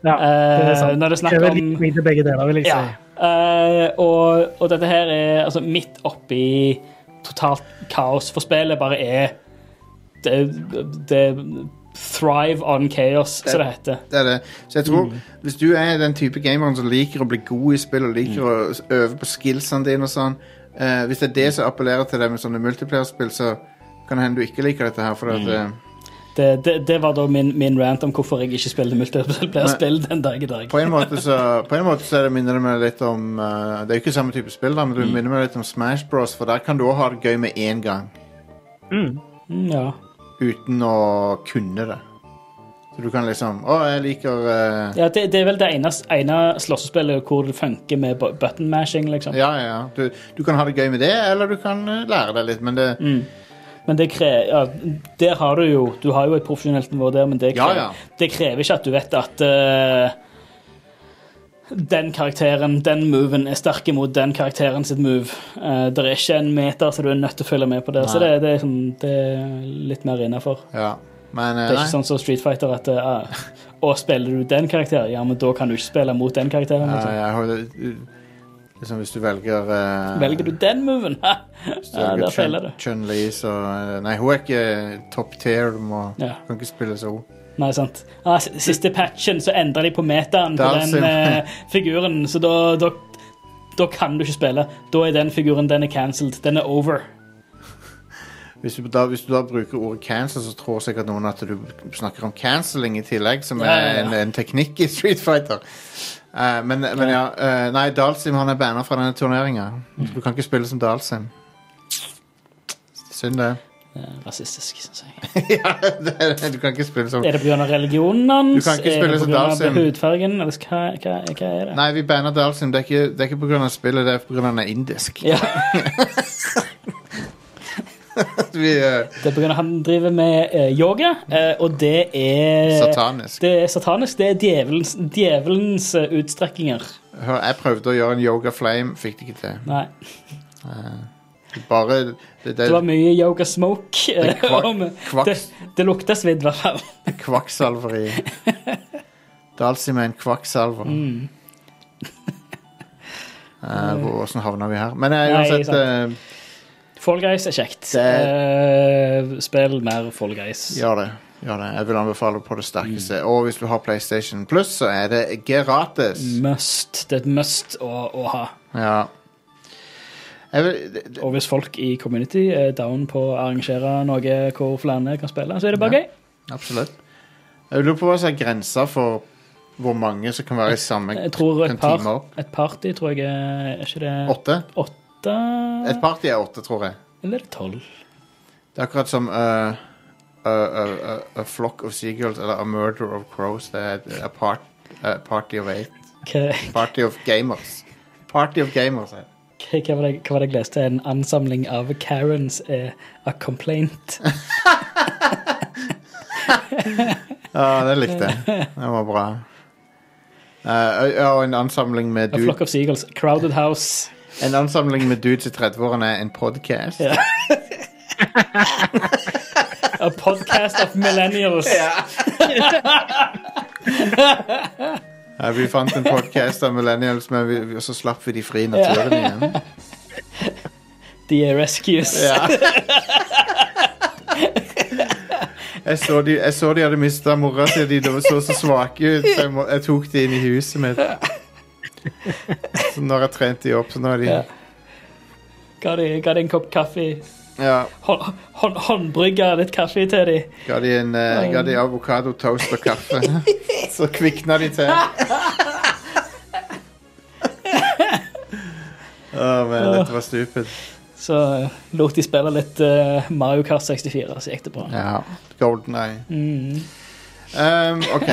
Speaker 3: Ja, det er
Speaker 2: eh,
Speaker 3: sant.
Speaker 2: når det er snakk
Speaker 3: krever
Speaker 2: om-
Speaker 3: litt mye begge deler, vil jeg
Speaker 2: Ja.
Speaker 3: si.
Speaker 2: Eh, og, og dette her er altså midt oppi totalt kaos, for spillet bare er Det, det Thrive on chaos, som det heter.
Speaker 1: Det er det. Så jeg
Speaker 2: Mm.
Speaker 1: tror, hvis du er den type gameren som liker å bli god i spill og
Speaker 2: Mm.
Speaker 1: liker å s- øve på skillsene dine og sånn, eh, hvis det er det som appellerer til deg med sånne multiplayer-spill, så kan det hende du ikke liker dette her, for at
Speaker 2: Mm.
Speaker 1: eh,
Speaker 2: Det, det, det var da min, min rant om hvorfor jeg ikke spilte multiplayer-spill den dag i dag.
Speaker 1: på en måte så, på en måte så er det minner det meg litt om eh, Det er jo ikke samme type spill, da, men det minner meg litt om Smash Bros, for der kan du òg ha det gøy med én gang.
Speaker 2: Mm, Ja.
Speaker 1: Uten å kunne det. Så du kan liksom Å, jeg liker eh,
Speaker 2: ja det, det er vel det eneste ene slåssespillet hvor det funker med bu- button mashing, liksom.
Speaker 1: Ja, ja. ja. Du, du kan ha det gøy med det, eller du kan eh, lære deg litt, men det
Speaker 2: Mm. Men det krever ja, Der har du jo Du har jo et profesjonelt nivå der, men det
Speaker 1: Ja,
Speaker 2: krever,
Speaker 1: ja.
Speaker 2: Det krever ikke at du vet at eh, den karakteren, den moven, er sterk imot den karakteren sitt move. Eh, det er ikke en meter, så du er nødt til å følge med på det. Så
Speaker 1: Nei.
Speaker 2: det, det, er, sånn, det er litt mer innafor.
Speaker 1: Ja. Men eh,
Speaker 2: Det er
Speaker 1: nei.
Speaker 2: ikke sånn som Street Fighter at eh, Å, spiller du den karakteren? Ja, men da kan du ikke spille mot den karakteren.
Speaker 1: Ja,
Speaker 2: Liksom.
Speaker 1: jeg har jo- liksom hvis du velger eh,
Speaker 2: Velger du den moven? Ha!
Speaker 1: hvis du
Speaker 2: ja,
Speaker 1: velger
Speaker 2: der feiler
Speaker 1: Chun-
Speaker 2: du.
Speaker 1: Chun-Li, så eh, Nei, hun er ikke top tier. Du må,
Speaker 2: Ja.
Speaker 1: kan ikke spille som henne.
Speaker 2: Nei, sant. Ja, s- siste patchen så endra de på metaen på
Speaker 1: Der ser
Speaker 2: den
Speaker 1: vi.
Speaker 2: eh, figuren, så da, da, da kan du ikke spille. Da er den figuren den er cancelled. Den er over.
Speaker 1: Hvis du, da, hvis du da bruker ordet cancel, så tror sikkert noen at du snakker om canceling i tillegg, som
Speaker 2: Ja, ja,
Speaker 1: er
Speaker 2: ja.
Speaker 1: en, en teknikk i Street Fighter. Eh, men, men ja, eh, nei, Dalsim han er banna fra denne turneringa. Du kan ikke spille som Dalsim. Synd det.
Speaker 2: Eh, rasistisk, syns jeg.
Speaker 1: ja, det er det. du kan ikke spille som
Speaker 2: Er det pga. religionen hans?
Speaker 1: Du kan ikke
Speaker 2: er
Speaker 1: spille
Speaker 2: det
Speaker 1: som
Speaker 2: på grunn av
Speaker 1: Dalsim.
Speaker 2: hudfargen? Eller hva, hva, hva er det?
Speaker 1: Nei, vi banna Dalsim. Det er ikke, det er ikke pga. spillet, det er pga. han er indisk.
Speaker 2: Ja,
Speaker 1: vi er
Speaker 2: det er pga. han driver med eh, yoga, eh, og det er
Speaker 1: satanisk.
Speaker 2: Det er satanisk. Det er djevelens, djevelens eh, utstrekninger.
Speaker 1: Hør, jeg prøvde å gjøre en yoga flame, fikk det ikke til.
Speaker 2: Nei.
Speaker 1: Bare Det, det,
Speaker 2: Det var mye yoga smoke.
Speaker 1: det er
Speaker 2: eh,
Speaker 1: kvak,
Speaker 2: om- det,
Speaker 1: kvaks,
Speaker 2: det lukta svidd, i hvert fall.
Speaker 1: kvakksalveri. Dalsim er en kvakksalver.
Speaker 2: Mm.
Speaker 1: Eh, hvor- Hvordan havna vi her? Men eh,
Speaker 2: Nei,
Speaker 1: uansett
Speaker 2: sant.
Speaker 1: eh,
Speaker 2: Fall Guys er kjekt. Eh, spill mer Fall Guys.
Speaker 1: Gjør det. Gjør det. Jeg vil anbefale på det
Speaker 2: Mm.
Speaker 1: sterkeste. Og hvis du har PlayStation Plus, så er det gratis.
Speaker 2: Mm. Must. Det er et must å, å ha.
Speaker 1: Ja. Jeg vil, det- det-
Speaker 2: Og hvis folk i community er down på å arrangere noe hvor flere kan spille, så er det bare
Speaker 1: Ja.
Speaker 2: gøy.
Speaker 1: absolutt. Jeg lurer på hva som er grensa for hvor mange som kan være i samme
Speaker 2: Jeg tror et,
Speaker 1: en
Speaker 2: par,
Speaker 1: time opp.
Speaker 2: et party tror jeg er Er ikke det
Speaker 1: Åtte?
Speaker 2: åtte?
Speaker 1: Et party er åtte, tror jeg.
Speaker 2: Eller er det tolv?
Speaker 1: Det er akkurat som uh, a, a, a, eh, a flock of seagulls eller A murder of crows. Det er et- a, part, a party of eight.
Speaker 2: Hva-
Speaker 1: Party of gamers. Party of gamers. er det.
Speaker 2: Hva hva var, det, hva var det jeg leste? En ansamling av Karens er a complaint.
Speaker 1: Ja, det likte jeg. Det var bra. Eh, ja, og en ansamling med
Speaker 2: A
Speaker 1: dude,
Speaker 2: flock of seagulls. Crowded house.
Speaker 1: En ansamling med dudes i 30-årene er en podcast.
Speaker 2: Ja. A podcast of millennials.
Speaker 1: Ja, Eh, vi fant en podcast av millennials, men vi, vi, og så slapp vi de fri i naturen igjen.
Speaker 2: De er rescues.
Speaker 1: Jeg så de, jeg så de hadde mista mora si, de de så så svake ut, så jeg, må, jeg tok de inn i huset mitt. Så nå har jeg trent de opp, så nå er de
Speaker 2: Ja. Ga de, ga de en kopp kaffe.
Speaker 1: Ja.
Speaker 2: Hånd, hånd, håndbrygga litt kaffe til de.
Speaker 1: Ga de, en, eh, ga de avokado, toast og kaffe. Så kvikna de til. Åh, men dette var stupid.
Speaker 2: Så eh, lot de spille litt eh, Mario Kart 64, så gikk det bra.
Speaker 1: Ja. Golden eye.
Speaker 2: Mm.
Speaker 1: Um, ok.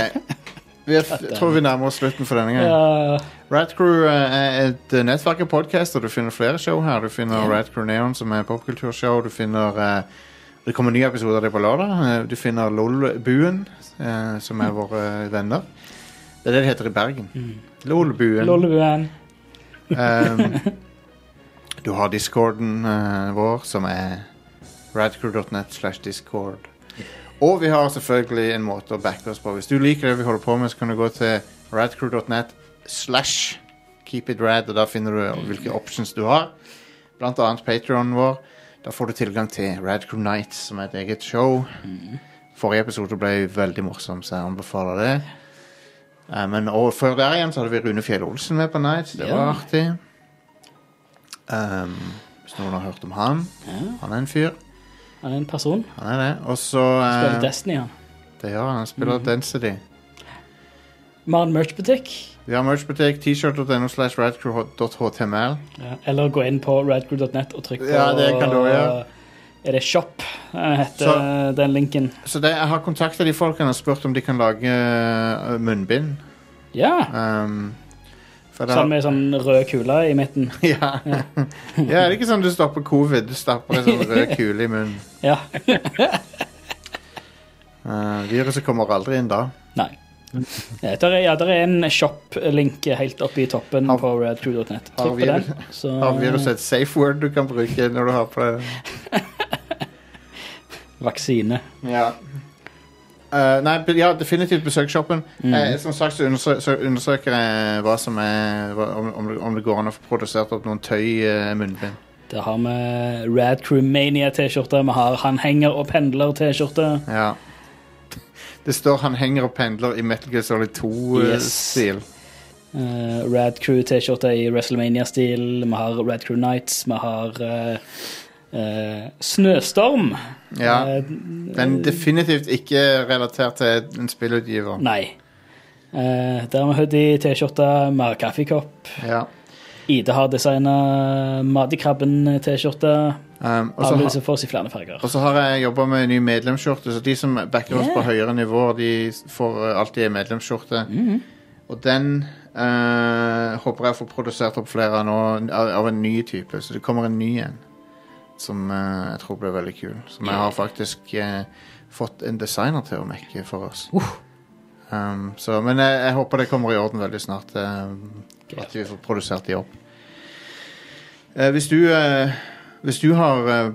Speaker 1: vi er, f- tror vi nærmer oss slutten for denne gangen.
Speaker 2: Ja,
Speaker 1: Radcrew eh, er et eh, nettverk av podcaster. Du finner flere show her. Du finner Radcrew Neon, som er popkulturshow. Du finner eh, Det kommer nye episoder av det på lørdag. Eh, Du finner LOL-buen, eh, som er våre venner. Det er det det heter i Bergen. LOL-buen.
Speaker 2: Lollebuen.
Speaker 1: Um, du har discorden eh, vår, som er radcrew.net slash discord. Og vi har selvfølgelig en måte å backe oss på. Hvis du liker det vi holder på med, så kan du gå til radcrew.net slash keepitrad, og da finner du hvilke options du har. Blant annet Patreonen vår. Da får du tilgang til Radcrew Nights, som er et eget show. Forrige episode ble veldig morsom, så jeg anbefaler det. Eh, Men og før der igjen så hadde vi Rune Fjell Olsen med på Nights. Det var
Speaker 2: Ja.
Speaker 1: artig. Ehm, hvis noen har hørt om han. Han er en fyr.
Speaker 2: Han er en person.
Speaker 1: Han er det. Og så
Speaker 2: Spiller
Speaker 1: eh,
Speaker 2: Destiny, han. det Mhm.
Speaker 1: Det gjør han. Han spiller Density.
Speaker 2: Vi har en merchbutikk.
Speaker 1: Vi har merchbutikk. T-shirt.no slash radcrew.html.
Speaker 2: Ja, eller gå inn på radcrew.net og trykk på
Speaker 1: Ja, det kan du også gjøre.
Speaker 2: Er det Shop eh, heter
Speaker 1: Så-
Speaker 2: den linken?
Speaker 1: Så det, jeg har kontakta de folkene og spurt om de kan lage eh, munnbind.
Speaker 2: Ja.
Speaker 1: Ehm, for det har-
Speaker 2: Sånn med sånn rød kule i midten.
Speaker 1: ja. ja, det er ikke sånn du stopper covid. Du stapper en sånn rød kule i munnen.
Speaker 2: Ja.
Speaker 1: Eh, viruset kommer aldri inn da.
Speaker 2: Nei. Ja, der er, ja, der er en shop-link helt oppe i toppen
Speaker 1: Har-
Speaker 2: på radcrew.net.
Speaker 1: Har
Speaker 2: Trykk på
Speaker 1: virus-
Speaker 2: den. Så,
Speaker 1: Har viruset et safe word du kan bruke når du har på det?
Speaker 2: Vaksine.
Speaker 1: Ja. Eh, nei, be- ja, definitivt besøk shoppen.
Speaker 2: Mm.
Speaker 1: Eh, som sagt så undersø så undersøker jeg hva som er hva, om, om, det- om det går an å få produsert opp noen eh, tøy-munnbind.
Speaker 2: Der har vi Radcrewmania-T-skjorte. Vi har Han henger og pendler-T-skjorte.
Speaker 1: ja. Det står 'han henger og pendler' i Metal Gear Solid 2-stil.
Speaker 2: Eh, Radcrew-T-skjorte i WrestleMania-stil. Vi har Radcrew Nights. Vi har eh, eh, Snøstorm.
Speaker 1: Ja.
Speaker 2: Eh,
Speaker 1: Den er definitivt ikke relatert til en spillutgiver.
Speaker 2: nei. Eh, der har vi hoodie-T-skjorte. Vi har kaffekopp.
Speaker 1: Ja.
Speaker 2: Ida har designa Madikrabben-T-skjorte.
Speaker 1: Um, og så
Speaker 2: Alle
Speaker 1: har-
Speaker 2: disse fås i flere farger.
Speaker 1: Og så har jeg jobba med en ny medlemsskjorte, så de som backer oss på høyere nivå, de får eh, alltid en medlemsskjorte. Og den eh, håper jeg får produsert opp flere av nå, av, av en ny type. Så det kommer en ny en som eh, jeg tror blir veldig kul. Som jeg har faktisk eh, fått en designer til å mekke for oss. Um, så, men jeg, jeg håper det kommer i orden veldig snart. Um, at vi får produsert de opp. Eh, hvis du eh, Hvis du har eh,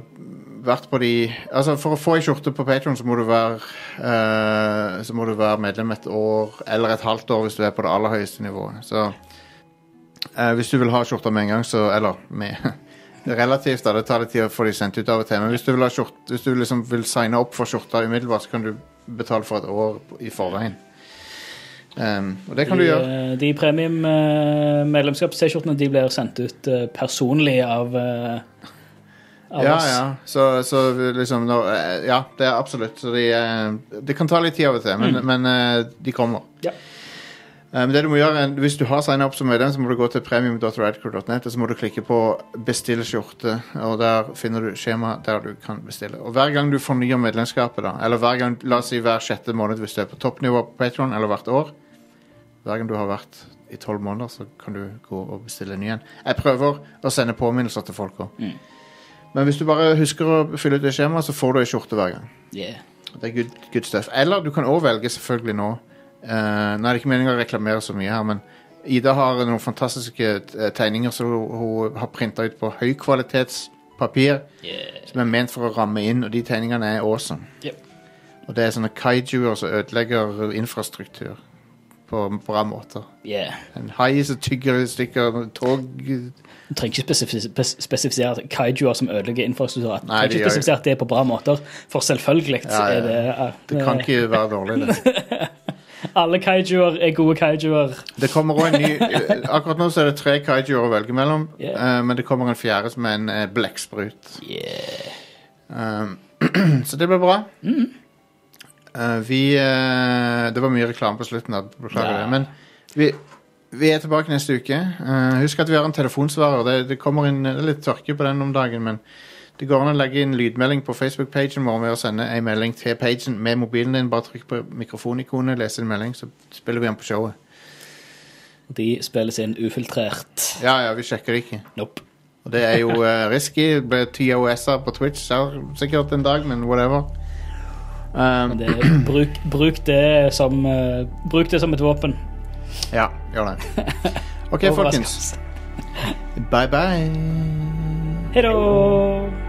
Speaker 1: vært på de Altså For å få ei skjorte på Patron, så må du være eh, Så må du være medlem et år eller et halvt år hvis du er på det aller høyeste nivået. Så eh, hvis du vil ha skjorta med en gang, så Eller med Relativt, da. Det tar litt tid å få de sendt ut av og til. Men hvis du vil, ha skjort, hvis du liksom vil signe opp for skjorta umiddelbart, så kan du betale for et år i forveien. Um, og det kan du
Speaker 2: de,
Speaker 1: gjøre.
Speaker 2: eh, De premium-medlemskaps-T-skjortene de blir sendt ut eh, personlig av, eh, av
Speaker 1: Ja,
Speaker 2: oss.
Speaker 1: ja. Så, så liksom nå, eh, Ja, det er absolutt. Så de, eh, det kan ta litt tid av og til, men, men eh, de kommer.
Speaker 2: Mm. Ja.
Speaker 1: Eh, Men det du må gjøre, er- Hvis du har signa opp som medlem, så må du gå til premium.radcrew.net og så må du klikke på 'bestill skjorte'. og Der finner du skjema der du kan bestille. Og Hver gang du fornyer medlemskapet, da, eller hver gang, la oss si hver sjette måned hvis du er på toppnivå på Patron, eller hvert år Hver gang du har vært i tolv måneder, så kan du gå og bestille en ny en. Jeg prøver å sende påminnelser til folk òg. Men hvis du bare husker å fylle ut det skjemaet, så får du ei skjorte hver gang.
Speaker 2: Yeah.
Speaker 1: Det er good, good stuff. Eller du kan også velge selvfølgelig nå eh, Nå er det ikke meningen å reklamere så mye her, men Ida har noen fantastiske eh, tegninger som hun, hun har printa ut på høykvalitetspapir,
Speaker 2: Yeah.
Speaker 1: som er ment for å ramme inn, og de tegningene er awesome.
Speaker 2: Yep.
Speaker 1: Og det er sånne kaijuer som ødelegger infrastruktur på bra måter.
Speaker 2: Yeah.
Speaker 1: En hai som tygger i stykker tog
Speaker 2: Du trenger ikke spesifis- spes- spesifisere at kaijuer som ødelegger infrastruktur. Du
Speaker 1: Nei,
Speaker 2: trenger
Speaker 1: de
Speaker 2: ikke
Speaker 1: gjør-
Speaker 2: spesifisere at det er på bra måter, for selvfølgelig
Speaker 1: Ja, ja,
Speaker 2: er det, er,
Speaker 1: Det kan ikke være dårlig, det.
Speaker 2: Alle kaijuer er gode kaijuer.
Speaker 1: Det kommer også en ny eh, Akkurat nå så er det tre kaijuer å velge mellom,
Speaker 2: Yeah.
Speaker 1: eh, men det kommer en fjerde som er en eh, blekksprut. Um, så det blir bra.
Speaker 2: Mm.
Speaker 1: Eh, vi eh, Det var mye reklame på slutten, da. beklager
Speaker 2: Ja.
Speaker 1: det. Men vi, vi er tilbake neste uke. Eh, husk at vi har en telefonsvarer. Det, det kommer inn det er litt tørke på den om dagen, men Det går an å legge inn lydmelding på Facebook-pagen vår med å sende en melding til pagen med mobilen din. Bare trykk på mikrofonikonet, les en melding, så spiller vi den på showet.
Speaker 2: De spilles inn ufiltrert.
Speaker 1: Ja, ja, vi sjekker ikke.
Speaker 2: Nope.
Speaker 1: Og det er jo eh, risky. Det ble TOS-er på Twitch så sikkert en dag, men whatever. Um,
Speaker 2: Men det, bruk, bruk, det som, eh, bruk det som et våpen.
Speaker 1: Um, ja, gjør det. OK, folkens.
Speaker 2: Overraskelse.
Speaker 1: Bye, bye.
Speaker 2: Hei da!